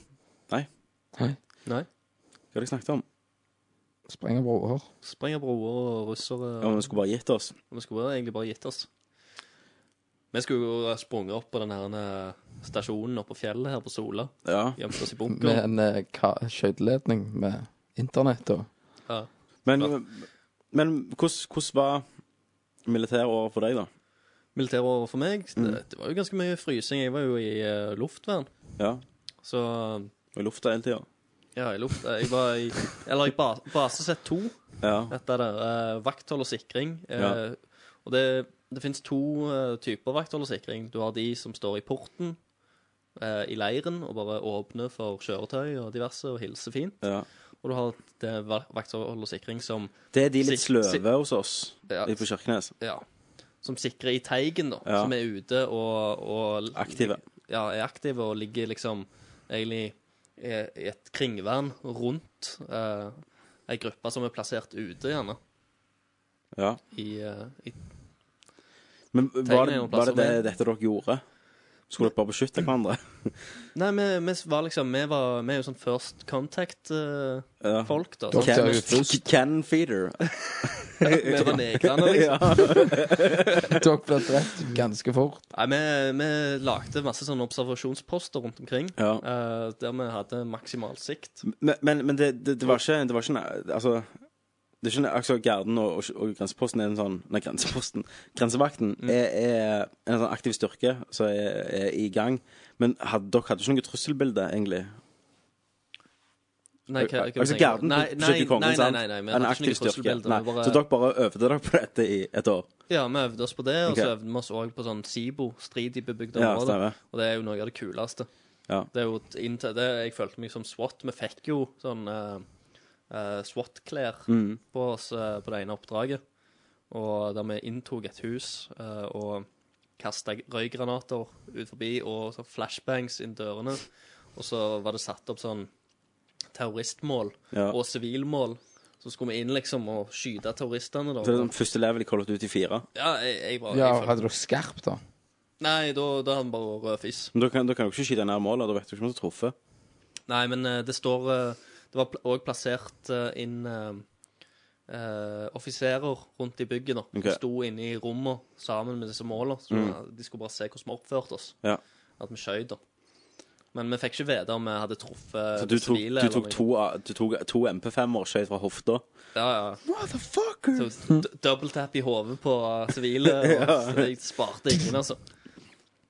S1: Nei.
S4: Nei.
S5: Nei.
S1: Hva hadde jeg snakket om?
S4: Sprenger broer.
S5: Sprenger broer og russere.
S1: Ja, men Vi skulle bare gitt oss.
S5: Og Vi skulle egentlig bare gitt oss. Vi skulle jo ha sprunget opp på den her eh, stasjonen oppe på fjellet her på Sola.
S1: Ja.
S5: Gjemt oss i
S4: Med
S5: bunker.
S4: en eh, ka- skøyteledning med internett og
S5: Ja.
S1: Men,
S5: Klart.
S1: men hvordan, hvordan var militæråret for deg, da?
S5: Militæret for meg, det, det var jo ganske mye frysing. Jeg var jo i eh, luftvern,
S1: Ja,
S5: så
S1: I lufta hele tida?
S5: ja, i luft. Jeg var i Eller i ba, base Z2.
S1: Ja.
S5: Dette der, eh, vakthold og sikring. Eh,
S1: Ja.
S5: Og det, det finnes to eh, typer vakthold og sikring. Du har de som står i porten eh, i leiren og bare åpner for kjøretøy og diverse og hilser fint.
S1: ja.
S5: Og du har det va- vakthold og sikring som,
S1: Det er de litt
S5: Sik- sik-
S1: sløve hos oss
S5: Ja.
S1: i på Kirkenes.
S5: ja, som sikrer i teigen, da.
S1: Ja.
S5: Som er ute og, og
S1: Aktive.
S5: Ja, er aktive og ligger liksom egentlig i i et kringvern rundt eh, ei gruppe som er plassert ute, gjerne.
S1: Ja.
S5: I, eh, i,
S1: Men var det,
S5: er noen
S1: var
S5: plasser
S1: det, det dette dere gjorde? Skulle dere bare beskytte hverandre?
S5: nei, vi, vi var liksom Vi, var, vi er jo sånn first contact-folk,
S1: Ja.
S5: da.
S4: Dere
S5: sant?
S4: er jo først.
S1: Cannon feeder.
S5: Vi var negrene, liksom.
S1: ja.
S4: Dere ble drept ganske fort.
S5: Nei, vi, vi lagde masse sånne observasjonsposter rundt omkring.
S1: Ja.
S5: eh, der vi hadde maksimal sikt.
S1: Men, men, men det, det, det var ikke Det var ikke en- Altså det er ikke en- altså Garden og, og, og grenseposten er en sånn Nei, grenseposten. Grensevakten
S5: Mm.
S1: er, er en sånn aktiv styrke som er, er i gang. Men had, dere hadde ikke noe trusselbilde, egentlig?
S5: Nei, hva, hva
S1: altså
S5: tenker du?
S1: Garden
S5: Nei, nei,
S1: beskytter kongen,
S5: nei,
S1: sant?
S5: Nei, nei, nei, vi
S1: en
S5: hadde ikke
S1: aktiv
S5: noe
S1: styrke.
S5: trusselbilde.
S1: Nei.
S5: vi bare-
S1: Så dere bare øvde dere på dette i et år?
S5: Ja, vi øvde oss på det, og
S1: Ok.
S5: så øvde vi oss òg på sånn SIBO, strid i bebygde
S1: Ja,
S5: områder.
S1: stemmer.
S5: og det er jo noe av det kuleste.
S1: Ja.
S5: Det er jo et inntil, det, Jeg følte meg som SWAT. Vi fikk jo sånn eh, eh, SWAT-klær
S1: Mm.
S5: på oss eh, på det ene oppdraget, og der vi inntok et hus eh, og kasta røygranater ut forbi, og så flashbangs inn dørene. Og så var det satt opp sånn terroristmål
S1: Ja.
S5: og sivilmål. Så skulle vi inn liksom og skyte terroristene. da.
S1: Så det er sånn første level i Call of Duty 4.
S5: Ja, jeg, jeg var,
S4: Ja,
S5: jeg følte-
S4: hadde dere skarp, da?
S5: Nei, da, da har han bare rød fis.
S1: Men da kan, da kan dere ikke skyte nær målet. Da vet du ikke om du har truffet.
S5: Nei, men eh, det står eh, Det var pl- også plassert eh, inn eh, eh, offiserer rundt i bygget. da
S1: Ok. Mm.
S5: De sto inne i rommet sammen med disse målene. Så De skulle bare se hvordan vi oppførte oss.
S1: Ja.
S5: At vi skjøt, da. Men vi fikk ikke vite om vi hadde truffet
S1: Så du
S5: de
S1: tok, du
S5: sivile. eller
S1: tok
S5: noe.
S1: to, av- du tok to MP5-er skøyt fra hofta.
S5: Ja, ja. Så d- double tap i hodet på eh, sivile. Og så jeg sparte ingen, altså.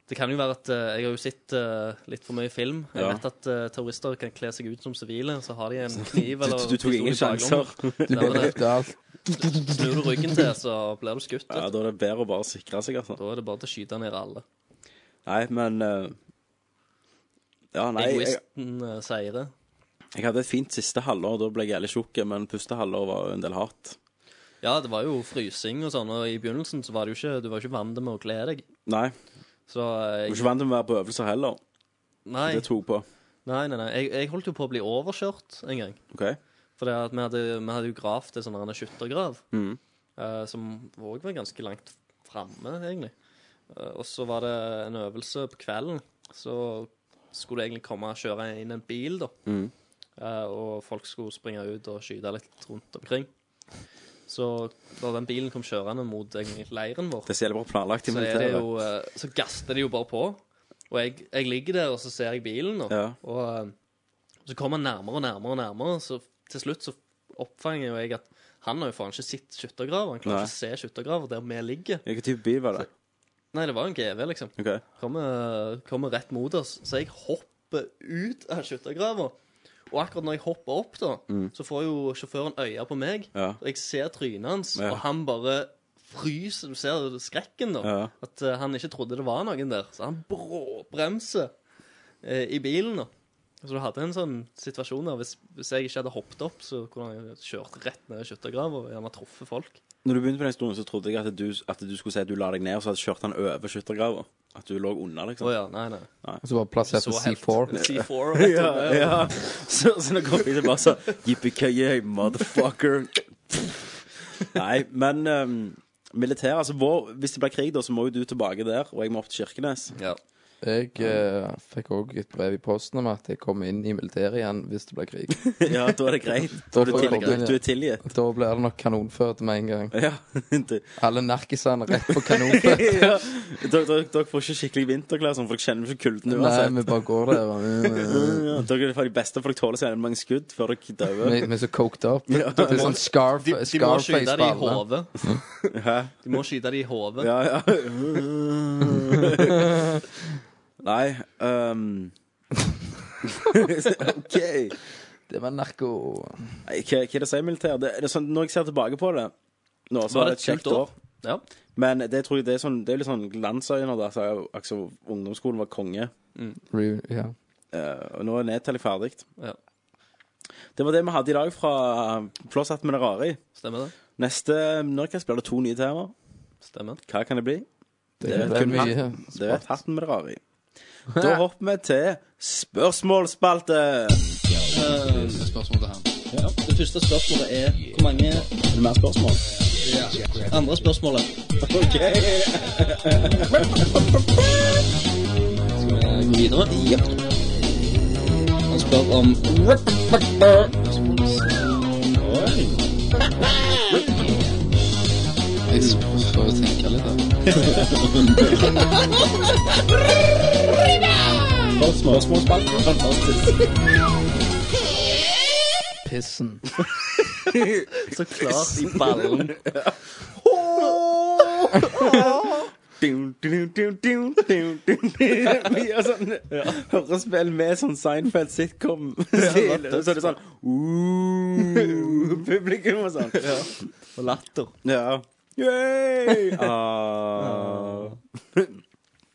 S5: Det kan jo være at eh, Jeg har jo sett eh, litt for mye film. Jeg
S1: Ja.
S5: vet at eh, terrorister kan kle seg ut som sivile, så har de en kniv
S1: Du,
S5: eller
S1: du tok
S5: pistol i
S1: ingen sjanser.
S5: baklommen.
S4: Du
S5: Det var
S4: ble
S5: det.
S4: drept av alt.
S5: Snur du ryggen til, så blir du skutt.
S1: Ja,
S5: vet du.
S1: Da er det bedre å bare sikre seg, altså.
S5: Da er det bare til å skyte ned alle.
S1: Nei, men eh, Ja, nei, jeg,
S5: Egoisten eh, seirer.
S1: jeg hadde et fint siste halvår. Da ble jeg jævlig tjukk, men første halvår var jo en del hardt.
S5: Ja, det var jo frysing og sånn, og i begynnelsen så var det jo ikke, du var ikke vant med å kle deg.
S1: Nei.
S5: Så eh,
S1: Jeg var
S5: jeg,
S1: ikke vant til å være på øvelser heller.
S5: nei,
S1: Det tok på.
S5: nei, nei, nei. Jeg, jeg holdt jo på å bli overkjørt en gang.
S1: OK?
S5: For det at vi hadde, vi hadde jo gravd en sånn her skyttergrav,
S1: Mhm.
S5: eh, som òg var ganske langt framme, egentlig. Eh, og så var det en øvelse på kvelden. Så skulle det egentlig komme og kjøre inn en bil, da.
S1: Mhm.
S5: Eh, og folk skulle springe ut og skyte litt rundt omkring. Så da den bilen kom kjørende mot egentlig leiren vår,
S1: Det er så jævlig bra planlagt i
S5: så, er det
S1: militæret.
S5: jo, eh, så gasser de jo bare på. Og jeg, jeg ligger der, og så ser jeg bilen, da.
S1: Ja.
S5: Og eh, så kommer han nærmere og nærmere og nærmere, så til slutt så oppfanger jo jeg at Han har jo faen ikke sett skyttergrav. Han klarer
S1: Nei.
S5: ikke å se skyttergraver der vi ligger.
S1: Hvilken type bil var det?
S5: Nei, det var jo en GV, liksom.
S1: Ok.
S5: Kommer, kommer rett mot oss. Så jeg hopper ut av skyttergrava. Og akkurat når jeg hopper opp, da, så får jo sjåføren øye på meg.
S1: Mm. Ja.
S5: Og jeg ser trynet hans,
S1: Ja.
S5: og han bare fryser. Du ser skrekken, da.
S1: Ja.
S5: At eh, han ikke trodde det var noen der. Så han bråbremser eh, i bilen. da. Så du hadde en sånn situasjon der hvis, hvis jeg ikke hadde hoppet opp, så kunne han jo kjørt rett ned i skyttergrava og gjerne truffet folk.
S1: Når du begynte på den historien, så trodde jeg at du, at du skulle si at du la deg ned, og så hadde kjørt han over skyttergrava. At du lå under,
S5: Å
S1: liksom.
S5: ja, nei, nei.
S4: Og så bare
S1: Sånn
S4: plasserte
S5: Så helt-
S4: C4.
S5: C4 rett
S1: Ja,
S5: over.
S1: ja. Så, så når kompisen bare sa Yippee-ki-yay, motherfucker. Nei, men um, militæret altså, vår, Hvis det blir krig, da, så må jo du tilbake der, og jeg må opp til Kirkenes.
S5: Ja.
S4: Jeg eh, fikk òg et brev i posten om at jeg kom inn i militæret igjen hvis det ble krig.
S1: Ja, da er det greit.
S4: Da
S1: Du,
S4: får jeg
S1: til,
S4: komme inn
S1: du, du
S4: igjen.
S1: er tilgitt.
S4: Da blir det nok kanonfødt med en gang.
S1: Ja, du-
S4: Alle narkisene rett på kanonfødt.
S1: ja. Dere, dere, dere får ikke skikkelig vinterklær, sånn, for dere kjenner ikke kulden
S4: Nei,
S1: uansett.
S4: vi bare går der. og-
S1: Ja, dere er de beste, for dere tåler så jævlig mange skudd før dere dauer.
S4: Vi vi er så coked up.
S1: Ja.
S4: Det er sånn scarf,
S5: De, de må skyte det i
S4: Scarface-balle.
S5: hodet.
S1: Hæ?
S5: De må skyte det i hodet.
S1: Ja, ja. Nei ehm. OK.
S4: Det var narko...
S1: Nei, Hva hva er det sier militæret? Det, det er sånn, når jeg ser tilbake på det nå, så
S5: Var
S1: var
S5: det
S1: det et
S5: et kult
S1: kjekt år.
S5: år? Ja.
S1: Men det tror jeg det er, sånn, det er litt sånn glansøyne der så jeg- altså, ungdomsskolen var konge.
S4: Re- Ja.
S1: Eh, og nå er nedtelling ferdig.
S5: Ja.
S1: Det var det vi hadde i dag fra Flåsatt med det rare i.
S5: Stemmer det.
S1: Neste Nørkast blir det to nye temaer.
S5: Stemmer.
S1: Hva kan det bli?
S4: Det,
S1: Det
S4: det er
S1: kunne
S4: mye.
S1: Det vet hatten med det rare i. Da hopper vi til spørsmålsspalte.
S5: Det første spørsmålet er hvor mange
S1: Mer spørsmål?
S5: andre spørsmålet. Skal vi gå videre? Ja. Han spør om
S4: Pissen.
S5: Så klart i ballen.
S1: Dun, dun, dun, dun, dun, dun. Vi gjør sånn hørespill med sånn Seinfeld-sitcom-stil.
S5: Ja,
S1: Og så er det sånn «Ooh», Publikum og sånn.
S5: Og latter.
S1: Ja. Yay! Ah.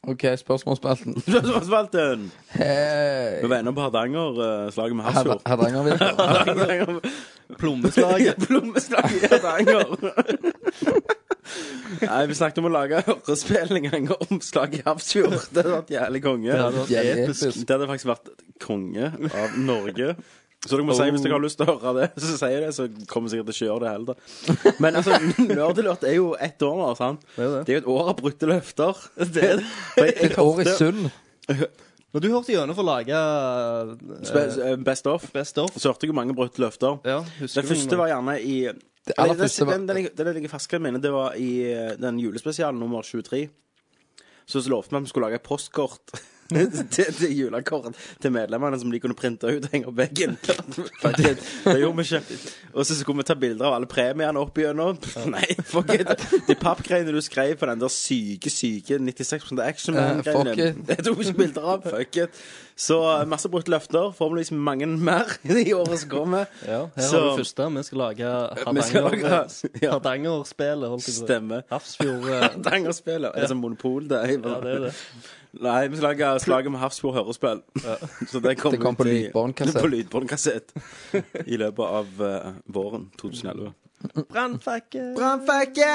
S4: OK, spørsmålsspalten.
S1: Spørsmålsspalten!
S4: Hei!
S1: Vi var inne på Hardanger, eh, slaget med
S4: Harda-
S1: Hasfjord.
S4: Hardangervidda.
S5: Plommeslaget.
S1: Plommeslag i Hardanger. Nei, vi snakket om å lage hørespill en gang, og omslag i Hafrsfjord. Det hadde vært jævlig konge.
S5: hadde vært
S4: Jævlig
S5: episk.
S4: episk.
S1: Det hadde faktisk vært konge av Norge. Så dere må si hvis dere har lyst til å høre det, så sier det, så kommer jeg sikkert til å gjøre det heller. Men altså, Nerdelurt er jo ett år nå, sant?
S5: er det.
S1: Det er jo et år av brutte løfter. Det er
S4: Et år i sund.
S5: Når du hørte gjennom for å lage eh,
S1: Best off.
S5: Best Off
S1: Så hørte jeg jo mange brutte løfter.
S5: Ja, husker
S1: Den
S5: du
S1: første
S5: noe?
S1: var gjerne i
S4: Det
S1: Nei,
S4: aller
S1: den,
S4: første var
S1: den, den, den ligger ferskere i minnet. Det var i eh, den julespesialen nummer 23. Så så lovte vi at vi skulle lage et postkort til, til julekort til medlemmene som de kunne printe ut og henge opp veggen. det, det gjorde vi ikke. Og så skulle vi ta bilder av alle premiene opp igjennom. Nei, fuck it. De pappgreiene du skrev på den der syke, syke 96 action
S4: Eh, fuck
S1: Man-greien din,
S4: it.
S1: det tok vi ikke bilder av. Fuck it. Så eh, masse brutt løfter. Forhåpentligvis mange mer i året som kommer.
S5: Ja, her
S1: Så-
S5: har du første. Vi skal lage
S1: Vi skal lage-
S5: Hardanger-
S1: ja.
S5: Hardanger-spelet. holdt jeg på å si.
S1: Stemmer.
S5: Hafrsfjord eh,
S1: Hardangerspillet. Er det sånn monopol, det?
S5: Ja, det er det.
S1: Nei, vi skal lage slaget med Hafrsfjord hørespill. Så det kommer
S4: Det kom på
S1: ut i-
S4: lydbåndkassett.
S1: På lydbåndkassett i løpet av eh, våren 2011.
S5: Brannfakke!
S1: Brannfakke!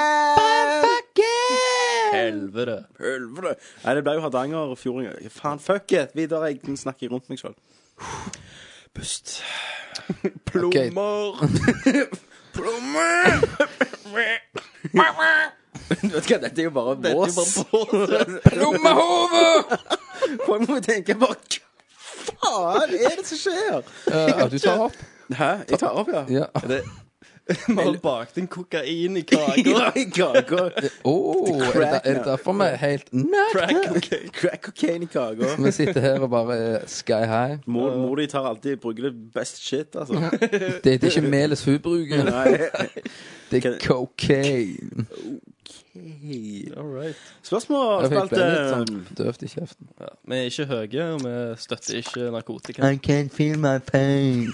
S5: Helvete.
S1: Helvete! Nei, det ble jo Hardangerfjording. Faen, fuck it! Vidar, jeg snakker rundt meg sjøl. Pust. Plommer. Plommer! Du vet hva, dette er jo bare
S5: Bås.
S1: vås.
S4: Lommehove!
S1: Folk må tenke bare Hva faen er det som skjer?
S4: Eh, Ja, du tar opp?
S1: Hæ? Jeg tar opp, ja?
S4: Ja.
S5: Det, Vi har bakt en kokain i kaka.
S1: I kaka.
S4: Åh, er, det- er det derfor vi er helt
S5: Crack
S4: nødt?
S5: cocaine.
S1: Crack cocaine i kaka.
S4: Vi sitter her og bare er sky high.
S1: Mor, mor di tar alltid bruker det best shit, altså.
S4: Det, det er ikke melis hun bruker.
S1: Nei.
S4: Det er cocaine.
S5: All right.
S1: Spørsmål
S4: Jeg fikk
S1: spilte
S4: ble litt sånn døvt i kjeften.
S5: Ja, vi er ikke høye, og vi støtter ikke narkotika.
S4: I can't feel my pain.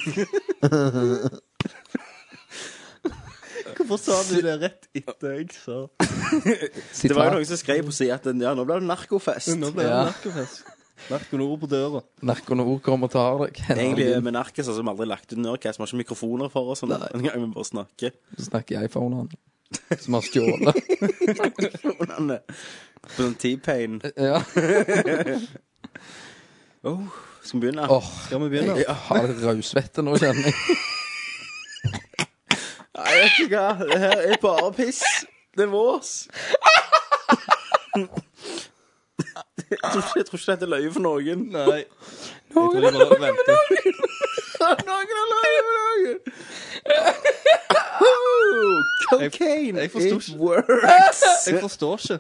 S5: Hvorfor sa du det rett etter jeg sa
S1: Det var
S4: Sitat.
S1: jo noen som skrev på sida at ja, nå ble det narkofest.
S5: Nå ble det
S4: Ja.
S5: narkofest. Narkonoro på døra.
S4: Narkon og ord kommer og tar deg.
S1: Egentlig eh, er vi narkiser som aldri lagt ut Nerdcast. Vi har ikke mikrofoner for oss sånn en gang vi bare snakker.
S4: Så snakker jeg i iPhonen. Som har stjålet.
S1: Mikrofonene. eh, På sånn T-pain.
S4: Ja.
S1: Skal vi begynne?
S4: Åh,
S5: Skal vi begynne?
S4: jeg har rødsvette nå, kjenner jeg.
S1: Nei, vet du hva? Det her er bare piss. Det er vårs. Jeg tror ikke, jeg tror ikke dette er løye for noen.
S5: Nei. Jeg tror de bare venter.
S1: Noen er løye for noen! Oh, cocaine!
S5: Jeg- jeg forstod
S1: It
S5: ikke.
S1: works!
S5: Jeg forstår ikke.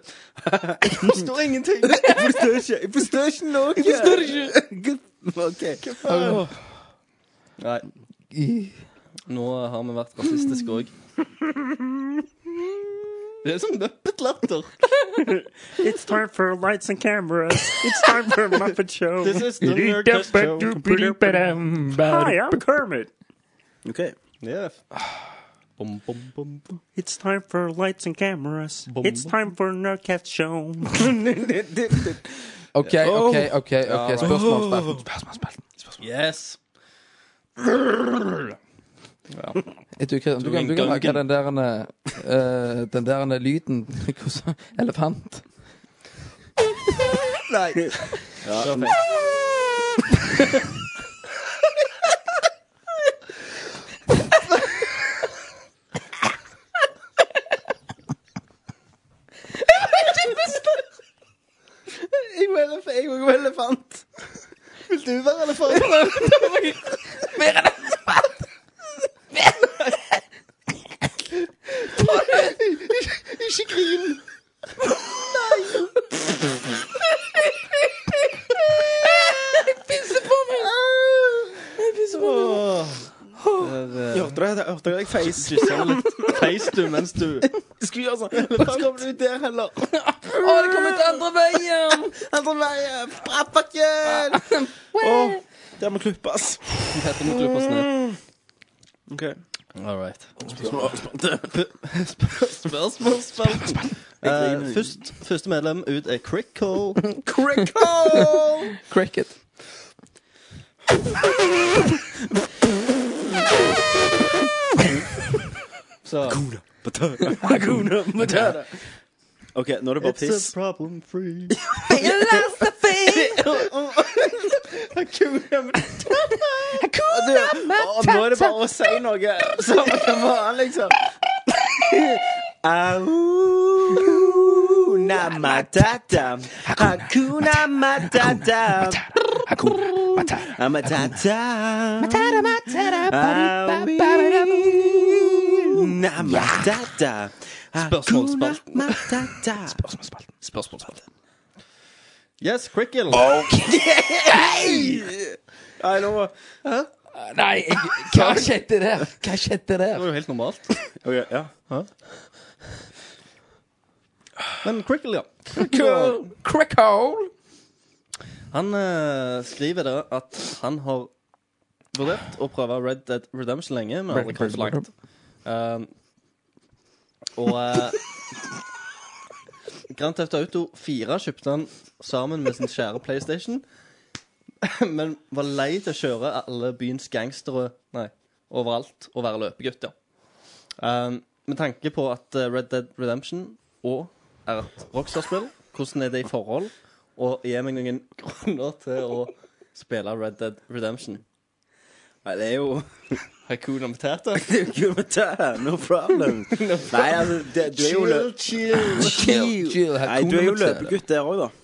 S5: Jeg forstår ingenting.
S1: Jeg forstår ikke. Jeg forstår ikke noe. Jeg forstår ikke. OK.
S5: Nei. Nå har vi vært rasistiske òg. Det er sånn nøppetlatter.
S9: It's time for lights and cameras. It's time for Muppet Show.
S5: This is the Nerdcast show.
S9: Hi, I'm Kermit.
S1: Ok.
S5: Yeah. Bom, bom, bom, bom.
S9: It's time for lights and cameras.
S5: Boom.
S9: It's time for Nerdcast Show.
S4: OK, OK, OK. ok, Spørsmålsspalten. Spørsmålsspalten.
S5: Yes.
S4: Du, kan- du, kan- du kan lage den der eh, Den der lyden Hvordan- Elefant.
S5: Nei.
S1: Jeg var elef- jeg var jo elefant.
S5: Vil du være elefant?
S1: Hørte dere det? Hørte dere jeg feis?
S5: Kyssa litt. Feis du mens du
S1: Skulle gjøre sånn. Hvorfor kom du ut der heller?
S4: Å, det kom ut andre veien!
S1: Andre veien. Bra, fucken! eh, Åh, Der må klippes.
S5: Dette må klippes ned.
S1: OK.
S5: All right.
S1: Spørsmål.
S5: Spørsmålsspalt. Eh, først, første medlem ut er Crickle.
S4: Cricket.
S5: Så
S1: Hakuna Matata. OK, nå er det bare piss.
S5: It's a problem free. Oh,
S1: Du, å, nå er det bare å si noe. Samme hva faen, liksom. Auna matata. Hakuna matata. Hakuna matata. Matata. Auna matata.
S5: Spørsmålsspalten.
S1: Hakuna matata.
S5: Spørsmålsspalt. Yes, Crickle.
S1: Nei, nå
S4: Nei, jeg, hva skjedde der? Hva skjedde
S5: Det
S4: der?
S5: var jo helt normalt.
S1: OK, ja.
S5: Men Crickle, ja.
S4: Crackhole.
S5: Han eh, skriver da at han har vurdert å prøve Red Dead Redemption lenge, men aldri kommet så langt. Um, og eh, Grand Theft Auto 4 kjøpte han sammen med sin kjære PlayStation, men var lei til å kjøre alle byens gangstere nei, overalt og være løpegutter. Um, med tanke på at eh, Red Dead Redemption og er et Rockstar-spill, hvordan er det i forhold? Og gi meg noen grunner til å spille Red Dead Redemption.
S1: Nei, det er jo
S5: Hakuna Matata.
S1: Hakuna matata. No problem. Nei, altså, det, du er jo lø-
S5: chill.
S4: Chill, chill,
S1: Nei, du er jo
S4: Hakuna Matata.
S1: løpegutt der òg, da.
S4: Hvem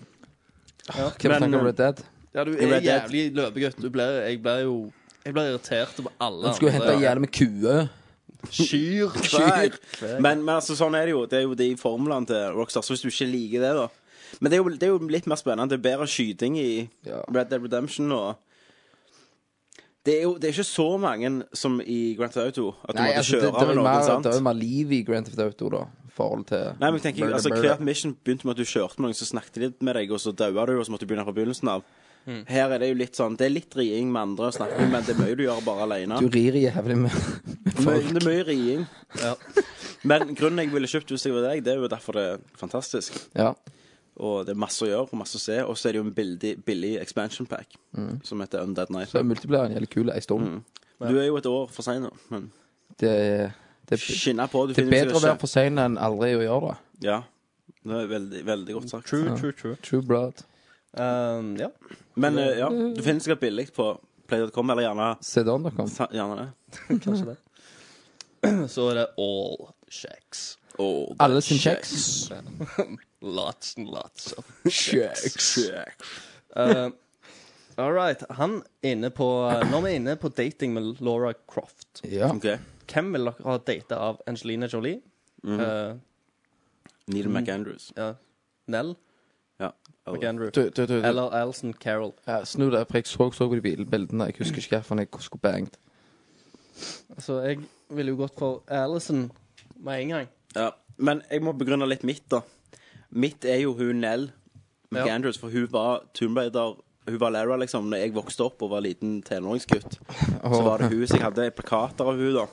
S1: Men,
S4: snakker om
S1: eh,
S4: Red Dead?
S5: Ja,
S1: I
S5: du er
S1: Red Dead.
S5: jævlig løpegutt. Du blir, jeg blir jo Jeg blir irritert på alle
S4: Han skulle hente
S5: andre.
S4: jævlig med kuer.
S5: Kyr.
S1: Kyr. Men, men altså, sånn er det jo. Det er jo de formlene til Rockstar. Så hvis du ikke liker det, da. Men det er jo, det er jo litt mer spennende. Det er bedre skyting i
S4: Ja.
S1: Red Dead Redemption og det er jo det er ikke så mange som i Grand Theft Auto. At du
S4: Nei,
S1: måtte
S4: altså, det,
S1: kjøre
S4: det, er
S1: med
S4: jo
S1: noen.
S4: mer,
S1: sant?
S4: det er jo mer liv i Grand Theft Auto, da. I forhold til
S1: Nei, men jeg tenker,
S4: Murder,
S1: altså
S4: Murder.
S1: Hvert mission begynte med at du kjørte med noen som snakket litt med deg, og så daua du, og så måtte du begynne fra begynnelsen av. Her er det jo litt sånn Det er litt riing med andre, og snakke, men det er mye du gjør bare alene.
S4: Du rir jævlig med
S1: Mye- Det er mye riing.
S5: Ja.
S1: Men grunnen jeg ville kjøpt hvis jeg var deg, det er jo derfor det er fantastisk.
S4: Ja.
S1: Og det er masse å gjøre og masse å se. Og så er det jo en billig, billig expansion pack som heter Undead Night.
S4: Mm. Så er multiplayeren jævlig kul ei stund.
S1: Du er jo et år for sein nå, men
S4: Det, er- det, er-
S1: skinne på. Du
S4: det er
S1: finner
S4: bedre å være for sein enn aldri å gjøre det.
S1: Ja. Det er veldig, veldig godt sagt.
S5: True, true, true.
S4: True blood.
S5: Um, ja.
S1: Men eh, ja, du finner sikkert billig på play.com, eller gjerne,
S4: Se det an, dere.
S1: ta- gjerne det.
S5: Kanskje det. Så er det all checks.
S1: Åh,
S4: Alle sin kjeks.
S5: Lots and lots of
S4: Kjeks.
S5: uh, All right. Han er inne på Når vi er inne på dating med Laura Croft,
S4: Ja.
S1: OK.
S5: hvem vil dere ha data av Angelina Jolie?
S1: Mm.
S4: Eh,
S5: Uh,
S1: Neil
S4: mm.
S1: McAndrews.
S5: ja. Nell
S1: Ja.
S5: McAndrew?
S4: Du, du, du, du.
S5: Eller Alison Carroll.
S4: Ja, snu deg, for jeg så så på de bil- bildene. Jeg husker ikke hvorfor jeg skulle bangt.
S5: Altså, jeg ville jo gått for Alison med en gang.
S1: Ja. Men jeg må begrunne litt mitt, da. Mitt er jo hun Nell McAndrews, for hun var Tomb Raider Hun var Lara, liksom, Når jeg vokste opp og var liten tenåringsgutt. Så var det hun, så jeg hadde plakater av hun da.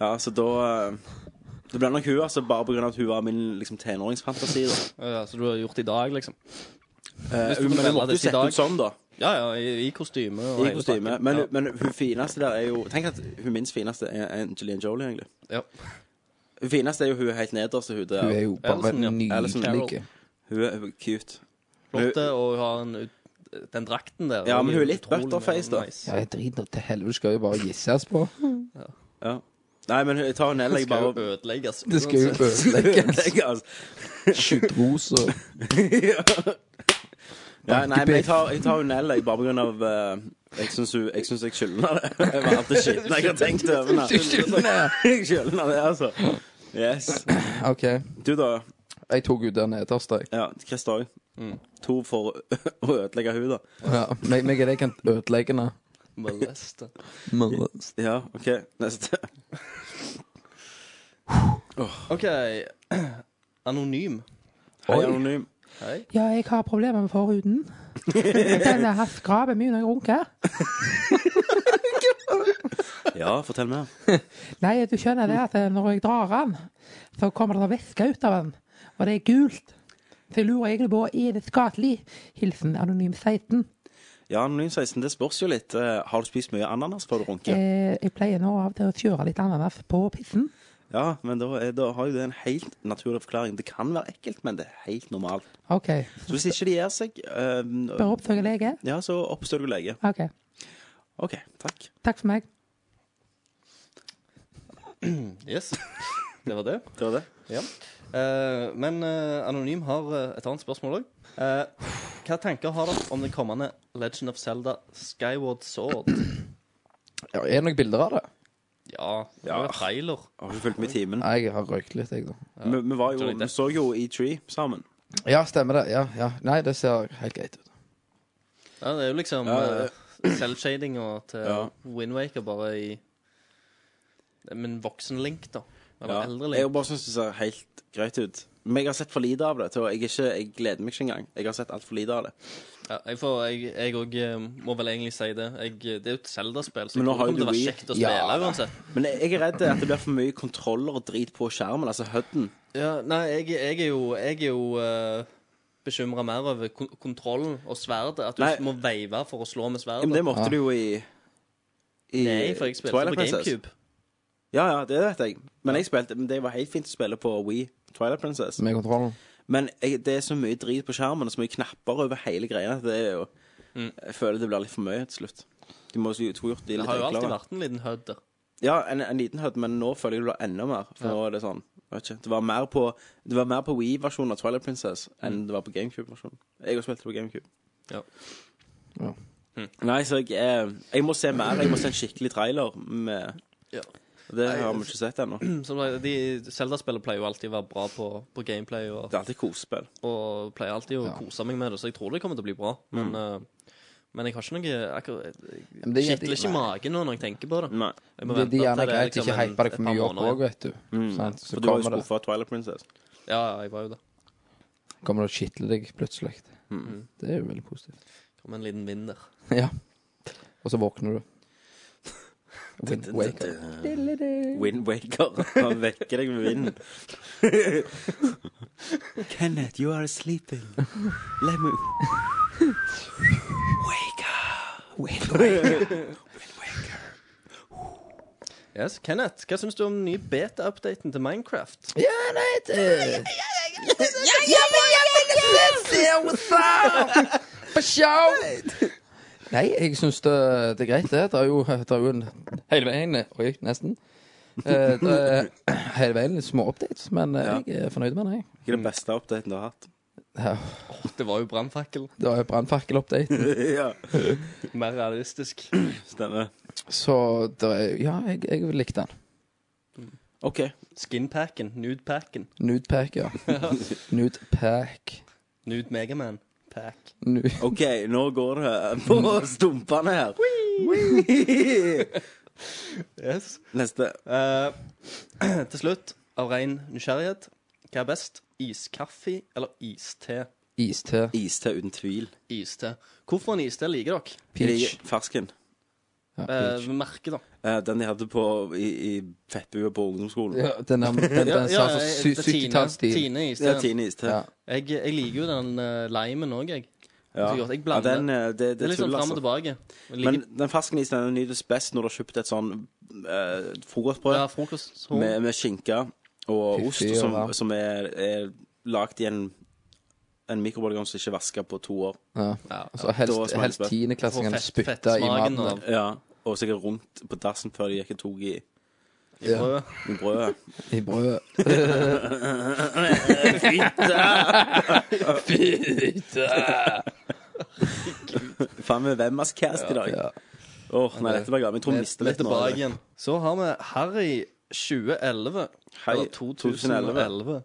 S1: Ja, så da eh, Det ble nok hun, altså, bare pga. at hun var min liksom, tenåringsfantasi. da.
S5: Ja, så du har gjort det i dag, liksom?
S1: Eh,
S5: du
S1: men
S5: kunne
S1: hun
S5: velge
S1: måtte jo
S5: det til i
S1: sette
S5: dag.
S1: ut sånn, da.
S5: Ja, ja, i, i kostyme. og
S1: I
S5: hele
S1: kostyme.
S5: pakken.
S1: Men,
S5: ja.
S1: men hun fineste der er jo Tenk at hun minst fineste er Angelina Jolie, egentlig.
S5: Ja.
S1: Hun fineste er jo hun helt nederst. Hun, der.
S4: Hun er jo bare
S5: Alison, ja.
S1: Alison
S4: nydelig.
S5: Carroll.
S1: hun er hun er cute.
S5: Flott, og hun har en, ut- den drakten der.
S1: Ja, men hun er litt
S5: utrolig
S1: butterface, da.
S5: nice.
S4: Ja, jeg driter nå til helvete. Skal jo bare gisses på.
S1: Ja. Nei, men hun- jeg tar Nell, jeg
S5: Skal jo
S1: bare
S5: ødelegges.
S4: Det skal jo ødelegges.
S1: Jeg, altså.
S4: Skyt ros og
S1: ja, Nei, men jeg tar, jeg tar hun Nell, jeg, bare på grunn av eh, Jeg syns hun Jeg syns jeg skylder det. Jeg var alltid skitten jeg har tenkt over det. Jeg skylder det, altså. Yes.
S4: OK.
S1: Du, da?
S4: Jeg tok ut den nederste, jeg.
S1: Ja, Chris òg. To for å ødelegge hun da.
S4: Ja, meg, meg er det jeg kan ødelegge nå.
S5: Moleste.
S1: Ja, OK. Neste.
S5: OK. Anonym.
S1: Hei, anonym.
S5: Hei.
S10: Ja, jeg har problemer med forhuden. Den har skrapet mye når jeg runker.
S1: Ja, fortell mer.
S10: Nei, du skjønner det at eh, når jeg drar den, så kommer det væske ut av den, og det er gult. Så jeg lurer egentlig på er det skadelig. Hilsen Anonym 16.
S1: Ja, Anonym 16, det spørs jo litt. eh, Har du spist mye ananas før du runker?
S10: Eh, jeg pleier nå av og til å kjøre litt ananas på pissen.
S1: Ja, men da, er, da har jo det en helt naturlig forklaring. Det kan være ekkelt, men det er helt normalt.
S10: OK.
S1: Så hvis ikke de gir seg, eh,
S10: Bør oppsøke lege.
S1: ja, så oppsøker du lege.
S10: OK.
S1: OK, takk.
S10: Takk for meg.
S5: Yes. Det var det.
S1: Det var det.
S5: Ja. Eh, men eh, Anonym har eh, et annet spørsmål òg. hva tanker har dere om det kommende Legend of Zelda Skyward Sword?
S4: Ja, er det noen bilder av det?
S5: Ja, det var en trailer.
S1: Har du fulgt med i timen?
S4: Nei, jeg har røykt litt, jeg, da.
S1: Vi, vi, var jo,
S5: Johnny
S1: vi
S5: Depp.
S1: så jo E3 sammen.
S4: Ja, stemmer det. Ja, ja. Nei, det ser helt greit ut.
S5: Ja, det er jo liksom
S1: Ja,
S5: ja, selvshading og til
S1: Ja.
S5: Wind Waker bare i Men voksen Link, da. Eller
S1: Ja.
S5: eldre
S1: Jeg
S5: Link.
S1: bare syns det ser helt greit ut. Men jeg har sett for lite av det. Til, å- jeg, er ikke, jeg gleder meg ikke engang. Jeg har sett altfor lite av det.
S5: Ja, jeg får- jeg- jeg òg må vel egentlig si det. Jeg, det er jo et Zelda-spill, så
S1: Men nå
S5: jeg tror det
S1: har jo
S5: kommer til å
S1: du
S5: være
S1: Wii.
S5: kjekt å
S4: Ja,
S5: spille
S4: da.
S5: uansett.
S1: Men jeg jeg er redd at det blir for mye kontroller og drit på skjermen, altså HUD-en.
S5: Ja, nei, jeg, jeg er jo, jeg er jo bekymra mer over kon kontrollen og sverdet. At du
S1: Nei.
S5: må veive for å slå med
S1: Ja, men det
S5: sverdet.
S1: måtte du jo i, i
S5: Nei, for jeg spilte
S1: Twilight
S5: på
S1: Princess.
S5: GameCube.
S1: Ja, ja, det vet jeg. Men jeg spilte, men det var helt fint å spille på Wii Twilight Princess.
S4: Med kontrollen.
S1: Men jeg, det er så mye drit på skjermen og så mye knapper over hele greia. at Det er jo, Jeg føler det blir litt for mye til slutt. Du må jo få gjort de
S5: Mm. Det
S1: litt
S5: har jo alltid
S1: enklere.
S5: vært en liten hødd der.
S1: Ja, en, en liten høyde, men nå føler jeg det blir enda mer. For nå er det sånn jeg vet ikke, Det var mer på, det var mer på Wii-versjonen av Twilight Princess enn det var på GameCube-versjonen. Jeg har spilt på GameCube.
S5: Mm. Ja. Mm.
S4: Ja.
S1: Nei, så jeg, eh, jeg må se mer. Jeg må se en skikkelig trailer med
S5: Ja.
S1: Det har vi ikke sett ennå.
S5: Som sagt, de- Zelda-spillet pleier jo alltid å være bra på, på gameplay, og,
S1: Det er alltid kosespill.
S5: og pleier alltid å
S4: Ja.
S5: kose meg med det, så jeg tror det kommer til å bli bra. Men, eh, men jeg har ikke noe akkurat,
S4: Men
S5: Det
S4: det er-
S5: kitler ikke i magen nå når jeg tenker på det.
S1: Nei.
S5: Jeg må
S4: Det,
S5: vente
S4: det er gjerne
S5: til det er
S4: greit å ikke
S5: liksom en-
S4: hype deg
S5: et
S4: for
S5: par
S4: mye opp
S5: måneder Mm.
S4: òg,
S5: igjen.
S4: vet du. Sant? Så
S1: For du var jo
S4: kommer det,
S1: skuffa av Twilight Princess.
S5: Ja, ja, jeg var jo det.
S4: kommer det å kitle deg plutselig.
S5: Mm.
S4: Det er jo veldig positivt.
S5: Kom en liten vind der.
S4: Ja. Og så våkner du. Wind Waker.
S1: Wind Waker. Han vekker deg med vinden. Kenneth, you are sleeping. Let me
S5: Yes, Kenneth, hva syns du om den nye beta-updaten til Minecraft?
S4: Ja, nei, det På show! Nei, jeg syns det, det er greit, det. Det er jo, det er jo en hele veien Oi, nesten. Eh, det er hele veien litt små updates, men eh, jeg er fornøyd med det. jeg.
S1: Hva er den beste updaten du har hatt?
S4: Ja,
S5: Det var jo brannfakkel.
S4: Det var jo brannfakkelupdaten.
S1: ja,
S5: Mer realistisk.
S1: stemmer.
S4: Så det er, ja, jeg, jeg likte den.
S1: OK.
S5: Skinpacken. Nudepacken.
S4: Nudepack, ja. Nudepack.
S5: Nude Megaman. Pack.
S4: Nu
S1: OK, nå går det på stumpene her. Wee!
S5: Yes.
S1: Neste.
S5: Eh, til slutt, av ren nysgjerrighet, hva er best? Iskaffe eller iste?
S4: iste.
S1: Iste uten tvil.
S5: Iste. Hvorfor en iste liker dere?
S4: Peach.
S1: Fersken.
S4: Ja,
S5: Eh,
S4: peach.
S5: merke, da.
S1: Eh, den de hadde på, i, i fettbua på ungdomsskolen.
S4: Ja, den der den, den sa så
S5: jeg-
S4: sy-
S5: eh, det er Tine-
S4: 70-tallsstil.
S5: Tine iste.
S1: Det er Tine iste.
S4: Ja.
S5: Jeg, jeg liker jo den uh, limen òg, jeg.
S1: Ja.
S5: Så godt,
S1: Ja,
S5: jeg blander.
S1: den, eh, det,
S5: Det
S1: det er
S5: er litt sånn
S1: tull,
S5: fram og
S1: altså.
S5: tilbake. Jeg liker,
S1: Men den ferskenisen den nytes best når du har kjøpt et sånn eh, frokostbrød
S5: ja, frokost så-
S1: med, med skinke og ost
S4: Fiffig og
S1: som,
S4: varm.
S1: som er, er lagd i en, en mikrobølgeovn som ikke er vaska på to år.
S4: Ja.
S5: ja,
S4: Så
S1: Da
S4: helst,
S1: smaker
S4: helst
S1: det.
S4: tiendeklassingene
S5: Får fett-
S4: spytta i
S5: fettsmaken
S4: maten.
S5: av-
S4: der.
S1: Ja. Og sikkert rundt på dassen før de gikk og tok i,
S5: i brødet.
S1: i brødet.
S4: I brødet.
S1: Faen med hvem has cast i dag? Åh,
S4: Ja.
S1: nei, dette ble galt. Jeg tror vi mister
S5: Vi er
S1: litt nå.
S5: tilbake igjen. Så har vi Harry 2011.
S1: Hei,
S5: eller 2011.
S1: 2011.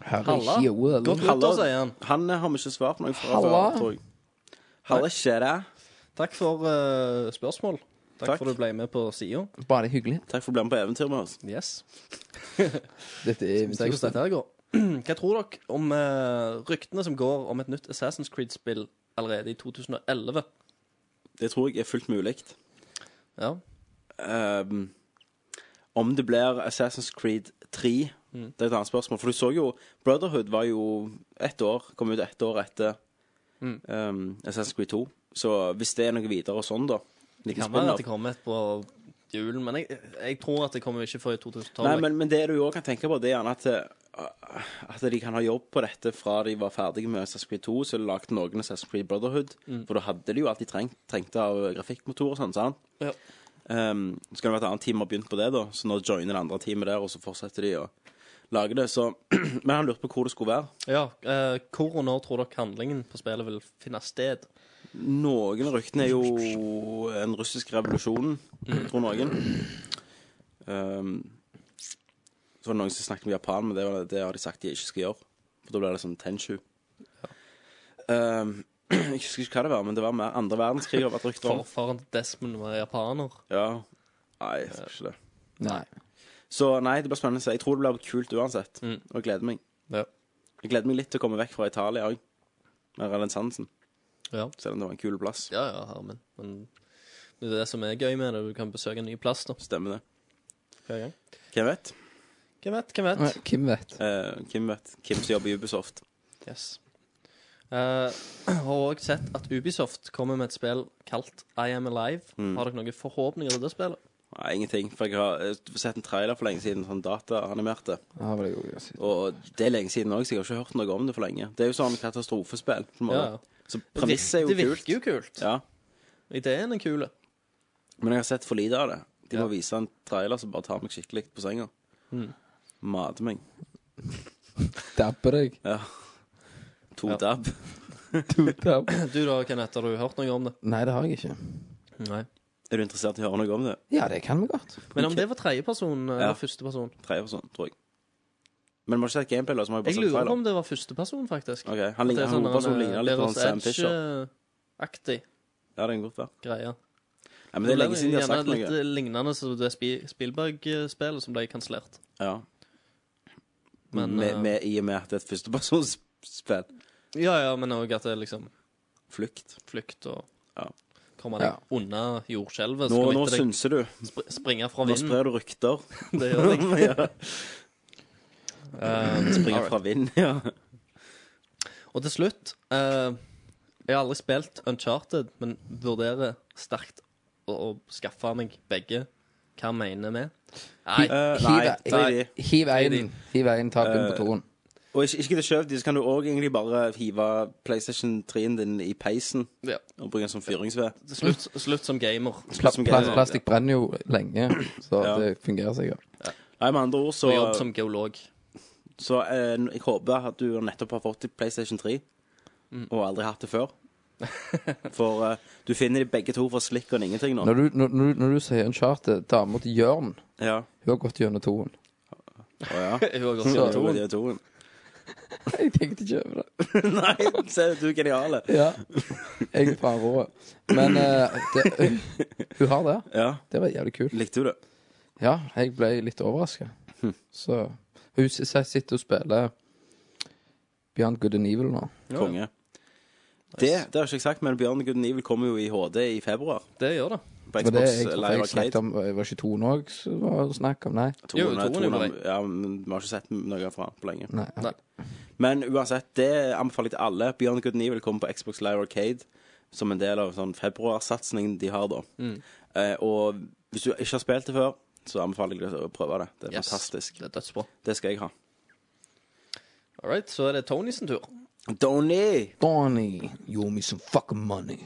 S5: Halla.
S4: Herregud.
S5: Godt nyttår, sier han.
S1: Han eh, har vi ikke svart noe fra
S4: Halla.
S1: før, tror jeg. Halla, kjære.
S5: Takk for eh, spørsmål. Takk,
S1: Takk.
S5: for at du ble med på sida.
S4: Bare hyggelig.
S1: Takk for å bli med på eventyr med oss.
S5: Yes.
S4: Dette er
S5: Vi ser hvordan dette her går. Hva tror dere om eh, ryktene som går om et nytt Assassin's Creed-spill allerede i 2011?
S1: Det tror jeg er fullt mulig.
S5: Ja.
S1: Ehm, om det blir Assassin's Creed 3,
S5: Mm.
S1: det er et annet spørsmål. For du så jo Brotherhood var jo ett år, kom ut ett år etter
S5: Mm.
S1: ehm, Assassin's Creed 2. Så hvis det er noe videre og sånn, da
S5: Det
S1: liten
S5: kan være at
S1: spin-off.
S5: det kommer et på julen, men jeg, jeg tror at det kommer ikke før i 2012.
S1: Nei, men, men det du òg kan tenke på, det er gjerne at eh, at de kan ha jobb på dette fra de var ferdige med Assassin's Creed 2, så de lagde noen Assassin's Creed Brotherhood. For da hadde de jo alltid trengt, trengt av grafikkmotor og sånn, sant?
S5: Ja.
S1: Ehm, så kan det være et annet team har begynt på det, da. Så nå joiner det andre teamet der, og så fortsetter de å lage det. Så Men han lurte på hvor det skulle være.
S5: Ja, eh, Hvor og når tror dere handlingen på spillet vil finne sted?
S1: Noen av ryktene er jo den russiske revolusjonen, tror noen. Ehm, så var det noen som snakket om Japan, men det, var, det har de sagt de ikke skal gjøre. For da blir det sånn Tenshu. Ehm, jeg husker ikke hva det var, men det var mer andre verdenskrig har vært rykter om.
S5: Forfaren til Desmond var japaner.
S1: Ja. Nei, jeg tror ikke det.
S4: Nei.
S1: Så nei, det blir spennende. å se. Jeg tror det blir kult uansett. Og jeg gleder meg.
S5: Ja.
S1: Jeg gleder meg litt til å komme vekk fra Italia òg, med renessansen.
S5: Ja.
S1: Selv om det var en kul plass.
S5: Ja, ja, Herman. Men det er det som er gøy med det. Du kan besøke en ny plass, da.
S1: Stemmer det.
S5: Hver gang.
S1: Hvem vet?
S5: Hvem vet, hvem vet.
S4: Nei, Hvem vet?
S1: Eh, hvem vet? Hvem som jobber i Ubisoft?
S5: Yes. Eh, har òg sett at Ubisoft kommer med et spill kalt I Am Alive. Har dere noen forhåpninger til det spillet?
S1: Mm. Nei, ingenting. For jeg har eh, sett en trailer for lenge siden, sånn dataanimerte.
S4: Ja, var det jo gøy å si.
S1: Og det er lenge siden òg, så jeg har ikke hørt noe om det for lenge. Det er jo sånn katastrofespill. på en måte.
S5: Ja, ja.
S1: Så premisset er
S5: det
S1: jo
S5: virker
S1: kult.
S5: jo kult.
S1: Ja.
S5: Ideen er kul.
S1: Men jeg har sett for lite av det. De
S5: Ja.
S1: må vise en trailer som bare tar meg skikkelig på senga. Mater meg.
S4: Dabber deg.
S1: Ja. To
S5: Ja.
S1: dab.
S4: Dabb.
S5: Du da, Kenneth, har du hørt noe om det?
S4: Nei, det har jeg ikke.
S5: Nei.
S1: Er du interessert i å høre noe om det?
S4: Ja, det kan vi godt.
S5: Men om det var tredjeperson eller
S1: Ja.
S5: førsteperson
S1: Tredje person, sånn, tror jeg. Men må ikke sette gameplay, da, så må jeg bare
S5: Jeg
S1: sette
S5: lurer på
S1: sånn trailer.
S5: om det var førsteperson, faktisk.
S1: Ok, han ligner, sånn,
S5: eh,
S1: hovedpersonen ligner litt på han Sam Fisher.
S5: Aktig
S1: Ja, det kan godt være.
S5: greie.
S1: Ja, men det er
S5: ble
S1: lenge siden de har
S5: gjerne
S1: sagt noe.
S5: litt eh, lignende som det Spi- Spielberg-spillet som ble kansellert.
S1: Ja.
S5: Men,
S1: med,
S5: eh,
S1: med, I og med at det er et førstepersonsspill.
S5: Ja, ja, men òg at det er liksom
S1: Flukt.
S5: flukt og
S1: Ja.
S5: komme deg
S4: Ja.
S5: unna jordskjelvet.
S1: Nå,
S5: Skal
S1: nå
S5: ikke deg
S1: synser du.
S5: sp springe fra
S1: Nå
S5: vinden.
S1: sprer du rykter.
S5: Det gjør jeg.
S1: ja.
S5: Eh,
S1: Springer fra vind, ja.
S5: og til slutt eh, Jeg har aldri spilt Uncharted, men vurderer sterkt å, å skaffe meg begge. Hva mener vi? Nei,
S1: Eh,
S4: Hiv-
S1: nei, nei.
S4: Hiv én. Hiv én, ta
S5: Eh,
S4: kun på toen.
S1: Og ikke, ikke til kjøp, så kan du òg egentlig bare hive PlayStation 3-en din i peisen
S5: ja.
S1: og bruke den som fyringsved.
S5: til slutt, slutt som gamer.
S4: Pla
S1: som
S4: pla
S1: gamer.
S4: plastikk brenner jo lenge, så
S1: Ja.
S4: det fungerer sikkert.
S1: Nei, med andre ord, så,
S5: Og jobb som geolog.
S1: så eh, jeg håper at du nettopp har fått til PlayStation 3,
S5: Mm.
S1: og aldri hatt det før. For eh, du finner de begge to for slikken ingenting nå.
S4: Når du, når, når, du- når du sier Uncharted, dama til Jørn
S1: Ja.
S4: Hun har gått gjennom toen.
S1: Å ja.
S5: Hun har gått
S1: Så,
S5: gjennom
S1: to.
S5: toen.
S1: De toen.
S4: Jeg tenkte ikke over det.
S1: Nei, se, du er genial.
S4: Ja. Jeg er faen rå. Men eh, det, hun har det.
S1: Ja.
S4: Det var jævlig kult.
S1: Likte du det?
S4: Ja, jeg ble litt overraska.
S1: Hm.
S4: Så hun s- s- sitter og spiller Beyond Good and Evil nå.
S1: Konge. Det, det har jeg ikke sagt, men Bjørn Guden Evil kommer jo i HD i februar.
S5: Det gjør det.
S1: På
S4: For det
S1: Xbox
S4: jeg, tror
S1: Live
S4: jeg snakket
S1: Arcade.
S4: om Var ikke toen òg som var snakk om? Nei.
S1: Toen
S5: Jo,
S1: er-
S5: toen er
S1: toen
S5: på
S1: er-
S5: vei.
S1: Ja, men vi har ikke sett noe fra den på lenge.
S4: Nei.
S5: Nei.
S1: Men uansett, det anbefaler jeg til alle. Bjørn Guden Evil kommer på Xbox Live Arcade som en del av sånn februarsatsingen de har da. Eh, og hvis du ikke har spilt det før, så anbefaler jeg deg å prøve det. Det er
S5: Yes.
S1: fantastisk.
S5: Det er dødsbra.
S1: Det skal jeg ha.
S5: All right, så er det Tony sin tur.
S1: Donny!
S4: Donnie, you owe me some fucking money.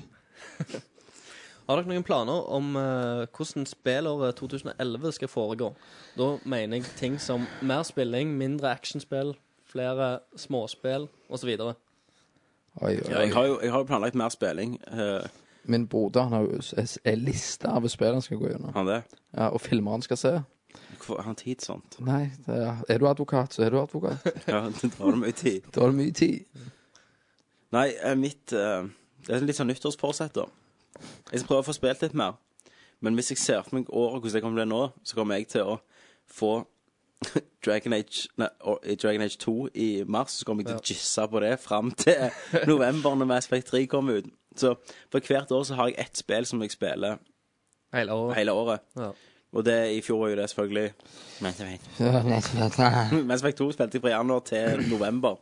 S5: Har dere noen planer om eh, hvordan spillåret 2011 skal foregå? Da mener jeg ting som mer spilling, mindre actionspill, flere småspill osv.
S4: Oi,
S1: Ja,
S4: oi, oi.
S1: jeg har jo jeg har jo planlagt mer spilling. eh,
S4: Min broder han har jo s- s- en liste av spill han skal gå gjennom.
S1: han det?
S4: Ja, og filmer han skal se.
S1: Hvorfor har han tid til sånt?
S4: Nei, det er, er du advokat, så er du advokat.
S1: Ja, det tar mye tid.
S4: Da har du mye tid.
S1: Nei, eh, mitt eh, Det er litt sånn nyttårsforsett, da. Jeg skal prøve å få spilt litt mer. Men hvis jeg ser for meg året hvordan det kommer til å bli nå, så kommer jeg til å få Dragon Age, nei, å- i Dragon Age 2 i mars, så kommer jeg til å jizze på det fram til november når Mass Effect 3 kommer ut. Så for hvert år så har jeg ett spill som jeg spiller
S5: Hele året.
S1: hele året.
S5: Ja.
S1: Og det i fjor var jo det, selvfølgelig. Mass Effect Mass Effect 2 spilte jeg fra januar til november.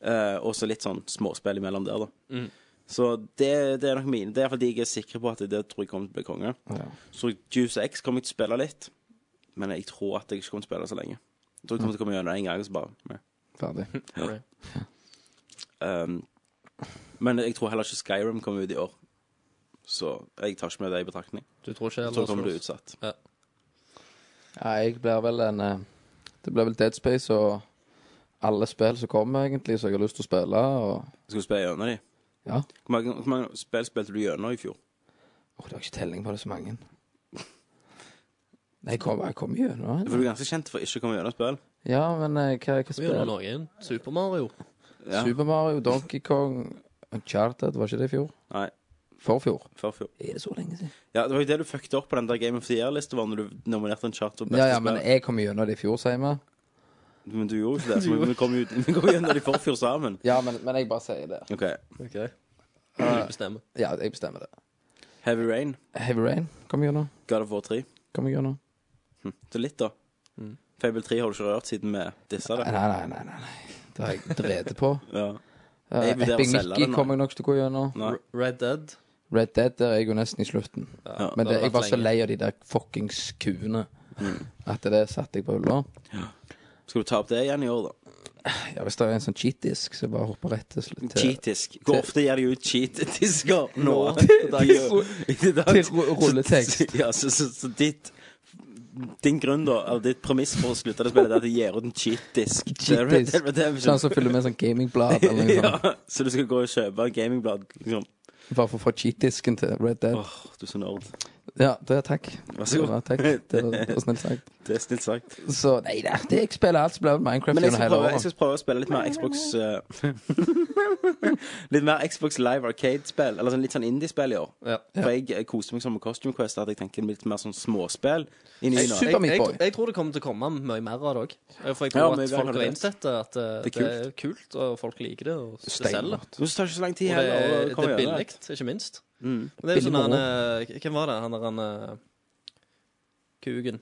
S1: Eh, og så litt sånn småspill imellom der, da.
S5: Mm.
S1: Så det, det er nok mine. Det er iallfall de jeg er sikre på at det tror jeg kommer til å bli konge. Så Juice X kommer jeg til å spille litt, men jeg tror at jeg ikke kommer til å spille så lenge. Jeg tror jeg kommer til å komme gjennom det en gang, og så bare
S4: Ferdig.
S5: Sorry.
S1: Ehm, Men jeg tror heller ikke Skyrim kommer ut i år. Så jeg tar ikke med det i betraktning.
S5: Du tror ikke
S1: Jeg tror det kommer til å bli
S5: Lars Ross?
S1: utsatt.
S4: Ja, jeg blir vel en eh, Det blir vel Dead Space og alle spill som kommer, egentlig, som jeg har lyst til å spille. Og
S1: Skal du spille gjennom de?
S4: ja.
S1: Hvor mange, hvor mange spill spilte du gjennom i fjor?
S4: Åh, det har ikke telling på det så mange. Nei, jeg kom, jeg kom gjennom.
S1: For du er ganske kjent for ikke å komme gjennom spill.
S4: Ja, men eh, hva, hva
S5: Vi gjør
S4: spiller
S5: noen. Super Mario.
S1: Ja.
S4: Super Mario, Donkey Kong, Uncharted, var ikke det i fjor?
S1: Nei,
S4: Forfjor.
S1: forfjor.
S4: Er det så lenge siden?
S1: Ja, det var jo det du fucket opp på den der Game of the Year-lista var når du nominerte en chart for beste
S4: Ja, ja, men
S1: spill.
S4: jeg kom gjennom det i fjor, sier vi.
S1: Men du gjorde jo ikke det. Så vi kom jo vi kom jo gjennom de forfjor sammen.
S4: Ja, men, men jeg bare sier det.
S1: OK.
S5: Okay. Du bestemmer.
S4: Ja, jeg bestemmer det.
S1: Heavy Rain,
S4: Heavy Rain kom gjennom.
S1: God of War 3.
S4: Kom gjennom.
S1: Så litt, da. Fable 3 har du ikke rørt siden vi dissa
S4: Nei,
S1: det.
S4: nei, nei. nei, nei. Det har jeg drevet på.
S1: Ja.
S4: Uh,
S1: Jeg vurderer å
S4: Epic
S1: selge
S4: Mickey
S1: den,
S4: kommer jeg nok til å gå gjennom.
S1: Nei.
S5: R- Red Dead.
S4: Red Dead der er jeg jo nesten i slutten. Men det,
S5: det har
S4: jeg
S5: vært
S4: var så
S5: lenge.
S4: lei av de der fuckings kuene
S1: Mm.
S4: at det satte jeg på hylla.
S1: Skal du ta opp det igjen i år, da?
S4: Ja, hvis det er en sånn cheat-disk, så bare hopper rett til, til, til,
S1: Cheatisk. Hvor ofte gir de ut cheat-disker nå? I dag.
S4: til ru- rulletekst.
S1: Ja, så, så, så ditt Din grunn, da, eller ditt premiss for å slutte det spillet, det er at de gir ut en cheat-disk. Det er Red Dead Redemption.
S4: Sånn som fyller med sånn gamingblad eller noe sånt.
S1: Ja, så du skal gå og kjøpe gamingblad? Liksom.
S4: Bare for å få cheat-disken til Red Dead.
S1: Åh, du er så nerd.
S4: Ja, det, takk.
S1: Vær så god.
S4: Det var- Takk. Det var, det var snilt sagt.
S1: Det er snilt sagt.
S4: Så nei da, det jeg spiller alt, spiller Minecraft
S1: Men jeg
S4: gjennom
S1: skal,
S4: hele
S1: prøve, jeg
S4: året.
S1: skal prøve å spille litt mer Xbox eh, Litt mer Xbox Live Arcade-spill. Eller sånn, litt sånn indie-spill i år.
S5: Ja.
S1: For jeg eh, koste meg sånn med Costume Quest at jeg tenker litt mer sånn småspill. Inn i
S5: Jeg,
S1: nå.
S4: Super
S5: jeg,
S4: Meat
S5: jeg,
S4: Boy.
S5: jeg tror det kommer til å komme mye mer av det òg. For jeg
S1: Ja,
S5: tror
S1: men
S5: at
S1: vi
S5: folk
S1: har
S5: har
S1: det.
S5: innsett det, at eh,
S1: Det
S5: det
S1: er
S5: er kult, og folk liker det, og det selger.
S1: Men så tar det ikke så lang tid
S5: Og det,
S1: heller å
S5: er- det
S1: komme
S5: er
S1: gjennom.
S5: billig,
S1: det. Mm.
S5: ikke minst. Men det er jo
S4: Billig
S5: sånn han
S4: moro.
S5: eh, Hvem var det? Han der han eh, Kugen.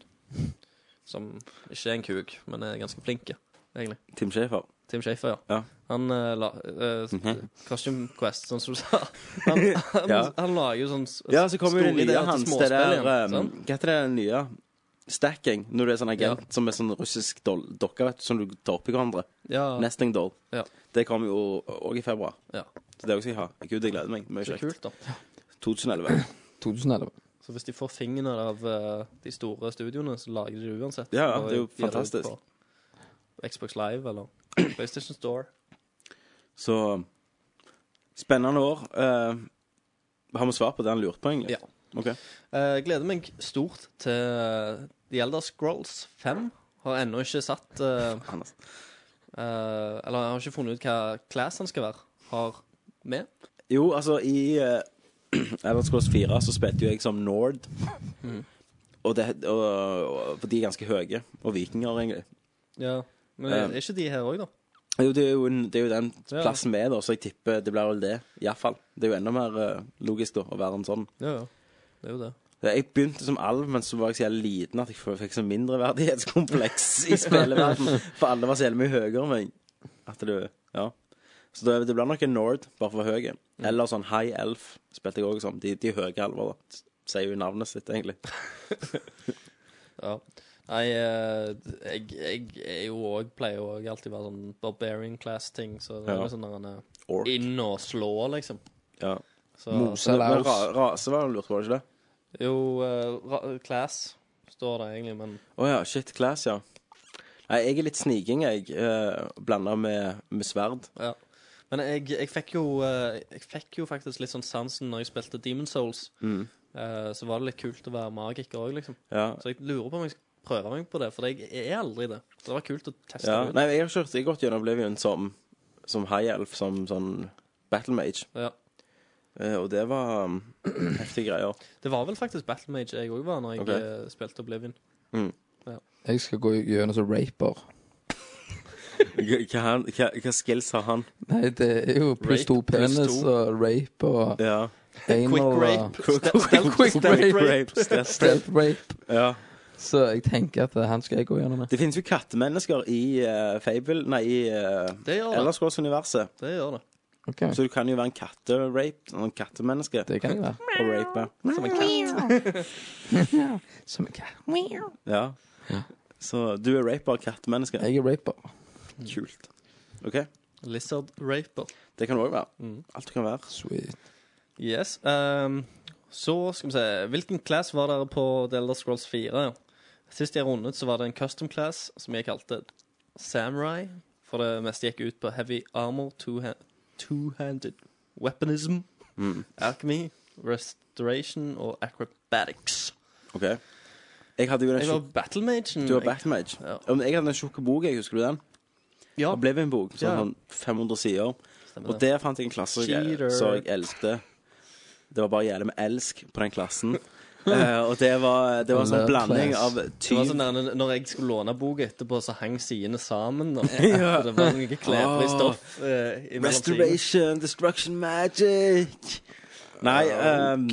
S5: Som ikke er en kuk, men er ganske flink, egentlig.
S1: Tim Schafer.
S5: Tim Shafer, ja.
S1: Ja.
S5: Han eh, la eh,
S1: Mhm.
S5: Costume Quest, sånn som du sa. Han, han,
S1: Ja.
S5: han lager jo sånn s-
S1: Ja, så kommer jo
S5: store
S1: det nye
S5: ideer til
S1: hans. Det
S5: småspill
S1: der
S5: igjen,
S1: eh,
S5: sant?
S1: Hva heter det nye? Stacking. Når du er sånn agent som er sånn russisk doll- dokke, vet du, som du tar oppi hverandre.
S5: Ja,
S1: Nesting doll.
S5: Ja.
S1: Det kom jo òg i februar.
S5: Ja.
S1: Så det også skal jeg ha. Gud, jeg gleder meg. Mye
S5: så
S1: kjekt.
S5: kult, da.
S1: 2011.
S4: 2011.
S5: Så hvis de får fingeren av eh, de store studioene, så lager de det uansett.
S1: Ja, ja,
S5: Og
S1: det er jo
S5: gir ut
S1: fantastisk.
S5: på Xbox Live eller PlayStation Store.
S1: Så spennende år. Eh, har vi svar på det han lurte på, egentlig?
S5: Ja.
S1: Ok.
S5: Eh, gleder meg stort til eh, The Elder Scrolls 5. Har ennå ikke satt eh,
S1: Han er-
S5: eh, Eller jeg har ikke funnet ut hva class han skal være. Har med.
S1: Jo, altså, i uh, Elder Scrolls 4 så spilte jo jeg som Nord.
S5: Mm.
S1: Og, det, og, og For de er ganske høye. Og vikinger, egentlig.
S5: Ja, Men
S1: Eh.
S5: er ikke de her òg, da?
S1: Jo, det er jo, en, det er jo den
S5: Ja.
S1: plassen vi er, da, så jeg tipper det blir vel det. Iallfall. Det er jo enda mer eh, logisk da, å være en sånn.
S5: Ja, ja. Det er jo det.
S1: Jeg begynte som alv, men så var jeg så jævlig liten at jeg f- fikk sånn mindreverdighetskompleks i spilleverden. For alle var så jævlig mye høyere enn meg. At du, ja. Så det, det blir nok en Nord, bare for å være høy. Eller sånn High Elf spilte jeg òg som. De, de høye alver, da. Sier jo navnet sitt, egentlig.
S5: Ja. Nei, eh, jeg, jeg er jo òg Pleier jo òg alltid å være sånn barbarian class-ting. Så det er
S1: Ja.
S5: jo sånn når han er
S1: Orc.
S5: inn og slå, liksom.
S1: Ja.
S5: Så,
S4: Mose
S1: Men, men
S4: eller
S1: ra,
S4: Aus.
S1: rase var det lurt, var det ikke det?
S5: Jo, eh, ra- class står det egentlig, men
S1: Å ja, shit class, ja. Nei, jeg er litt sniking, jeg. Uh, Blanda med, med sverd.
S5: ja. Men jeg, jeg, fikk jo, eh, jeg fikk jo faktisk litt sånn sansen når jeg spilte Demon Souls. Eh, så var det litt kult å være magiker òg, liksom.
S1: Ja.
S5: Så jeg lurer på om jeg skal prøve meg på det, for jeg er aldri det. Så det var kult å teste
S1: Ja.
S5: det ut.
S1: Nei, jeg har kjørt jeg har gått gjennom Oblivion som, som high elf, som sånn battle mage.
S5: Ja.
S1: Eh, og det var um, heftige greier.
S5: Det var vel faktisk Battle Mage jeg òg var når jeg
S1: Ok.
S5: eh, spilte Oblivion.
S4: Jeg skal gå gjennom som raper.
S1: Hva, han- hva, hva skills har han?
S4: Nei, det er jo pluss
S5: Rape,
S4: to
S5: pluss
S4: penis
S5: to.
S4: og rape og
S1: Ja.
S4: anal
S5: Quick
S4: og
S5: rape.
S4: quick rape.
S1: Stealth rape.
S4: Stealth rape.
S1: Ja.
S4: Så jeg tenker at eh, han skal jeg gå gjennom med.
S1: Det finnes jo kattemennesker i eh, Fable Nei, i uh,
S5: Det gjør det.
S1: Ellersgårdsuniverset.
S5: Det gjør det.
S4: Ok,
S1: Så du kan jo være en katterape. En kattemenneske.
S4: Det kan jeg være.
S1: Og rape.
S4: Som en katt.
S1: Ja. Så du er raper og kattemenneske.
S4: Jeg er raper.
S1: Kult. OK.
S5: Lizard Raper. Mm.
S1: Det kan du òg være. Alt du kan være.
S4: Sweet.
S5: Yes. ehm, så skal vi se Hvilken class var dere på The Elder Scrolls 4? Ja? Sist jeg rundet, så var det en custom class som jeg kalte Samurai. For det meste gikk ut på heavy armor, two-ha- two-handed weaponism,
S1: Mm.
S5: alchemy, restoration og acrobatics.
S1: OK. Jeg hadde jo den
S5: Jeg var
S1: tjukke-
S5: battlemagen.
S1: Du var Batmage.
S5: Ja.
S1: Om Jeg hadde en tjukk bok, jeg husker du den?
S5: Ja,
S1: Oblivion-bok, sånn,
S5: Ja.
S1: sånn 500 sider.
S5: stemmer
S1: Og
S5: det.
S1: der fant jeg en klasse jeg,
S5: Cheater.
S1: som jeg elsket. Det var bare jævlig med elsk på den klassen. Eh, og det var, det var en sånn
S4: Love
S1: blanding
S4: class.
S1: av
S5: Det var
S1: tyv
S5: sånn der, Når jeg skulle låne boka etterpå, så hang sidene sammen. Og, og det var noe klebrig stoff eh, imellom sidene.
S1: Restoration, destruction, magic. Nei, ehm,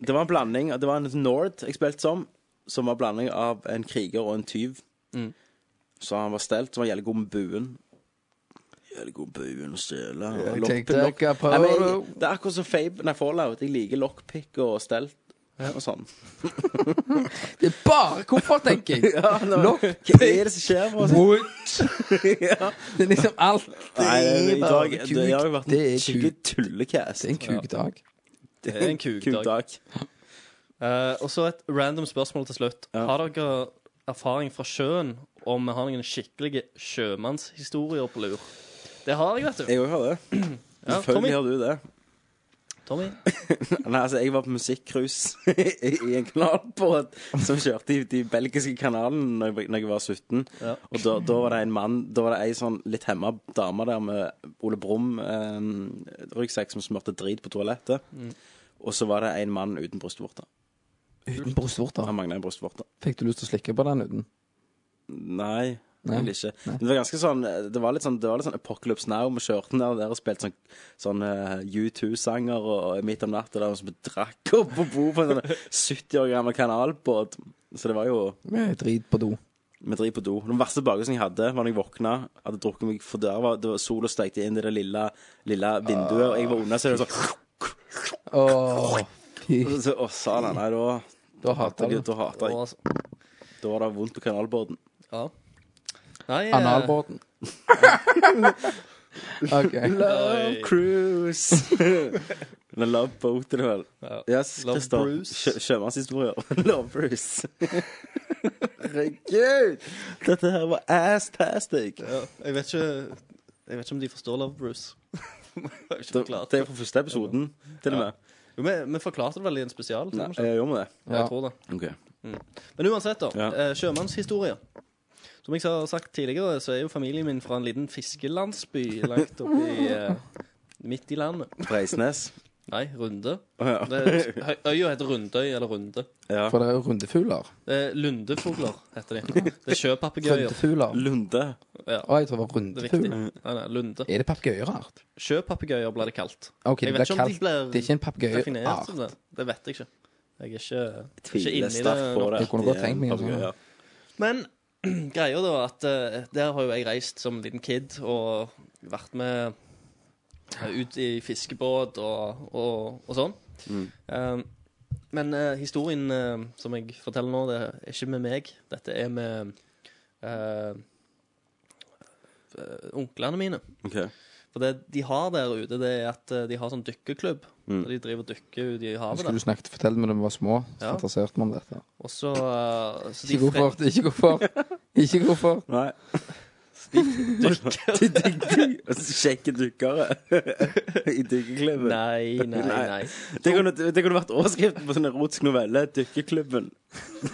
S1: det var en blanding Det var en Nord jeg spilte som, som var en blanding av en kriger og en tyv. Så han var stelt, som var jævlig god med buen. Jævlig god med buen og stjele. og
S4: Jeg
S1: lockpick-
S4: tenkte
S1: lock-
S4: ikke på
S1: Nei, men jeg-
S4: det.
S1: Det er akkurat som Fabe Nei, Fallout. Jeg liker lockpick og stelt. Og sånn.
S4: Det er bare kofferttenking!
S1: Hva er det som skjer? med oss?
S4: Wood! Det er liksom alt.
S1: Nei, det- i dag
S4: bare
S1: Det har jo vært
S4: Det er
S1: en skikkelig
S4: kuk.
S1: tullecast.
S4: Det er en kukdag.
S1: Det
S5: er en kukdag. Eh, og så et random spørsmål til slutt.
S1: Ja.
S5: Har dere erfaring fra sjøen om vi har noen skikkelige sjømannshistorier på lur? Det har jeg, vet du.
S1: Jeg òg har det.
S5: Ja,
S1: Selvfølgelig
S5: Tommy,
S1: har du det.
S5: Eh, Tommy?
S1: Nei, altså, jeg var på musikkcruise i i en kanalbåt som kjørte i de belgiske kanalene når jeg, når jeg var 17.
S5: Ja.
S1: Og da, da var det en mann Da var det ei sånn litt hemma dame der med Ole Brumm-ryggsekk som smurte drit på toalettet. Og så var det en mann uten brystvorter.
S4: Uten brystvorter.
S1: Han mangla en brystvorte.
S4: Fikk du lyst til å slikke på den uten?
S1: Nei.
S4: Nei.
S1: Egentlig ikke. Men det var ganske sånn Det var litt sånn, det var litt sånn Apocalypse Now. Vi kjørte ned der og spilte sånn, sånn eh, U2-sanger og, og Midt om natta der og så vi drakk opp og bo på en sånn 70 år gammel kanalbåt. Så det var jo
S4: Med drit på do.
S1: Vi driver på do. Den verste bakelsen jeg hadde, var da jeg våkna. Hadde drukket meg for døra. var- Det var sol og stekte inn i det lille, lille vinduet, og jeg var under, så det var sånn
S4: Åh, fy.
S1: og så, Å, salen. Nei, da
S4: Da hater
S1: Herregud,
S4: du.
S1: da hater jeg.
S5: altså-
S1: Da var det vondt på kanalbåten.
S5: Ja. Nei, eh,
S4: Analbåten. OK.
S5: Eh,
S1: Love cruise. Men love boat, er det vel.
S5: Ja.
S1: Yes,
S5: Love
S1: Christer.
S5: Bruce.
S1: Sjø- Sjømannshistorier. love Bruce. Herregud! Dette her var ass-tastic.
S5: ja, jeg vet ikke Jeg vet ikke om de forstår Love Bruce. Jeg har ikke
S1: Det,
S5: forklart
S1: det er fra første episoden, til og
S5: Ja.
S1: med.
S5: Jo, vi, vi forklarte det vel i en spesial.
S1: Nei,
S5: Nei, eh,
S1: jeg gjør vi det?
S5: Jeg tror det.
S1: OK.
S5: Men uansett, da.
S1: Ja.
S5: eh, Sjømannshistorie. Som jeg har sagt tidligere, så er jo familien min fra en liten fiskelandsby langt oppi eh, midt i landet.
S1: Breisnes.
S5: Nei, Runde.
S1: Å, ja.
S5: Det er, øya heter Rundøy eller Runde.
S1: Ja.
S4: For det er jo rundefugler.
S5: Det er lundefugler, heter de. Det er sjøpapegøyer.
S4: Rundefugler.
S1: Lunde.
S5: Ja,
S4: Å, jeg tror det var
S5: det er viktig.
S4: rundefugl.
S5: Nei, nei, lunde.
S4: Er det papegøyeart?
S5: Sjøpapegøyer blir det kalt.
S4: OK,
S5: Jeg
S4: det
S5: vet
S4: blir
S5: ikke om de
S4: kalt
S5: blir
S4: Det er ikke en Ah,
S5: definert
S4: papegøyeart.
S5: som det. Det vet jeg ikke. Jeg er ikke, ikke
S1: Tviler
S5: inne i
S1: sterkt
S5: det.
S1: på
S5: nok.
S1: det.
S4: Jeg kunne godt tenkt meg en sånn.
S1: Ja.
S5: Men greia da at eh, der har jo jeg reist som liten kid og vært med eh, ut i fiskebåt og, og, og sånn. Eh, men eh, historien eh, som jeg forteller nå, det er ikke med meg. Dette er med eh, eh, onklene mine.
S1: OK.
S5: For det de har der ute, det er at eh, de har sånn dykkerklubb.
S1: Mm.
S5: Og De driver og dykker ute i havet.
S4: Skulle
S5: der.
S4: du snakket fortelle meg da vi var små, så
S5: Ja.
S4: fantaserte vi om dette.
S5: Og så, eh, så
S4: Ikke hvorfor, ikke hvorfor. Ikke hvorfor.
S1: Nei. De dykker. Og så Kjekke dykkere i dykkerklubben.
S5: Nei, nei,
S1: Nei.
S5: nei.
S1: Det kunne, det kunne vært overskriften på sånn erotisk novelle. Dykkerklubben.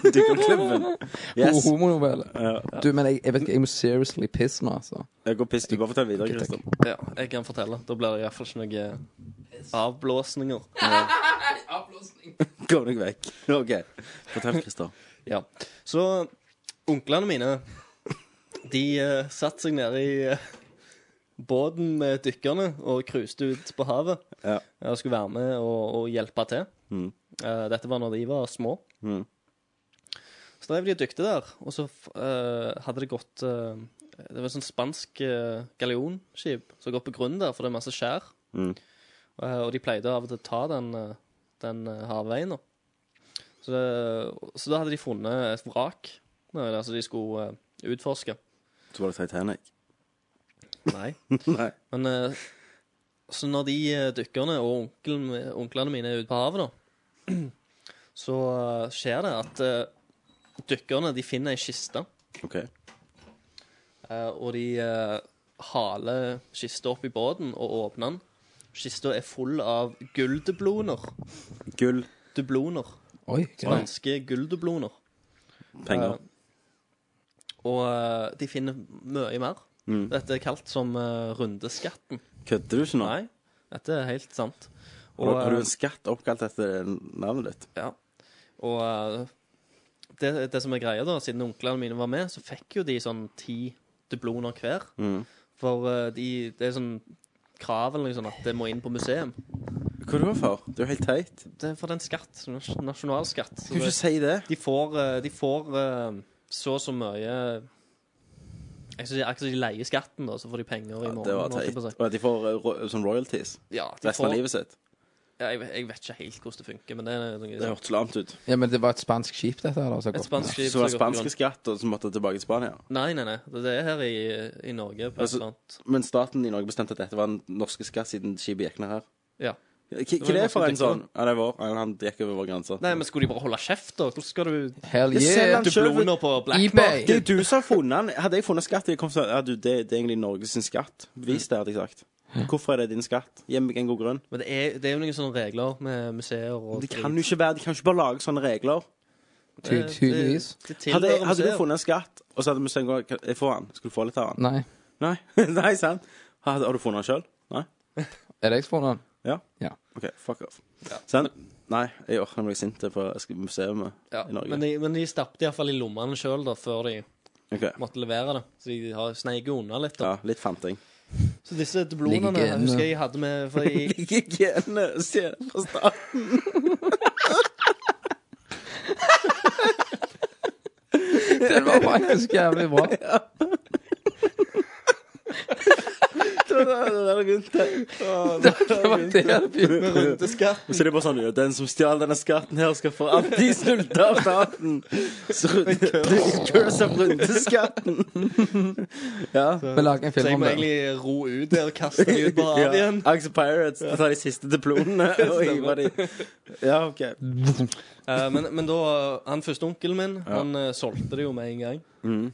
S1: Dykkerklubben. Yes.
S5: Oh.
S4: Ho- Homonovelle.
S1: Ja.
S4: Du, men jeg, jeg vet ikke, jeg må seriously pisse nå, altså.
S1: Jeg går piss. Du bare fortell videre,
S4: Ok, takk.
S1: Christer.
S5: Ja, jeg kan fortelle. Da blir det iallfall ikke noe eh, avblåsninger.
S1: Gå deg vekk. OK. Fortell, Christer.
S5: Ja. Så onklene mine, de uh, satte seg nede i eh, båten med dykkerne og cruiset ut på havet.
S1: Ja.
S5: Jeg skulle være med og, og hjelpe til.
S1: Mm.
S5: Eh, dette var når de var små.
S1: Mm.
S5: Så drev de og dykte der, og så f- eh, hadde det gått eh, Det var et sånt spansk eh, galeonskip som har gått på grunn der, for det er masse skjær.
S1: Mm.
S5: Eh, og de pleide av og til å ta den, eh, den eh, havveien. da. Så, det, så da hadde de funnet et vrak nede der som de skulle eh, utforske.
S1: Så var det Titanic.
S5: Nei.
S1: Nei.
S5: Men eh, så når de eh, dykkerne og onkelen- onklene mine er ute på havet, da, så eh, skjer det at eh, dykkerne de finner ei kiste,
S1: OK.
S5: eh, og de eh, haler kista opp i båten og åpner den. Kista er full av gulldubloner.
S1: Gull.
S5: Dubloner.
S4: Oi, greit.
S5: Spanske gulldubloner.
S1: Penger.
S5: Eh, og eh, de finner mye mer.
S1: Mm.
S5: Dette er kalt som eh, rundeskatten.
S1: Kødder du ikke nå?
S5: Nei, dette er helt sant.
S1: Har du- har du
S5: eh,
S1: en skatt oppkalt etter navnet ditt?
S5: Ja. Og eh, det, det som er greia, da, siden onklene mine var med, så fikk jo de sånn ti dubloner hver.
S1: Mm.
S5: For eh, de, det er sånn krav eller noe sånt at det må inn på museum.
S1: Hva er det for? Det er jo helt teit.
S5: Det er for den skatt. nas- Nasjonalskatt. Så
S1: Skal du
S5: det-
S1: ikke si det?
S5: De får, eh, de får eh, så og så mye Jeg synes det er Akkurat som de leier skatten, da, så får de penger i
S1: Ja,
S5: morgen.
S1: det var
S5: holdt jeg
S1: teit.
S5: på å si.
S1: Og at de får eh, ro sånn royalties
S5: Ja, de
S1: resten
S5: får,
S1: av livet sitt.
S5: Ja, jeg, vet- jeg vet ikke helt hvordan det funker, men det er noe,
S1: Det hørtes lamt ut.
S4: Ja, men det var et spansk skip, dette? her, da, som har
S5: et
S4: gått
S5: spansk skip
S1: Så var det
S5: som går på grunn.
S1: spanske skatt, og så måtte jeg tilbake til Spania.
S5: Nei, nei, nei. Det det er her i, i Norge. På
S1: Altså-
S5: et eller annet.
S1: Men staten i Norge bestemte at dette var den norske skatt siden skipet gikk ned her.
S5: Ja.
S1: Hva hva er det for en
S5: Det var
S1: sånn? Ja, det er vår. Ja, Han gikk over vår grense.
S5: Nei, men skulle de bare holde kjeft, da? Hvordan skal du
S4: ned. Hell
S1: Jeg selger
S4: yeah!
S1: den
S5: Du
S1: selv.
S5: bloner på black
S4: eBay.
S1: Det er du som har funnet den. Hadde jeg funnet skatt, jeg kom til å si, ja, du, det, det er egentlig Norges skatt. Bevis det, hadde jeg sagt. Hvorfor er det din skatt? Gi meg en god grunn.
S5: Men det er, det er jo noen sånne regler med museer og
S1: Det kan jo ikke være, De kan ikke bare lage sånne regler.
S4: Ty- Tydeligvis.
S5: Eh, Det, det
S1: Hadde,
S5: tilhører
S1: hadde du
S5: museer.
S1: funnet en skatt, og så hadde museet gått Jeg får den. Skal du få litt av den?
S4: Nei.
S1: Nei, Nei sant? Har, har du funnet den sjøl? Nei?
S4: Er det jeg som får den?
S1: Ja?
S4: Ja.
S1: OK, fuck off. Sant? Nei, jeg orker meg sint på museet
S5: ja,
S1: i Norge.
S5: men, de, men de stappet iallfall i lommene sjøl før de
S1: Ok.
S5: måtte levere det. Så de har sneiket unna litt. Da.
S1: Ja, litt fanting.
S5: Så disse dublonene
S4: Ligger igjen,
S5: husker jeg jeg hadde med for jeg,
S1: Ikke genene, sier jeg fra starten.
S4: Den var faktisk jævlig bra.
S1: Det der- det der er grunnen til.
S4: Det var det jeg begynte med.
S1: Og så er det bare sånn ja, Den som stjal denne skatten her, skal for alltid sulte av staten. Så curse av rundeskatten. Ja.
S4: Vi lager en
S5: Så
S4: film
S5: jeg
S4: om
S5: må
S4: det.
S5: egentlig ro ut der og kaste dem ut på havet
S1: Ja,
S5: igjen.
S1: Axe Pirates tar de siste diplomene og hiver de. Ja, OK.
S5: Eh, men, men da Han første onkelen min, han eh, solgte det jo med en gang.
S1: Mm.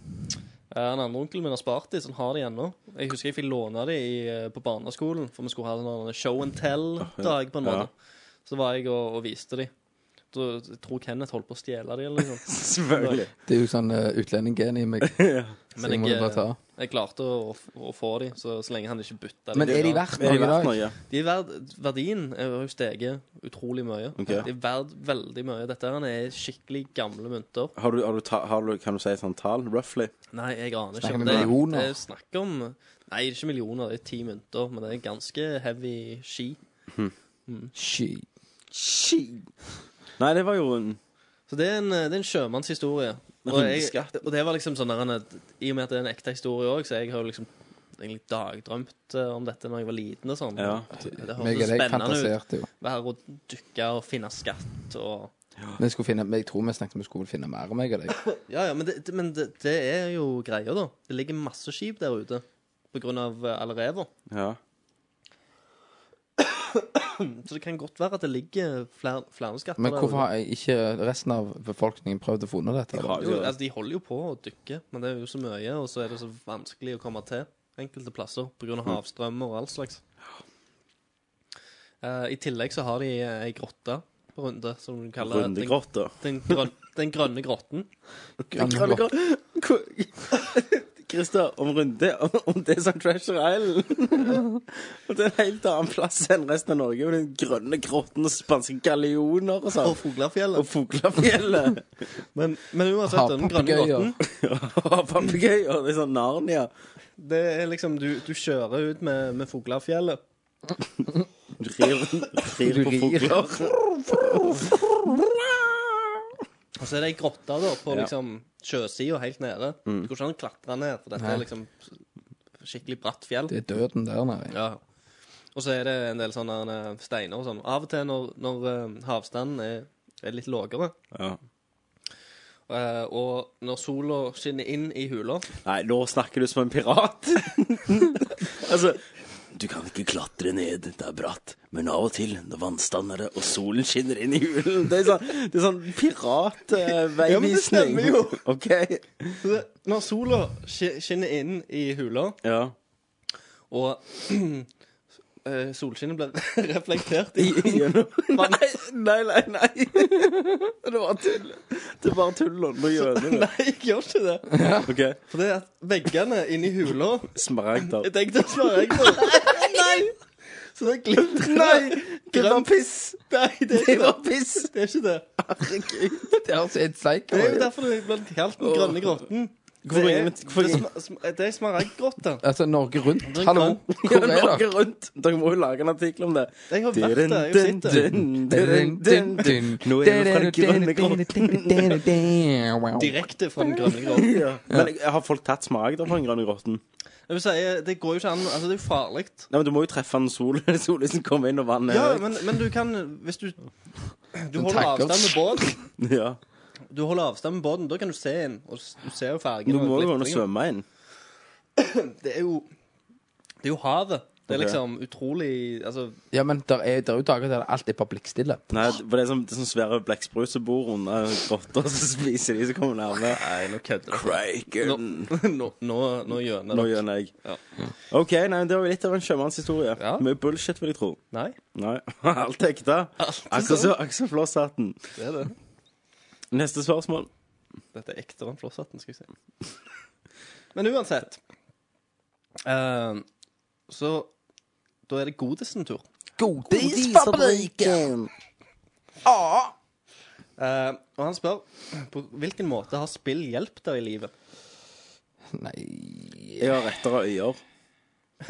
S5: Eh, han andre onkelen min har spart de, så han har de ennå. Jeg husker jeg fikk låne de i, eh, på barneskolen, for vi skulle ha en eller annen show and tell-dag, på en
S1: Ja.
S5: måte. Så var jeg og, og viste de. Da, jeg tror Kenneth holdt på å stjele de, eller noe sånt.
S1: Selvfølgelig.
S4: Det er jo sånn eh, utlendinggen i meg. Så jeg
S5: Men
S4: må
S5: jeg,
S4: det bare ta.
S5: jeg klarte å, å få de, så, så lenge han ikke bytta de.
S4: Men er de verdt
S1: Er
S4: noe i
S1: de verdt
S4: dag?
S1: noe? Ja.
S5: De er verd, verdien er jo steget utrolig mye.
S1: Ok.
S5: De er verd veldig mye. Dette her er skikkelig gamle mynter.
S1: Har du, har du, ta, har du, kan du si et sånt tall? Roughly?
S5: Nei, jeg aner
S4: Snakker
S5: ikke.
S4: vi
S5: men det er-
S4: millioner?
S5: Det er snakk om Nei, det er ikke millioner, det er ti mynter. Men det er ganske heavy ski.
S4: Sky.
S1: Nei, det var jo en
S5: Så det er en, det er en sjømannshistorie. Og, jeg,
S1: Hundeskatt.
S5: og det var liksom sånn der, en- I og med at det er en ekte historie òg, så jeg har jo liksom egentlig dagdrømt eh, om dette når jeg var liten og sånn.
S1: Ja.
S5: At Det, det
S4: Meg og
S5: hørtes
S4: deg
S5: spennende ut.
S4: fantaserte jo.
S5: Være og dykke og finne skatt og
S4: Men jeg, skulle finne, men jeg tror vi snakket om vi skulle finne mer om meg og deg.
S5: Ja, ja, men, det, det- men det, det er jo greia, da. Det ligger masse skip der ute på grunn av eh, alle rever.
S1: Ja.
S5: Så det kan godt være at det ligger flere, flere skatter
S4: Men
S5: der
S4: hvorfor
S5: ute.
S4: har jeg ikke resten av befolkningen prøvd å finne dette?
S1: Ja,
S4: da?
S5: Jo, altså, de holder jo på å dykke, men det er jo så mye, og så er det så vanskelig å komme til enkelte plasser pga. havstrømmer og all slags. Eh, I tillegg så har de eh, ei grotte på Runde som de kaller den,
S1: Rundegrotta.
S5: den, grøn, den grønne grotten.
S4: Gamle blokk.
S1: Christer, om runde om, om det er som Treasure Island Om det er en helt annen plass enn resten av Norge, med den grønne grotten og spanske gallioner og
S5: Og
S1: sånn. Og
S5: Fuglafjellet.
S1: Fuglafjellet.
S5: Men, men uansett, den grønne
S4: Havpapegøyer.
S5: grotten
S1: Og papegøyer. Det er sånn Narnia.
S5: Det er liksom, du, du kjører ut med, med Fuglafjellet.
S1: Du rir, rir på fugler.
S5: Og så er det ei grotte da, på
S1: Ja.
S5: liksom sjøsida helt nede. Du går ikke an å klatre ned, for dette er liksom skikkelig bratt fjell.
S4: Det er døden der nede.
S5: Ja. Og så er det en del sånne eh, steiner og sånn. Av og til når, når eh, havstanden er, er litt lavere,
S1: Ja.
S5: eh, og når sola skinner inn i hula
S1: Nei, nå snakker du som en pirat. altså Du kan ikke klatre ned, det er bratt. Men av og til, når vannstanden er det, og solen skinner inn i hulen Det er sånn, det er sånn piratveivisning.
S5: Ja, men det stemmer jo.
S1: OK.
S5: så det, Når sola ski- skinner inn i hula,
S1: Ja.
S5: og eh, solskinnet blir reflektert i
S1: Nei, nei, nei. nei. Det var tull. Det var tull. Nå må jeg gjøre det.
S5: Nei, jeg gjør ikke det.
S1: OK.
S5: For det er at veggene inni hula
S1: Smaragder.
S5: Jeg tenkte å svare jeg på. Nei! Så det glitrer.
S1: Nei, det var
S5: Grønt.
S1: piss.
S5: Nei, det er
S1: Det
S5: ikke
S1: var
S5: det.
S1: piss.
S5: Det er ikke det.
S4: Det er altså et
S5: Det er jo
S4: psycho.
S5: derfor det ble kalt Den grønne grotten. Det
S1: Hvorfor
S5: er,
S1: ringer vi- hvorfor
S5: det er
S1: ringer-
S5: sma- sma- det er smaragdgrotte.
S4: Altså, Norge rundt.
S5: Den
S4: Hallo,
S5: grønne-
S4: hvor er dere?
S1: Norge rundt. Dere må jo lage en artikkel om det.
S5: Jeg har vært der. Jeg har
S1: Dun,
S5: sett det.
S1: dun, dun, dun, dun. Nå er vi fra den grønne grotten.
S5: Direkte fra Den grønne grotten.
S1: Men jeg- har folk tatt smaragder fra den grønne grotten?
S5: Jeg vil si, det går jo ikke an Altså, det er jo farlig.
S1: Nei, men Du må jo treffe en sol. Sollysen kommer inn, og vannet
S5: Ja,
S1: er
S5: men, men du kan Hvis du Du holder
S4: takker.
S5: avstand med båten.
S1: ja.
S5: Du holder avstand med båten, da kan du se inn. Og s- du ser jo fargen.
S1: Du
S5: og
S1: må jo gå inn og
S5: glittringen.
S1: svømme inn.
S5: Det er jo Det er jo havet. Det er
S1: Ok.
S5: liksom utrolig Altså,
S4: Ja, men der er, der er jo dager der alt er bare blikkstille.
S1: Nei, for det er sånn, det er sånn svære blekksprut som bor under grotta, og så spiser de som kommer nærme.
S5: nei, nå kødder dere. Nå,
S1: Kraken.
S5: nå, nå, nå gjøner
S1: Nå
S5: dere.
S1: gjør jeg.
S5: Ja.
S1: OK, nei, det var jo litt av en sjømannshistorie.
S5: Ja.
S1: Mye bullshit, vil jeg tro.
S5: Nei,
S1: Nei. Alt er ekte.
S5: Alt er
S1: Akkurat
S5: sånn.
S1: som- akkurat som flosshatten.
S5: det er det.
S1: Neste spørsmål.
S5: Dette er ektere enn flosshatten, skal jeg si. Men uansett eh, Så da er det godisen tur.
S1: Godisfabrikken!
S5: Eh, og han spør på hvilken måte har spill hjulpet deg i livet?
S4: Nei
S1: Jeg har rettere øyer.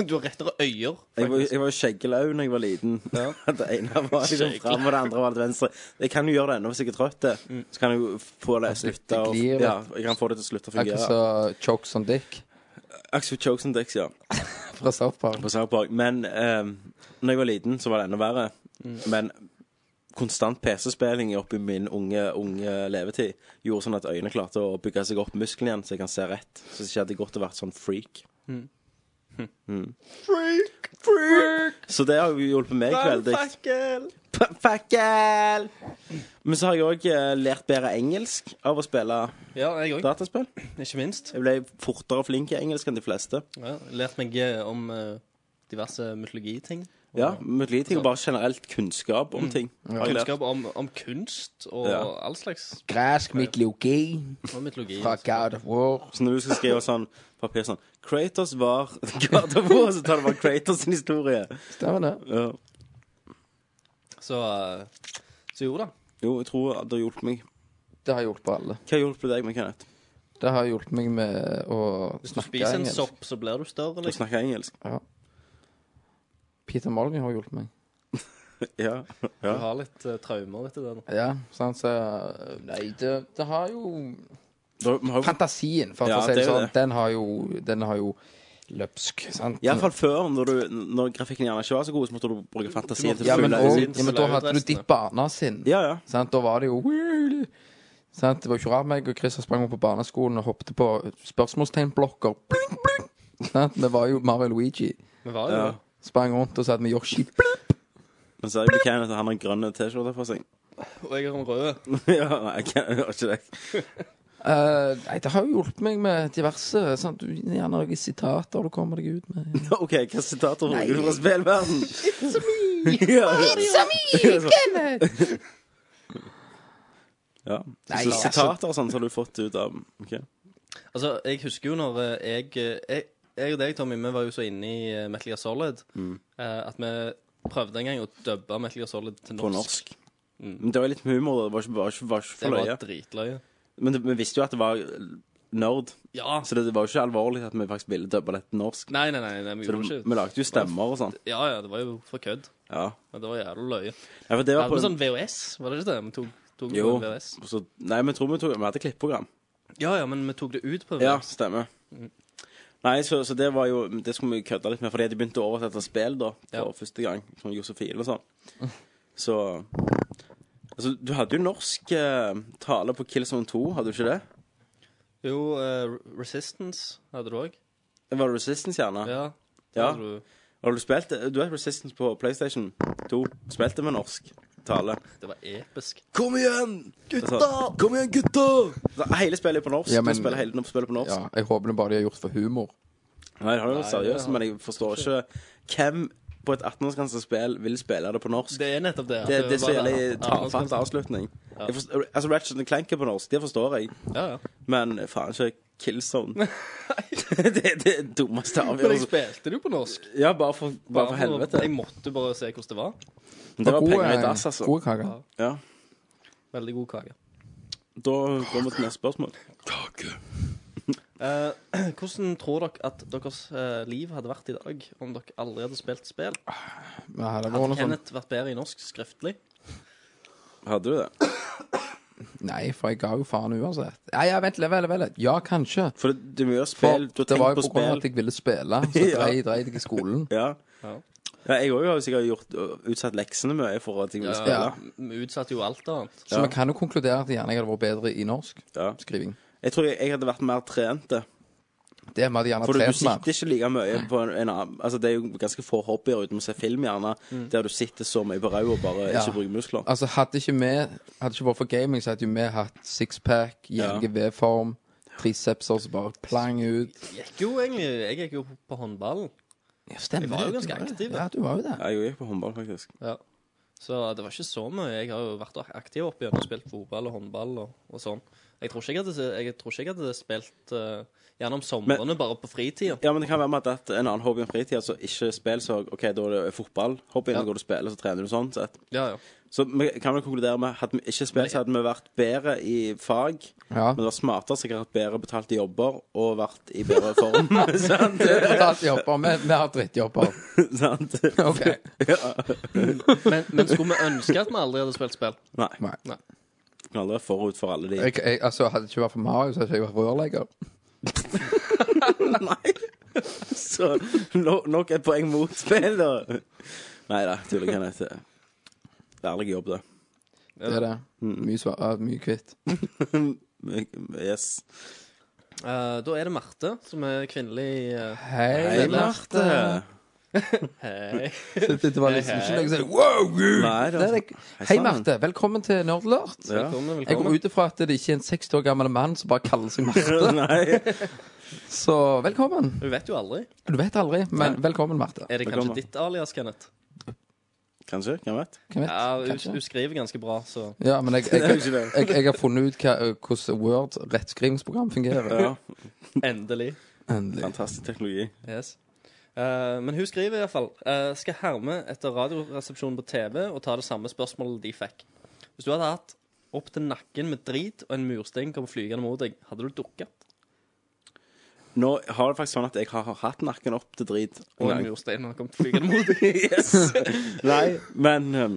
S5: Du har rettere
S1: Jeg
S5: øyer.
S1: var,
S5: faktisk.
S1: jeg var skjeggelau da jeg var liten. det ene var liksom fram, og det andre var det venstre. Jeg kan jo gjøre det ennå hvis jeg er trøtt. det. Så kan jeg jo få det
S4: det
S1: slutte å
S4: glir, vet
S1: ja, Jeg kan få det til å slutte å
S4: Akkurat
S1: fungere.
S4: som Chokes on Dick
S1: Axel Chokes and Dix, ja.
S4: fra South Park.
S1: På South Park. Men ehm, når jeg var liten, så var det enda verre. Men konstant PC-spilling oppi min unge, unge levetid gjorde sånn at øynene klarte å bygge seg opp muskelen igjen, så jeg kan se rett. Så det hadde jeg godt å vært sånn freak. Mm. Så det har jo hjulpet meg veldig.
S5: Brannfakkel!
S1: Fakkel! Men så har jeg òg lært bedre engelsk av å spille
S5: Ja, jeg òg.
S1: dataspill.
S5: Ikke minst.
S1: Jeg ble fortere flink i engelsk enn de fleste.
S5: Ja, lært meg eh, om eh, diverse mytologiting. og
S1: Ja, Mutliting og bare generelt kunnskap om ting. Har jeg lært.
S5: Kunnskap om, om kunst og
S1: Ja.
S5: all slags
S4: Gresk mytologi
S5: og mytologi.
S4: fra God of War.
S1: Så når du skal skrive sånn papir sånn Kratos var God of War, så tar du bare Kratos sin historie.
S4: Stemmer det.
S1: Ja.
S5: Så, eh, så jo da.
S1: Jo, jeg tror det har hjulpet meg.
S4: Det har hjulpet alle.
S1: Hva har hjulpet deg med Kenneth?
S4: Det har hjulpet meg med å
S5: Hvis du
S4: snakke
S5: spiser en
S4: engelsk.
S5: sopp, så blir du større.
S1: Å
S5: Liksom.
S1: snakke engelsk?
S4: Peter Molyneux har hjulpet meg.
S1: Ja.
S5: Du
S1: ja.
S5: har litt eh, traumer etter det. nå.
S4: Ja, sant, så Nei, det, det har jo
S1: Da, vi har jo
S4: Fantasien, for
S1: Ja,
S4: å si det
S1: det er jo
S4: sånn,
S1: det.
S4: den har jo, den har jo løpsk. sant?
S1: Iallfall før, når, du, når grafikken gjerne ikke var så god, så måtte du bruke fantasien til
S4: Ja,
S1: å
S4: men,
S1: fylle
S4: og,
S1: ut.
S4: ja, men da hadde du ditt barnesinn.
S1: Ja, ja.
S4: Sant? Da var det jo sant? Det var ikke rart meg og Chris sprang opp på barneskolen og hoppet på spørsmålstegnblokker. Blink, blink! Sant? Vi var jo Mario Luigi.
S5: Vi var jo
S1: Ja.
S5: det.
S4: Sprang rundt og sa at vi Yoshi. Blink!
S1: Men så er det Kenneth, han har grønne T-skjorter på seg.
S5: Og jeg har en rød.
S1: ja, nei, Kenneth har ikke det.
S4: Eh, nei, det har jo hjulpet meg med diverse sant? Du- Gjerne noen sitater du kommer deg ut med.
S1: OK, hva sitater bruker du fra spillverden? It's a me! It's a me, Ja.
S4: Nei,
S1: så
S4: altså-
S1: sitater og sånn så har du fått ut av OK.
S5: Altså, jeg husker jo når eh, jeg eh, Jeg, jeg og deg, Tommy, vi var jo så inne i eh, Metal Gear Solid
S1: Mm.
S5: eh, at vi prøvde en gang å dubbe Metal Gear Solid til
S1: På
S5: norsk. Mm.
S1: norsk. Men det var litt med humor. Det var ikke, var ikke, var ikke
S5: Det
S1: for
S5: var
S1: løye.
S5: dritløye.
S1: Men det, vi visste jo at det var nerd,
S5: Ja.
S1: så det, det var jo ikke alvorlig at vi faktisk ville dubbe det til norsk.
S5: Nei, nei, nei, nei vi
S1: Så
S5: gjorde
S1: det,
S5: ikke
S1: vi lagde jo stemmer og sånn.
S5: Ja, ja, det var jo for kødd.
S1: Ja.
S5: Men det var jævla løye.
S1: ja, for det
S5: Vi
S1: var
S5: hadde
S1: på
S5: med sånn VHS, var det ikke det? Vi tok, tok sånn det
S1: Jo.
S5: på VHS.
S1: Så, nei, vi tror vi, tok, vi hadde klippeprogram.
S5: Ja, ja, men vi tok det ut på
S1: Ja,
S5: VHS.
S1: stemmer. Nei, så, så det var jo Det skulle vi kødde litt med, fordi de begynte å oversette spill da for
S5: Ja.
S1: første gang. Som Josefine og sånn. Så Altså, du hadde jo norsk eh, tale på Killzone 2, hadde du ikke det?
S5: Jo, eh, Resistance hadde du òg.
S1: Var det Resistance, gjerne?
S5: Ja. det
S1: Ja.
S5: hadde Du.
S1: Har du spilt Du vet Resistance på PlayStation 2? Spilte med norsk tale.
S5: Det var episk.
S1: Kom igjen, gutta! Kom igjen, gutta! Så Altså, Hele spillet er på norsk.
S4: Ja, men-
S1: Du spiller hele spillet på norsk.
S4: Ja, jeg håper det bare de har gjort for humor.
S1: Nei, det har jo vært
S5: Nei, det
S1: seriøst,
S5: har-
S1: men jeg forstår ikke hvem på et 18-årsgrensespill vil spille det på norsk.
S5: Det er nettopp det. at
S1: Det, det er så
S5: bare-
S1: jævlig
S5: Ja, nå skal vi-
S1: tafatt avslutning. Jeg forstår, altså Ratchet and Clank er på norsk, det forstår jeg,
S5: Ja, ja.
S1: men faen ikke Killzone. det er det dummeste
S5: Men jeg
S1: avgjørelsen.
S5: spilte det jo på norsk.
S1: Ja, bare for, bare for helvete.
S5: Jeg måtte bare se hvordan det var.
S1: Men Det var
S4: Gode-
S1: penger i dass, altså.
S4: Gode kaker.
S1: Ja.
S5: Veldig god kake.
S1: Da går vi til neste spørsmål.
S5: Eh, hvordan tror dere at deres eh, liv hadde vært i dag om dere aldri hadde spilt spill?
S4: Ja, det var
S5: Hadde
S4: noe sånn.
S5: Kenneth vært bedre i norsk skriftlig?
S1: Hadde du det?
S4: Nei, for jeg ga jo faen uansett. Ja, ja, vent litt, vent litt, vent litt. Ja, kanskje.
S1: For det, det er mye
S4: For
S1: spill. Du har
S4: det var
S1: tenkt
S4: jo
S1: på
S4: på grunn av
S1: spill.
S4: at jeg ville spille, så
S1: Ja.
S4: dreide dreide jeg i skolen.
S1: Ja.
S5: Ja.
S1: ja. Jeg òg har jo sikkert gjort, øh, utsatt leksene mye for at jeg ville spille.
S4: Ja.
S5: Vi utsatte jo alt annet.
S4: Så
S1: Ja.
S4: vi kan jo konkludere at gjerne jeg hadde vært bedre i norsk
S1: Ja.
S4: skriving.
S1: Jeg tror jeg, jeg hadde vært mer trent.
S4: det er vi hadde gjerne
S1: For øh, du, du
S4: trent mer.
S1: sitter ikke like mye på en, en annen Altså, det er jo ganske få hobbyer uten å se film, gjerne,
S4: Mm.
S1: der du sitter så mye på ræva og bare
S4: Ja.
S1: ikke bruker muskler.
S4: Altså, hadde ikke vi Hadde ikke vært for gaming, så hadde jo vi hatt sixpack,
S1: Ja.
S4: JGV-form, tricepser som bare plang ut.
S5: Gikk jo egentlig, jeg gikk jo på håndballen.
S4: Ja, stemmer
S5: Jeg var
S4: det,
S5: jo
S4: du
S5: ganske
S4: var det.
S5: aktiv.
S4: Ja, du var jo det.
S1: Ja, jeg gikk på håndball, faktisk.
S5: Ja. Så det var ikke så mye. Jeg har jo vært aktiv opp igjen og spilt fotball og håndball og, og sånn. Jeg tror ikke jeg hadde, jeg tror ikke jeg hadde spilt eh, gjerne om somrene, bare på fritida.
S1: Ja, men det kan være med at det er en annen hobby enn fritid, altså ikke spill, så OK, da er det fotball. Hopp inn,
S5: Ja.
S1: og går du og spiller, så trener du sånn sett.
S5: Ja, ja.
S1: Så vi kan vel konkludere med hadde vi ikke spilt, så hadde vi vært bedre i fag.
S4: Ja.
S1: Men det var smartere, sikkert hatt bedre betalte jobber og vært i bedre form. sant?
S4: Drittjobber. Vi, vi har drittjobber.
S1: sant?
S4: OK.
S1: Ja.
S5: Men, men skulle vi ønske at vi aldri hadde spilt spill?
S1: Nei.
S4: Nei.
S5: Nei.
S1: Vi kan aldri være forut for alle de
S4: Jeg, jeg, altså, hadde det ikke vært for Mario, så hadde jeg vært rørlegger.
S1: Nei. Så no, nok et poeng mot spill, da. Nei da, tuller jeg ikke. Det er ærlig jobb, det.
S4: Det er det. Mye, svar, ja, mye kvitt.
S1: Yes.
S5: Eh, da er det Marte, som er kvinnelig eh,
S4: Hei, Marte.
S5: Hei.
S4: Det, det var liksom ikke
S5: Hei,
S4: noe sånn wow, gud.
S1: Nei, det
S4: Nei,
S1: var
S4: det- Hei,
S1: sann.
S4: Marte. Velkommen til Nerdlert.
S1: ja.
S5: Velkommen,
S4: Jeg går
S5: velkommen.
S4: ut ifra at det ikke er en 60 år gammel mann som bare kaller seg Marte.
S1: Nei.
S4: Så velkommen.
S5: Du vet jo aldri.
S4: Du vet aldri, men velkommen, Marte.
S5: Er det
S1: Velkommen.
S5: kanskje ditt alias, Kenneth?
S1: Kanskje. Hvem vet?
S4: Hvem vet?
S5: Ja, hun,
S4: Kanskje.
S5: hun skriver ganske bra, så
S4: Ja, men jeg, jeg,
S1: Det er jo
S4: jeg,
S1: ikke det.
S4: jeg, har funnet ut hva, eh, hvordan Word rettskrivingsprogram fungerer.
S1: Ja,
S5: endelig.
S4: Endelig.
S1: Fantastisk teknologi.
S5: Yes. Eh, men hun skriver iallfall uh, skal herme etter Radioresepsjonen på TV og ta det samme spørsmålet de fikk. Hvis du hadde hatt opp til nakken med drit og en murstein kom flygende mot deg, hadde du dukket?
S1: Nå har det faktisk sånn at jeg har hatt nakken opp til drit.
S5: Og en murstein har kommet flygende mot deg.
S1: yes. Nei, men um,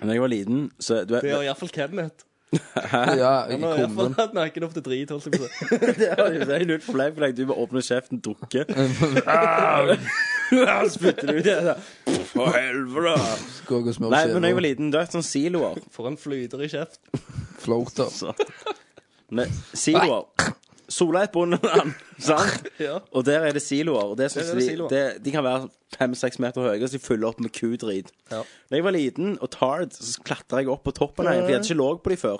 S1: Når jeg var liten, så du
S5: Det
S1: vet,
S5: har iallfall Kenneth.
S4: Ja, i
S5: Han har iallfall
S4: kummen.
S5: hatt nakken opp til drit. Holdt jeg på å si.
S1: Det er jo- det er jo null problem for deg. Du må åpne kjeften, dukke. Spytter du ut det? da. For helvete!
S4: Gå og smør
S1: Nei, men når jeg var
S4: silo.
S1: liten, du vet sånn siloer.
S5: For en flyter i kjeft.
S4: Floater.
S1: Med siloer. Sola er et bondeland, sant?
S5: Ja.
S1: Og der er det siloer. Og det er sånn
S5: Der er
S1: som
S5: det
S1: de,
S5: siloer.
S1: det, de kan være fem-seks meter høye, så de fyller opp med kudrit.
S5: Ja.
S1: Da jeg var liten og tard, så klatra jeg opp på toppen av en, for jeg hadde ikke låg på de før.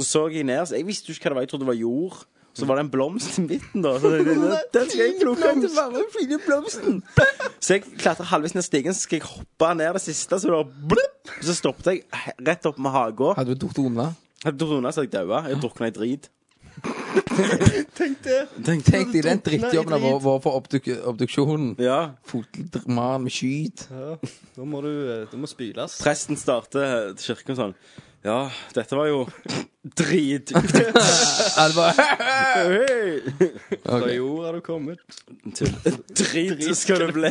S1: Så så jeg ned, så jeg visste jo ikke hva det var, jeg trodde det var jord. Så var det en blomst i midten, da. Så tenkte jeg, den skal jeg plukke til varme, fine blomsten. Så jeg klatra halvveis ned stigen, så skal jeg hoppe ned det siste, så da blup, Så stoppet jeg he- rett opp med haga.
S4: Hadde du dukket unna?
S1: Jeg drukna så jeg daua. Jeg drukna i drit.
S4: Tenk deg den drittjobben av vår vår for obduk obduksjonen.
S1: Ja.
S4: Fotmann med skyt.
S5: Nå må du, eh, du må spyles.
S1: Presten starter kirken sånn. Ja, dette var jo drit.
S4: Ja, det var
S5: Fra
S4: Ok.
S5: jord har du kommet.
S1: Drit skal det bli.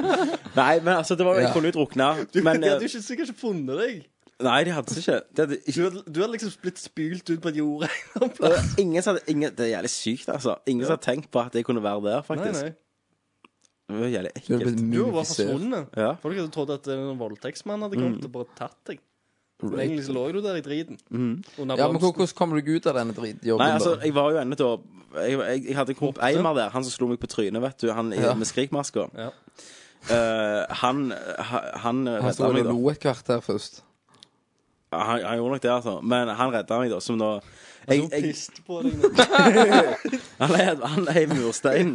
S1: Nei, men altså, det var jo Jeg
S4: Ja.
S1: kunne jo drukna, men
S5: de
S1: eh,
S5: hadde jo ikke, sikkert ikke funnet deg.
S1: Nei, de hadde ikke det. Hadde
S5: Du
S1: ikke
S5: hadde, du hadde liksom blitt spylt ut på et jord.
S1: det var ingen som hadde ingen, Det er jævlig sykt, altså. Ingen som hadde tenkt på at jeg kunne være der,
S5: Nei,
S1: faktisk.
S5: nei.
S1: Det var jævlig
S4: Du hadde
S1: ekkelt.
S4: blitt
S5: Du var bare
S4: mumifisert.
S5: forsvunnet.
S1: Ja.
S5: Folk hadde trodd at eh, en voldtektsmann hadde kommet
S4: Mm.
S5: og bare tatt deg. Men egentlig så lå du der i driten. Under
S4: Mm. Ja, men
S5: blomsten.
S4: hvordan kommer du deg ut av denne drittjobben?
S1: Nei, altså,
S4: da?
S1: jeg var jo ennå da jeg, jeg, jeg hadde en komp Eimer der, han som slo meg på trynet, vet du, han i-
S4: Ja.
S1: med skrikmaska.
S5: Ja.
S1: Eh, han ha- Han
S4: Han
S1: redda
S4: sto og
S1: meg, da.
S4: lo et kvarter først.
S1: Han, han gjorde nok det, altså. Men han redda meg, da, som da jeg,
S5: Så
S1: jeg,
S5: piste på deg nå.
S1: Han heiv han heiv mursteinen.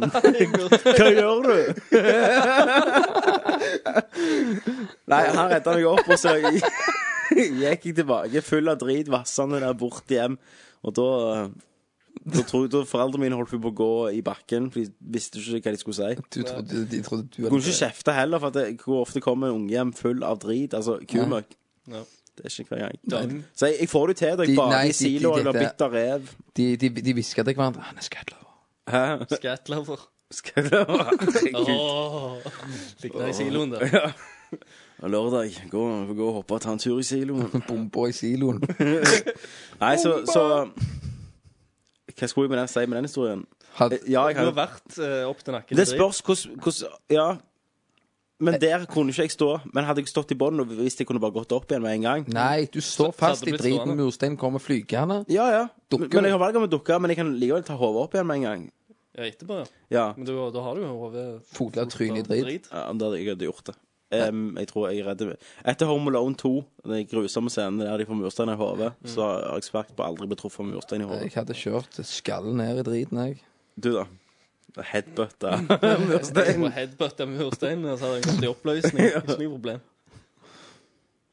S5: Nei,
S1: Hva gjør du? Nei, han redda meg opp, og så gikk jeg tilbake full av drit, vassende der bort hjem. Og da da tror jeg da Foreldrene mine holdt på å gå i bakken, for de visste ikke hva de skulle si.
S4: Du trodde, de trodde du
S1: Jeg kunne ikke kjefte heller, for at det, hvor ofte kommer en unge hjem full av drit? Altså kumøkk.
S5: Ja.
S1: Det er ikke hver gang.
S5: Dønn.
S1: Så jeg, jeg får det jo til. da
S4: De-
S1: Jeg
S4: nei,
S1: baker
S4: de-
S1: i silo
S4: de-
S1: eller
S4: dette-
S1: bitter rev.
S4: De, de, de hvisker til hverandre Han er skadler.
S1: Hæ?
S5: Skatlover.
S1: Skal det være
S5: Ligger i siloen der.
S1: Ja. Og Lørdag. Gå, gå og hoppe og ta en tur i siloen.
S4: Bomber i siloen.
S1: Nei, så, så Hva skulle jeg med den, si med den historien?
S4: Had,
S1: Eh, Ja, jeg
S5: Du har
S1: kan
S5: vært eh, opp til nakken.
S1: Det spørs hvordan hvordan- Ja. Men der kunne ikke jeg stå. Men hadde jeg stått i bånn og visst jeg kunne bare gått opp igjen med en gang
S4: nei, du står fast
S5: hadde
S4: i
S5: blitt
S4: driten.
S5: stående.
S4: Murstein kommer flygende.
S1: Ja, ja.
S4: Dukker.
S1: Men jeg har valget om å dukke, men jeg kan likevel ta hodet opp igjen med en gang.
S5: Ja, etterpå, ja.
S1: Ja.
S5: Men du, da har du jo hodet
S4: Fodla trynet i
S5: fullt av
S4: drit.
S1: Ja, om det hadde jeg hadde gjort det. Em, jeg tror jeg redder Etter Home Alone 2, den grusomme scenen der de får murstein i hodet, så har jeg svært på aldri blitt truffet av murstein i hodet.
S4: Jeg hadde kjørt skallen ned i driten, jeg.
S1: Du, da? Headbutt av
S5: Jeg
S1: murstein.
S5: må headbutte med mursteinen, og så hadde jeg gått i oppløsning. Ikke noe problem.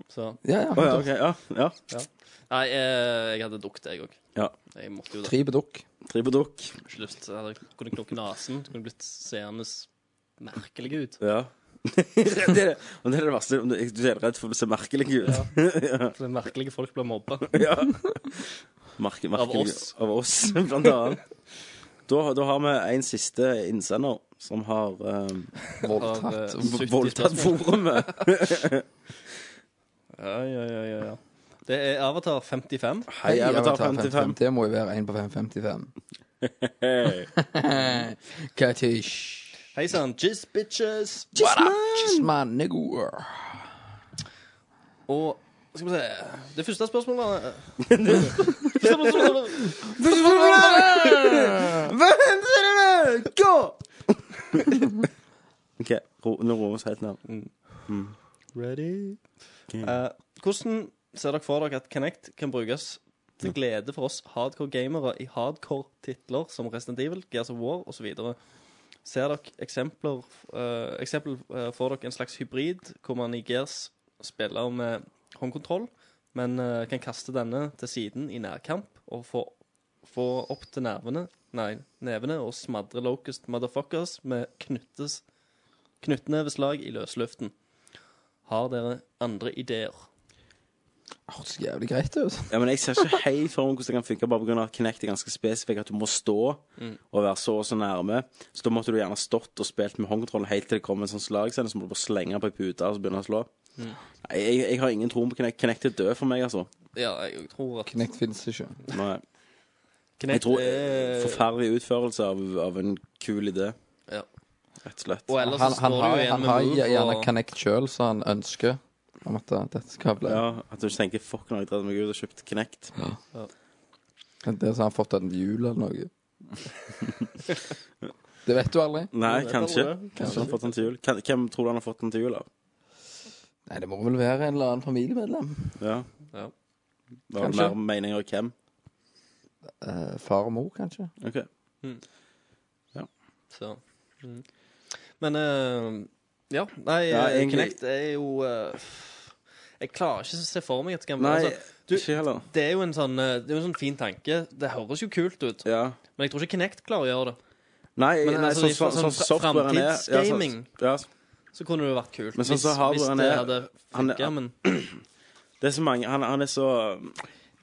S5: Så
S4: Ja, ja.
S1: Å ja, OK. Ja. ja.
S5: Nei, eh, jeg hadde dukket, jeg òg.
S1: Ja.
S5: Jeg måtte jo det.
S4: Tre bedukk.
S1: Tre på dukk.
S5: Ikke lyst. Jeg hadde, kunne knokke nesen. Kunne blitt seende merkelig ut.
S1: Ja. det, er det, men det er det verste. Du er helt redd for å se merkelig ut.
S5: For det er merkelige folk blir mobba.
S1: Ja. Merke, merkelig,
S5: oss.
S1: Av oss, blant annet. Da, da har vi en siste innsender som har em,
S4: Voldtatt.
S5: Av, eh, 70
S1: voldtatt
S5: spørsmål.
S1: forumet.
S5: Ja, ja, ja, ja, ja. Det er Avatar 55.
S1: Hei,
S4: Hei,
S1: jeg vil ta
S4: Avatar
S1: 55.
S4: Det må jo være en på 555.
S1: Hey.
S4: Katish.
S5: Hei sann, jizz bitches.
S4: Mannegur.
S5: Og skal vi se Det første spørsmålet eh, Første spørsmålet
S1: OK, ro, nå roer vi oss helt ned.
S5: Ready? Eh, hvordan ser dere for dere at Connect kan brukes til glede for oss hardcore gamere i hardcore titler som Resident Evil, Gears of War osv.? Ser dere eksempler eh, eksempel eh, for dere en slags hybrid hvor man i Gears spiller med håndkontroll, men eh, kan kaste denne til siden i nærkamp og få, få opp til nervene Nei, nevene og smadre locust motherfuckers med knyttes, knyttneveslag i løsluften. Har dere andre ideer?
S4: Åh, Det altså. ser jævlig greit ut.
S1: Ja, men Jeg ser ikke helt for meg hvordan det kan funke, bare pga. at Kinect er ganske spesifikk. At du må stå
S5: Mm.
S1: og være så og så nærme. Så da måtte du gjerne stått og spilt med håndkontrollen helt til det kom en sånn slagscene, så må du bare slenge på ei pute og så begynne å slå.
S5: Mm.
S1: Nei, Jeg, jeg har ingen tro på Kinect. Kinect er død for meg, altså.
S5: Ja, jeg tror at
S4: Knekt fins ikke.
S1: Nei. Jeg
S5: Kinect
S1: tror
S5: er-
S1: Forferdelig utførelse av, av en kul idé,
S5: Ja.
S1: rett og slett.
S5: Og ellers
S4: Han,
S5: så
S4: han
S5: står
S4: har,
S5: du jo igjen
S4: han
S5: med
S4: har
S5: Move
S4: gjerne
S5: og
S4: Connect sjøl, så han ønsker om at det- dette skal bli
S1: Ja, At du ikke tenker 'fuck, nå har jeg drevet meg ut og kjøpt Kinect'.
S4: Det er så han har fått en jul eller noe. det vet du aldri.
S1: Nei,
S5: vet
S1: kanskje.
S5: aldri.
S1: Kanskje han har fått den til jul. Kan- Hvem tror du han har fått den til jul av?
S4: Nei, det må vel være en eller annen familiemedlem.
S1: Ja.
S5: Ja.
S1: Var det
S4: Kanskje.
S1: mer meninger i hvem?
S4: Eh, far og mor, kanskje.
S1: OK.
S5: så. Mm. Men eh, Ja, nei,
S1: Ja, egentlig-
S5: Kinect er jo eh, Jeg klarer ikke å se for meg at det kan
S1: Nei,
S5: altså, du-
S1: ikke heller.
S5: Det er jo en sånn eh, Det er jo en sånn fin tanke. Det høres jo kult ut,
S1: Ja.
S5: men jeg tror ikke Kinect klarer å gjøre det.
S1: Nei,
S5: Men
S1: nei
S5: altså,
S1: sånn
S5: i
S1: som
S5: fra-
S1: sånn,
S5: sånn
S1: softwaren er ja, sånn,
S5: framtidsgaming.
S1: ja,
S5: Så kunne det jo vært kult
S1: Men sånn
S5: hvis,
S1: så har du-
S5: hvis
S1: han
S5: det
S1: er-
S5: hadde
S1: han er-
S5: funka, men
S1: det er så mange Han, han er så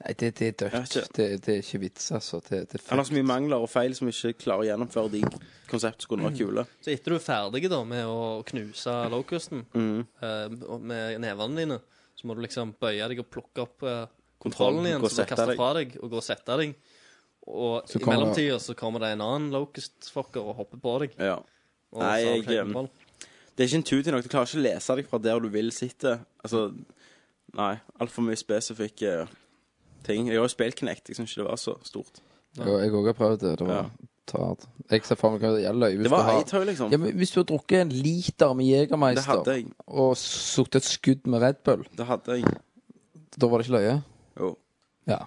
S4: Nei, det, det er dødt.
S1: Jeg vet ikke.
S4: Det, det er ikke vits, altså. Det, det er
S1: Han har
S4: fucked.
S1: så mye mangler og feil som ikke klarer å gjennomføre de konsept som kunne vært kule.
S5: Så etter du er ferdig da med å knuse locusten
S1: Mm.
S5: eh, og med nevene dine, så må du liksom bøye deg og plukke opp eh, kontrollen
S1: Kontrollen,
S5: igjen,
S1: gå og
S5: så du
S1: sette
S5: kaster
S1: deg.
S5: fra deg og gå og setter deg. Og
S4: Så
S5: i
S4: kommer det-
S5: mellomtida så kommer det en annen locust-fucker og hopper på deg.
S1: Ja.
S5: Og
S1: Nei,
S5: så har du
S1: jeg-
S5: ikke kontroll.
S1: Det er ikke intuitivt nok. Du klarer ikke å lese deg fra der du vil sitte. Altså Nei. Altfor mye spesifikke eh, ting. Jeg har jo spilt Kinect. Jeg syns ikke det var så stort.
S4: Jo, jeg òg har prøvd det. Det var
S1: Ja.
S4: tart. Jeg ser for meg hva det gjelder. Hvis
S1: Det
S4: du
S1: var
S4: har-
S1: Eitøy, liksom.
S4: ja, men hvis du har drukket en liter med
S1: Det
S4: Jegermeister
S1: hadde jeg.
S4: og suttet et skudd med Red Bull,
S1: Det hadde jeg.
S4: da var det ikke løye?
S1: Jo.
S4: Ja.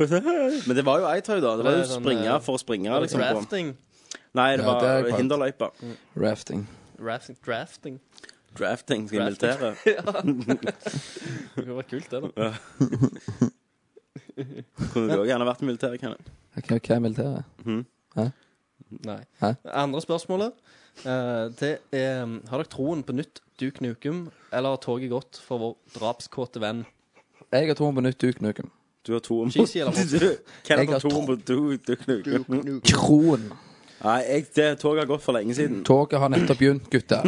S1: Men det var jo Eitøy, da. Det var
S5: Det
S1: jo
S5: er sånn,
S1: springe
S5: eh,
S1: for å springe, liksom. På.
S5: Drafting.
S1: Nei, det
S4: Ja, det er
S1: var
S4: klart.
S1: hinderløype.
S4: Rafting.
S5: Drafting. Drafting.
S1: Drafting skal jeg
S5: Drafting.
S1: militere.
S5: Det kunne vært kult, det, da.
S1: Kunne du òg gjerne vært Hm? militær, kan jeg.
S4: Ok, Hva er militæret?
S5: Nei.
S4: Hæ?
S5: Andre spørsmålet eh, det er Har dere troen på nytt Duke Nukem, eller har toget gått for vår drapskåte venn?
S4: Jeg har troen på nytt Duke Nukem.
S1: Du har to om
S5: Cheesy, eller hva?
S4: Jeg
S1: Kenneth
S4: har
S1: har to om
S4: to.
S1: på du, du knuker.
S4: Kron.
S1: Nei, jeg, det toget har gått for lenge siden.
S4: Toget har nettopp begynt, gutter.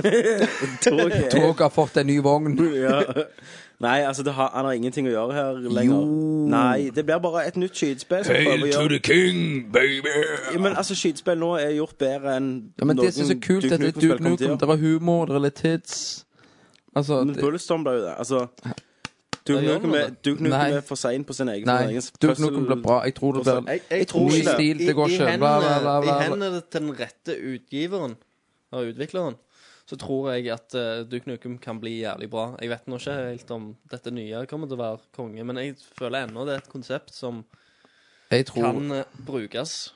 S1: Toget er-
S4: Toget har fått en ny vogn.
S1: ja. Nei, altså, det har, han har ingenting å gjøre her lenger.
S4: Jo.
S1: Nei, det blir bare et nytt skytespill. som prøver å gjøre-
S4: king, baby!
S1: Ja, men altså, skytespill nå er gjort bedre enn
S4: Ja, men det som er så kult,
S1: Duke
S4: dette er
S1: Nukem-spill
S4: Duke
S1: kom til å
S4: Nukem.
S1: gjøre.
S4: Det er humor, det er litt tids. Altså
S1: Men
S4: det,
S1: Bulletstorm ble jo det. Altså Duke
S5: gjør
S1: Nukem
S5: noe.
S1: er- Duke Nukem
S4: Nei.
S1: er for sein på sin egen
S4: Nei, Duke Nukem blir bra. Jeg tror det blir
S1: Jeg-
S5: Jeg tror
S4: Ny
S5: ikke
S4: stil, det går
S5: I, i,
S4: ikke. Bla, bla, bla,
S5: hendene,
S4: bla,
S5: I
S4: bla.
S5: hendene til den rette utgiveren, eller utvikleren, så tror jeg at uh, Duke Nukem kan bli jævlig bra. Jeg vet nå ikke helt om dette nye kommer til å være konge, men jeg føler ennå det er et konsept som
S4: Jeg tror
S5: kan eh, brukes.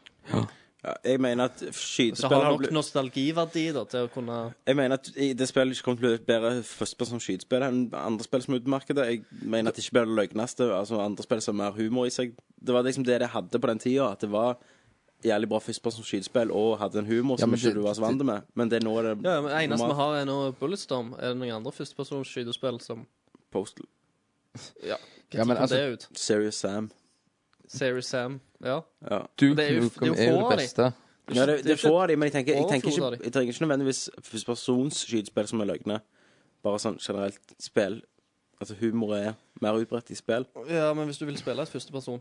S1: Ja, jeg mener at
S5: Så
S1: skytespill
S5: har
S1: har
S5: nok
S1: blitt
S5: nostalgiverdi da, til å kunne
S1: Jeg mener at i- det spillet ikke kommer til å bli bedre førstespill som skytespill enn andre spill som er ute på markedet. Jeg mener at det ikke blir det løgneste. Altså andre spill som har mer humor i seg. Det var liksom det de hadde på den tida. At det var jævlig bra førstespill som skytespill og hadde en humor som
S4: men
S1: ikke
S4: det-
S1: du var så vant med. Men det er nå det
S5: Ja, men det eneste vi
S1: normalt.
S5: har, er nå Bulletstorm. Er det noen andre førstepersons skytespill som
S1: Postal.
S5: Ja,
S4: Ja,
S5: når
S4: men
S5: kom
S4: altså,
S5: det ut?
S1: Serious Sam.
S5: Series Sam. Ja.
S1: Ja.
S4: Duke
S5: det er jo-
S4: Nukem
S5: det er
S4: er
S5: jo
S4: jo
S5: få
S4: det
S5: av de.
S4: beste.
S1: Ja, det, det får de, men jeg tenker, jeg, tenker
S5: overflod av
S1: ikke,
S5: de.
S1: jeg trenger ikke nødvendigvis førstepersonsskytespill som er løgne. Bare sånn generelt spill. Altså humor er mer utbredt i spill.
S5: ja, men hvis du vil spille et førsteperson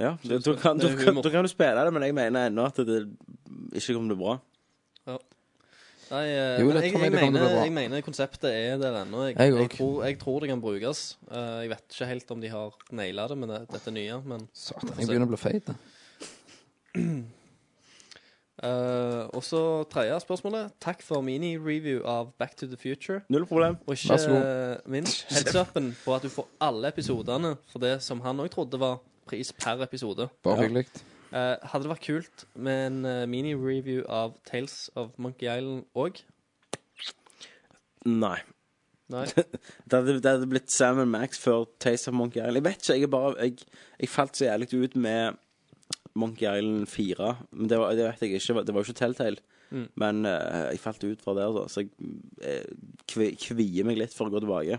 S1: Ja, da da kan,
S5: Det
S1: da
S5: er
S1: kan,
S5: humor.
S1: da kan du spille det, men jeg mener ennå at det ikke kommer til å bli bra.
S5: Nei, eh,
S4: Jo,
S5: men
S4: det tror
S5: jeg,
S4: jeg
S5: jeg,
S4: det kommer til å
S5: mener,
S4: bli bra.
S5: jeg mener konseptet er der ennå. Jeg,
S4: Jeg
S5: jeg,
S4: òg.
S5: tror, jeg tror det kan brukes. Eh, jeg vet ikke helt om de har naila det med det, dette nye, men
S4: Satan,
S5: Altså-
S4: jeg begynner å bli feit. da.
S5: eh, Og så tredje spørsmålet. Takk for mini-review av Back to the Future.
S1: Null problem.
S5: Og
S4: Vær
S5: ikke
S4: så
S5: eh, minst headsupen på at du får alle episodene for det som han òg trodde var pris per episode.
S4: Bare
S1: Ja.
S4: hyggelig.
S5: Eh, hadde det vært kult med en eh, mini-review av Tales of Monkey Island òg?
S1: Nei.
S5: Nei.
S1: Det hadde, det hadde blitt Sam Max før Taste of Monkey Island. Jeg vet ikke, jeg er bare Jeg, jeg falt så jævlig ut med Monkey Island 4. Men det, var, det vet jeg ikke. Det var jo ikke Telltale.
S5: Mm.
S1: Men eh, jeg falt ut fra der, da. Så jeg eh, kvi, kvier meg litt for å gå tilbake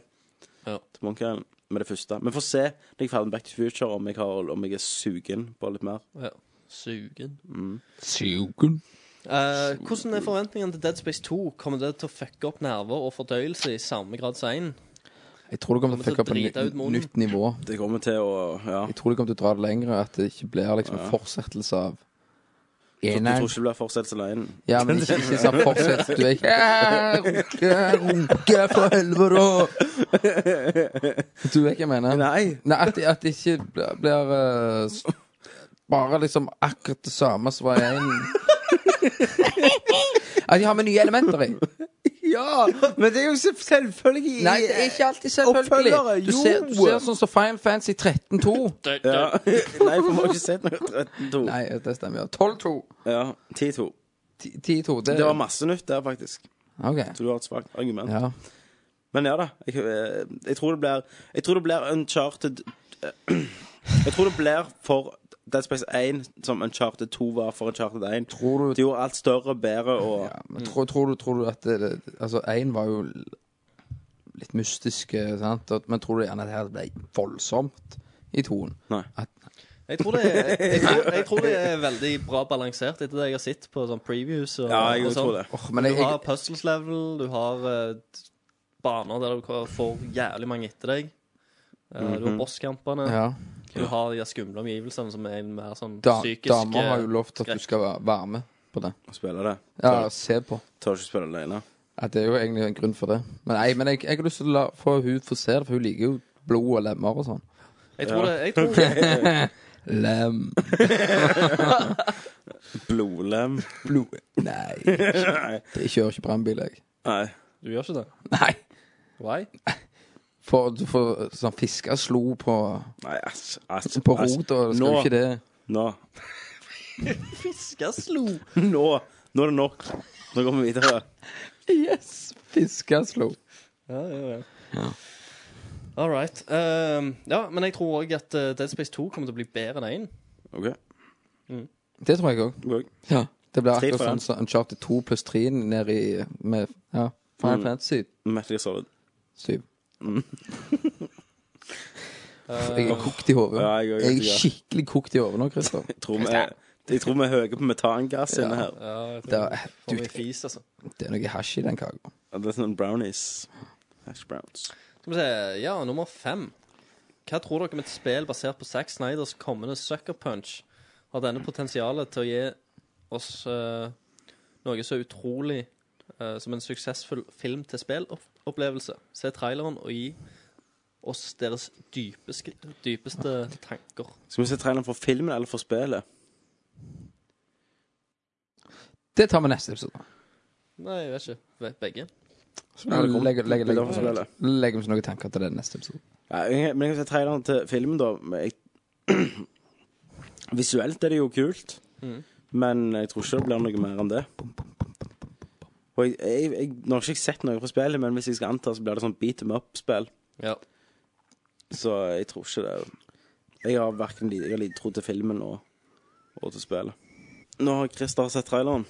S5: Ja.
S1: til Monkey Island med det første. Men får se når jeg er ferdig med Back to Future, om jeg, har, om jeg er sugen på litt mer. Mm.
S5: Ja. Sugen.
S4: Sugen.
S5: Eh, hvordan er forventningene til Dead Space 2? Kommer det til å fucke opp nerver og fordøyelse i samme grad som 1?
S4: Jeg tror det kommer til å
S5: Kommer
S4: fucke
S5: til å drite
S4: opp
S5: ut
S4: på
S5: munnen.
S4: ny- nytt nivå.
S1: Det kommer til å Ja.
S4: Jeg tror det kommer til å dra det lenger, at det ikke blir liksom en fortsettelse av
S1: Så du tror
S4: Eneren.
S1: ikke det blir fortsettelse alene?
S4: Ja, men ikke, ikke sånn fortsett. Du er ikke «Ja, Runke, runke, for helvete! Du vet hva jeg mener?
S1: Nei.
S4: Nei, at, at det ikke blir, blir eh, s- bare liksom akkurat det samme som var i en At de har med nye elementer i.
S1: Ja, men det er jo selvfølgelig
S4: Nei, det er ikke alltid selvfølgelig. Du
S1: Oppfølgere,
S4: ser,
S1: jo.
S4: du ser sånn som Final Fantasy 13-2.
S1: ja. Nei, for vi har ikke sett noe 13-2.
S4: Nei, det stemmer. ja. 12-2.
S1: Ja, 10-2.
S4: 10-2. Det,
S1: Det var masse nytt der, faktisk.
S4: OK.
S1: Så du har et svakt argument.
S4: Ja.
S1: Men ja da. Jeg, eh, jeg tror det blir Jeg tror det blir uncharted eh, Jeg tror det blir for Dead Space 1 som uncharted 2 var for uncharted 1.
S4: Tror du
S1: De gjorde alt større og bedre og
S4: Ja, men tror, tror, du, tror du at det, det- Altså, én var jo l- litt mystisk, eh, sant? At- men tror du gjerne at det her ble voldsomt i tonen?
S1: Nei.
S4: At,
S5: Jeg tror, det er, jeg, tror, jeg tror det er veldig bra balansert etter det jeg har sett på sånn previews. Og,
S1: Ja, jeg
S5: og sånn.
S1: tror det.
S4: åh, men jeg,
S5: Du har
S4: jeg,
S5: puzzles level, du har eh, baner der du får jævlig mange etter deg. Eh, Du har bosskampene.
S4: ja.
S5: Du har de der skumle omgivelsene som er en mer sånn
S4: da,
S5: psykisk
S4: Damer har jo lovt at du
S5: skrekk.
S4: skal være, være med på det.
S1: Å spille det.
S4: Ja, se på.
S1: Tør ikke spille alene.
S4: At det er jo egentlig en grunn for det. Men, nei, men jeg, jeg har lyst til å la, få hun få se det, for hun liker jo blod og lemmer og sånn.
S5: Jeg tror det, jeg tror,
S4: Lem.
S1: Blodlem.
S4: Blod Nei. Jeg kjører ikke brannbil, jeg.
S1: Nei.
S5: du gjør ikke det.
S4: Nei.
S5: Why?
S4: For du får sånn fiskeslo på,
S1: Nei, æsj. æsj,
S4: på
S1: æsj.
S4: rota, skal
S1: Altså, Nå.
S4: jo ikke det
S1: Nå.
S5: Fiskeslo.
S1: Nå. Nå er det nok. Nå går vi videre.
S4: Yes! Fiskeslo.
S5: Ja, ja, ja. All right. Ehm, ja, men jeg tror òg at eh, Dead Space 2 kommer til å bli bedre enn 1.
S1: OK.
S4: Det tror jeg òg.
S1: Gå.
S4: Ja. Det blir
S1: Tre
S4: akkurat
S1: for
S4: sånn
S1: en.
S4: som Uncharted 2 pluss 3 ned i med, ja, Final
S1: Mm.
S4: Fantasy
S1: Metal Gear Solid.
S4: 7.
S1: Mm.
S4: Jeg er kokt i hodet.
S1: Ja, jeg er
S4: Jeg er
S1: ja.
S4: skikkelig kokt i hodet nå, Christer.
S1: Jeg tror vi jeg tror vi er høye på metangass inne her.
S5: Ja,
S4: Det er,
S5: for
S4: du,
S5: mye fis, altså.
S4: det er noe hasj i den kaka.
S1: Ja, Det er sånn brownies. Hash browns.
S5: Skal vi se. Ja, nummer fem. Hva tror dere om et spill basert på Zack Snyders kommende Sucker Punch har denne potensialet til å gi oss eh, noe så utrolig eh, som en suksessfull film til spillopplevelse? Se traileren og gi oss deres dypeste, dypeste tanker.
S1: Skal vi se traileren for filmen eller for spillet?
S4: Det tar vi neste episode.
S5: Nei, jeg vet ikke. Vet Begge.
S1: Velkommen.
S4: Legg legg- legg-
S1: Velkommen til spillet.
S4: legg om noen tanker til det neste episode.
S1: Ja, jeg- men jeg kan se traileren til filmen, da. Men jeg... Visuelt er det jo kult,
S5: Mm.
S1: men jeg tror ikke det blir noe mer enn det. Og jeg, jeg, jeg, nå har ikke jeg sett noe fra spillet, men hvis jeg skal anta, så blir det sånn beat them up-spill.
S5: Ja.
S1: Så jeg tror ikke det Jeg har hverken li- jeg har lite tro til filmen og, og til spillet. Nå har Christer sett traileren.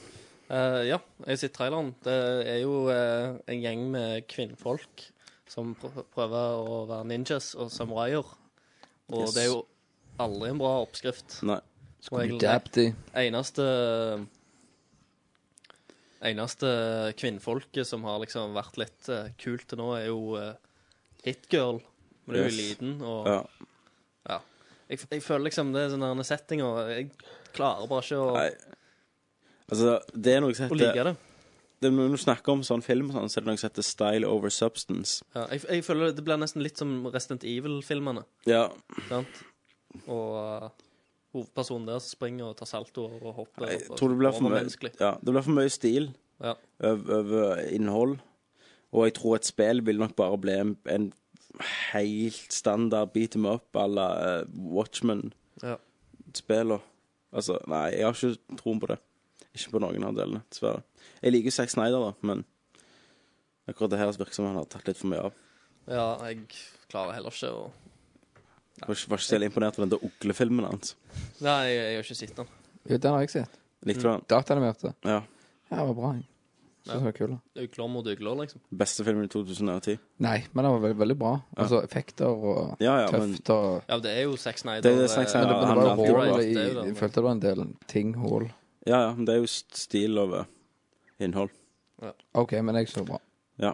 S5: Eh, ja, jeg sitter i traileren. Det er jo eh, en gjeng med kvinnfolk som pr prøver å være ninjas og samuraier. Og
S1: Yes.
S5: det er jo aldri en bra oppskrift.
S1: Nei.
S5: Som regel.
S4: Adapty.
S5: Eneste Eneste kvinnfolket som har liksom vært litt eh, kult til nå, er jo eh, Hitgirl. Men hun er jo
S1: Yes.
S5: liten, og
S1: Ja.
S5: jeg, jeg føler liksom det er sånne settinger Jeg klarer bare ikke å,
S1: Nei. Altså, det er noe som
S5: å
S1: heter
S5: like det.
S1: det, Når du snakker om sånn film, og sånn, så er det noe som heter style over substance.
S5: Ja, jeg, jeg føler det blir nesten litt som Resident Evil-filmene.
S1: Ja.
S5: Sant? Og eh, hovedpersonen der som springer og tar saltoer og hopper.
S1: Jeg
S5: og-
S1: tror det blir for mye,
S5: overmenneskelig.
S1: ja, det blir for mye stil
S5: Ja.
S1: over, over innhold. Og jeg tror et spill vil nok bare bli en, en helt standard beat them up à la eh,
S5: Ja.
S1: Watchmen-spiller. Altså, nei, jeg har ikke troen på det. Ikke på noen av delene, dessverre. Jeg liker Zack Snyder, da, men akkurat det her virker som han har tatt litt for mye av.
S5: ja, jeg klarer heller ikke å
S1: Jeg var ikke, var ikke så veldig imponert over den der uglefilmen hans.
S5: Nei, jeg, jeg har ikke sett den.
S4: Jo, den har jeg sett.
S5: Mm.
S1: Likte du den?
S4: Dataanimerte.
S1: Ja.
S4: Ja, det var bra. jeg. Synes det var kul.
S5: Ugler mot ugler, liksom.
S1: Beste filmen i 2010.
S4: Nei, men den var veldig, veldig bra. Altså effekter og
S1: Ja, ja, men
S4: tøft og
S5: Ja, det er jo Zack Snyder.
S1: Det er det Zack
S5: eh,
S1: Snyder,
S4: Men det, men
S1: han
S4: det var
S1: lagde
S4: jo
S1: jo
S4: hull
S5: det,
S4: i
S5: det er jo det.
S4: Jeg følte det var en del ting hull.
S1: Ja, ja, men det er jo st- stil over innhold.
S4: OK, men jeg så bra.
S1: Ja.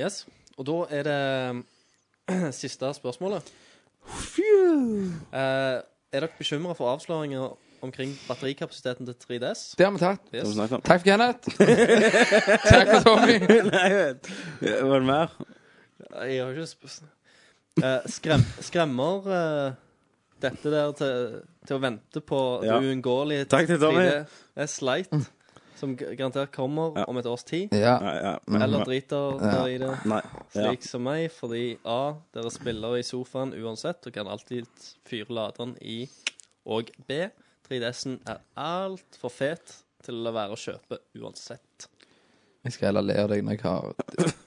S5: Yes. Og da er det siste spørsmålet. Eh, er dere bekymra for avsløringer omkring batterikapasiteten til 3DS?
S4: Det har vi tatt.
S1: Det har vi
S5: Yes.
S1: snakket om.
S4: Takk for Kenneth. Takk for Tommy.
S1: Nei, jeg vet. Var det mer?
S5: Jeg har ikke sp Eh, skrem Skremmer eh, dette der til, til å vente på
S1: Ja.
S5: det uunngåelige
S1: Takk til Tommy.
S5: 3DS Lite, som g- garantert kommer
S1: Ja.
S5: om et års tid?
S4: Ja.
S1: Nei, ja.
S5: Eller driter dere i det?
S1: Nei. Ja.
S5: slik som meg, fordi A, dere spiller i sofaen uansett og kan alltid fyre laderen i, og B, 3DS-en er altfor fet til å være å kjøpe uansett.
S4: Jeg skal heller le av deg når jeg har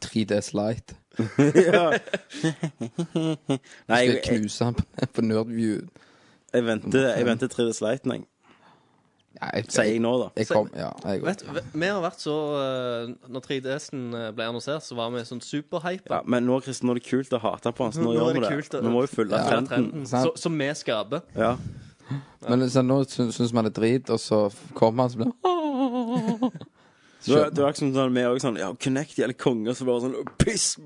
S4: 3DS Light.
S1: Nei,
S4: Skal
S1: jeg,
S4: jeg
S1: jeg,
S4: knuse han på- på Nerdview?
S1: jeg venter, jeg venter 3D Sliten, jeg.
S4: Nei, jeg,
S1: Sier jeg nå, da.
S4: jeg kom Ja, jeg
S5: Vet, v- vi har vært så eh, Når 3DS-en ble annonsert, så var vi sånn
S1: Ja,
S5: superhypa.
S1: men nå, Kristin, nå er det kult å hate på han, så nå,
S5: Nå er
S1: gjør vi
S5: det
S1: det.
S5: kult å-
S1: Vi må jo følge
S5: Ja,
S1: trenden.
S5: trenden
S4: sant.
S5: så- Som vi skaper.
S1: Ja.
S4: Men så nå syns syns man det er drit, og så kommer han så blir han
S1: Du, er- du er ikke sånn sånn, vi er også sånn Ja, Connect gjelder konge, så bare sånn Piss!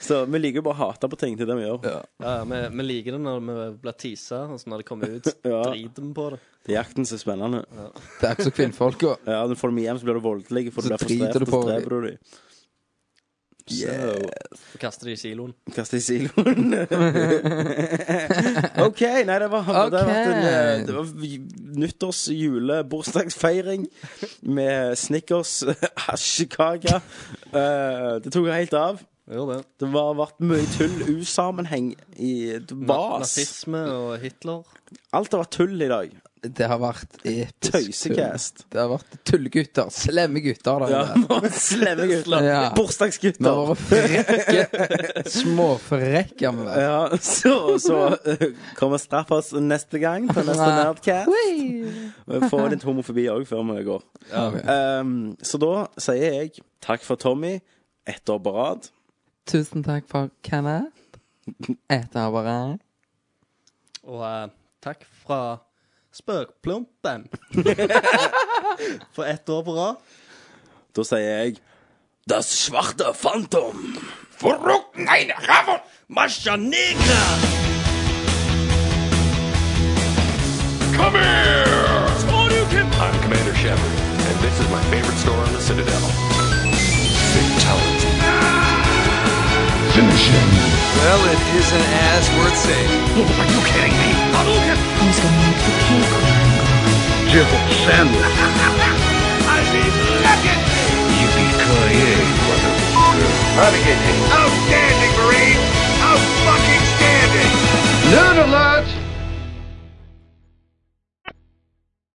S1: Så vi liker jo bare å hate på ting. Det er det vi gjør.
S5: Ja, vi, vi liker det når vi blir teasa, og så når det kommer ut,
S1: Ja.
S5: driter vi på det.
S1: Det er jakten som er spennende.
S4: Det er ikke så kvinnfolka.
S1: Ja, når du får dem hjem, så blir du voldelig, for
S4: Så
S1: du blir
S4: driter
S1: frustrert,
S4: du
S1: og
S4: på
S1: så dreper du dem. So.
S5: Og kaster det i siloen.
S1: Kaste i siloen. OK. Nei, det var Det har vært en eh, det var vi- nyttårs-, jule-, bursdagsfeiring med Snickers, hasjekake. Eh, det tok helt av.
S5: Gjør det.
S1: Det har vært mye tull, usammenheng i
S5: Na-
S1: vas.
S5: Nazisme og Hitler.
S1: Alt har vært tull i dag.
S4: Det har vært episk.
S1: Tøysecast.
S4: tull. Det har vært tullegutter. Slemme gutter. Der,
S1: Ja,
S4: inne.
S1: Slemme gutter.
S4: Ja. Vi har
S1: Bursdagsgutter.
S4: vært frekke. Småfrekke har vi vært.
S1: Ja, så, så eh, kommer straff oss neste gang på neste Nerdcast. Vi får litt homofobi òg før vi går.
S4: Ok.
S1: Ehm, så da sier jeg takk for Tommy, ett år på rad.
S4: Tusen takk for Kenneth. Etter bare
S5: Og eh, takk fra Spøkplumpen. For ett år på rad.
S1: Da sier jeg Das svarte fantom!
S5: Masha Negra!
S2: Come here! I'm Commander Shepard, and this is my favorite store on the Citadel. Fatality. Finish him.
S3: Well, it is an ass worth saving. Are you kidding me? Hadouken! Who's going to make the cake?
S2: Jill Sandwich. I mean, look at me! Yippee-ki-yay, motherfucker. Navigating.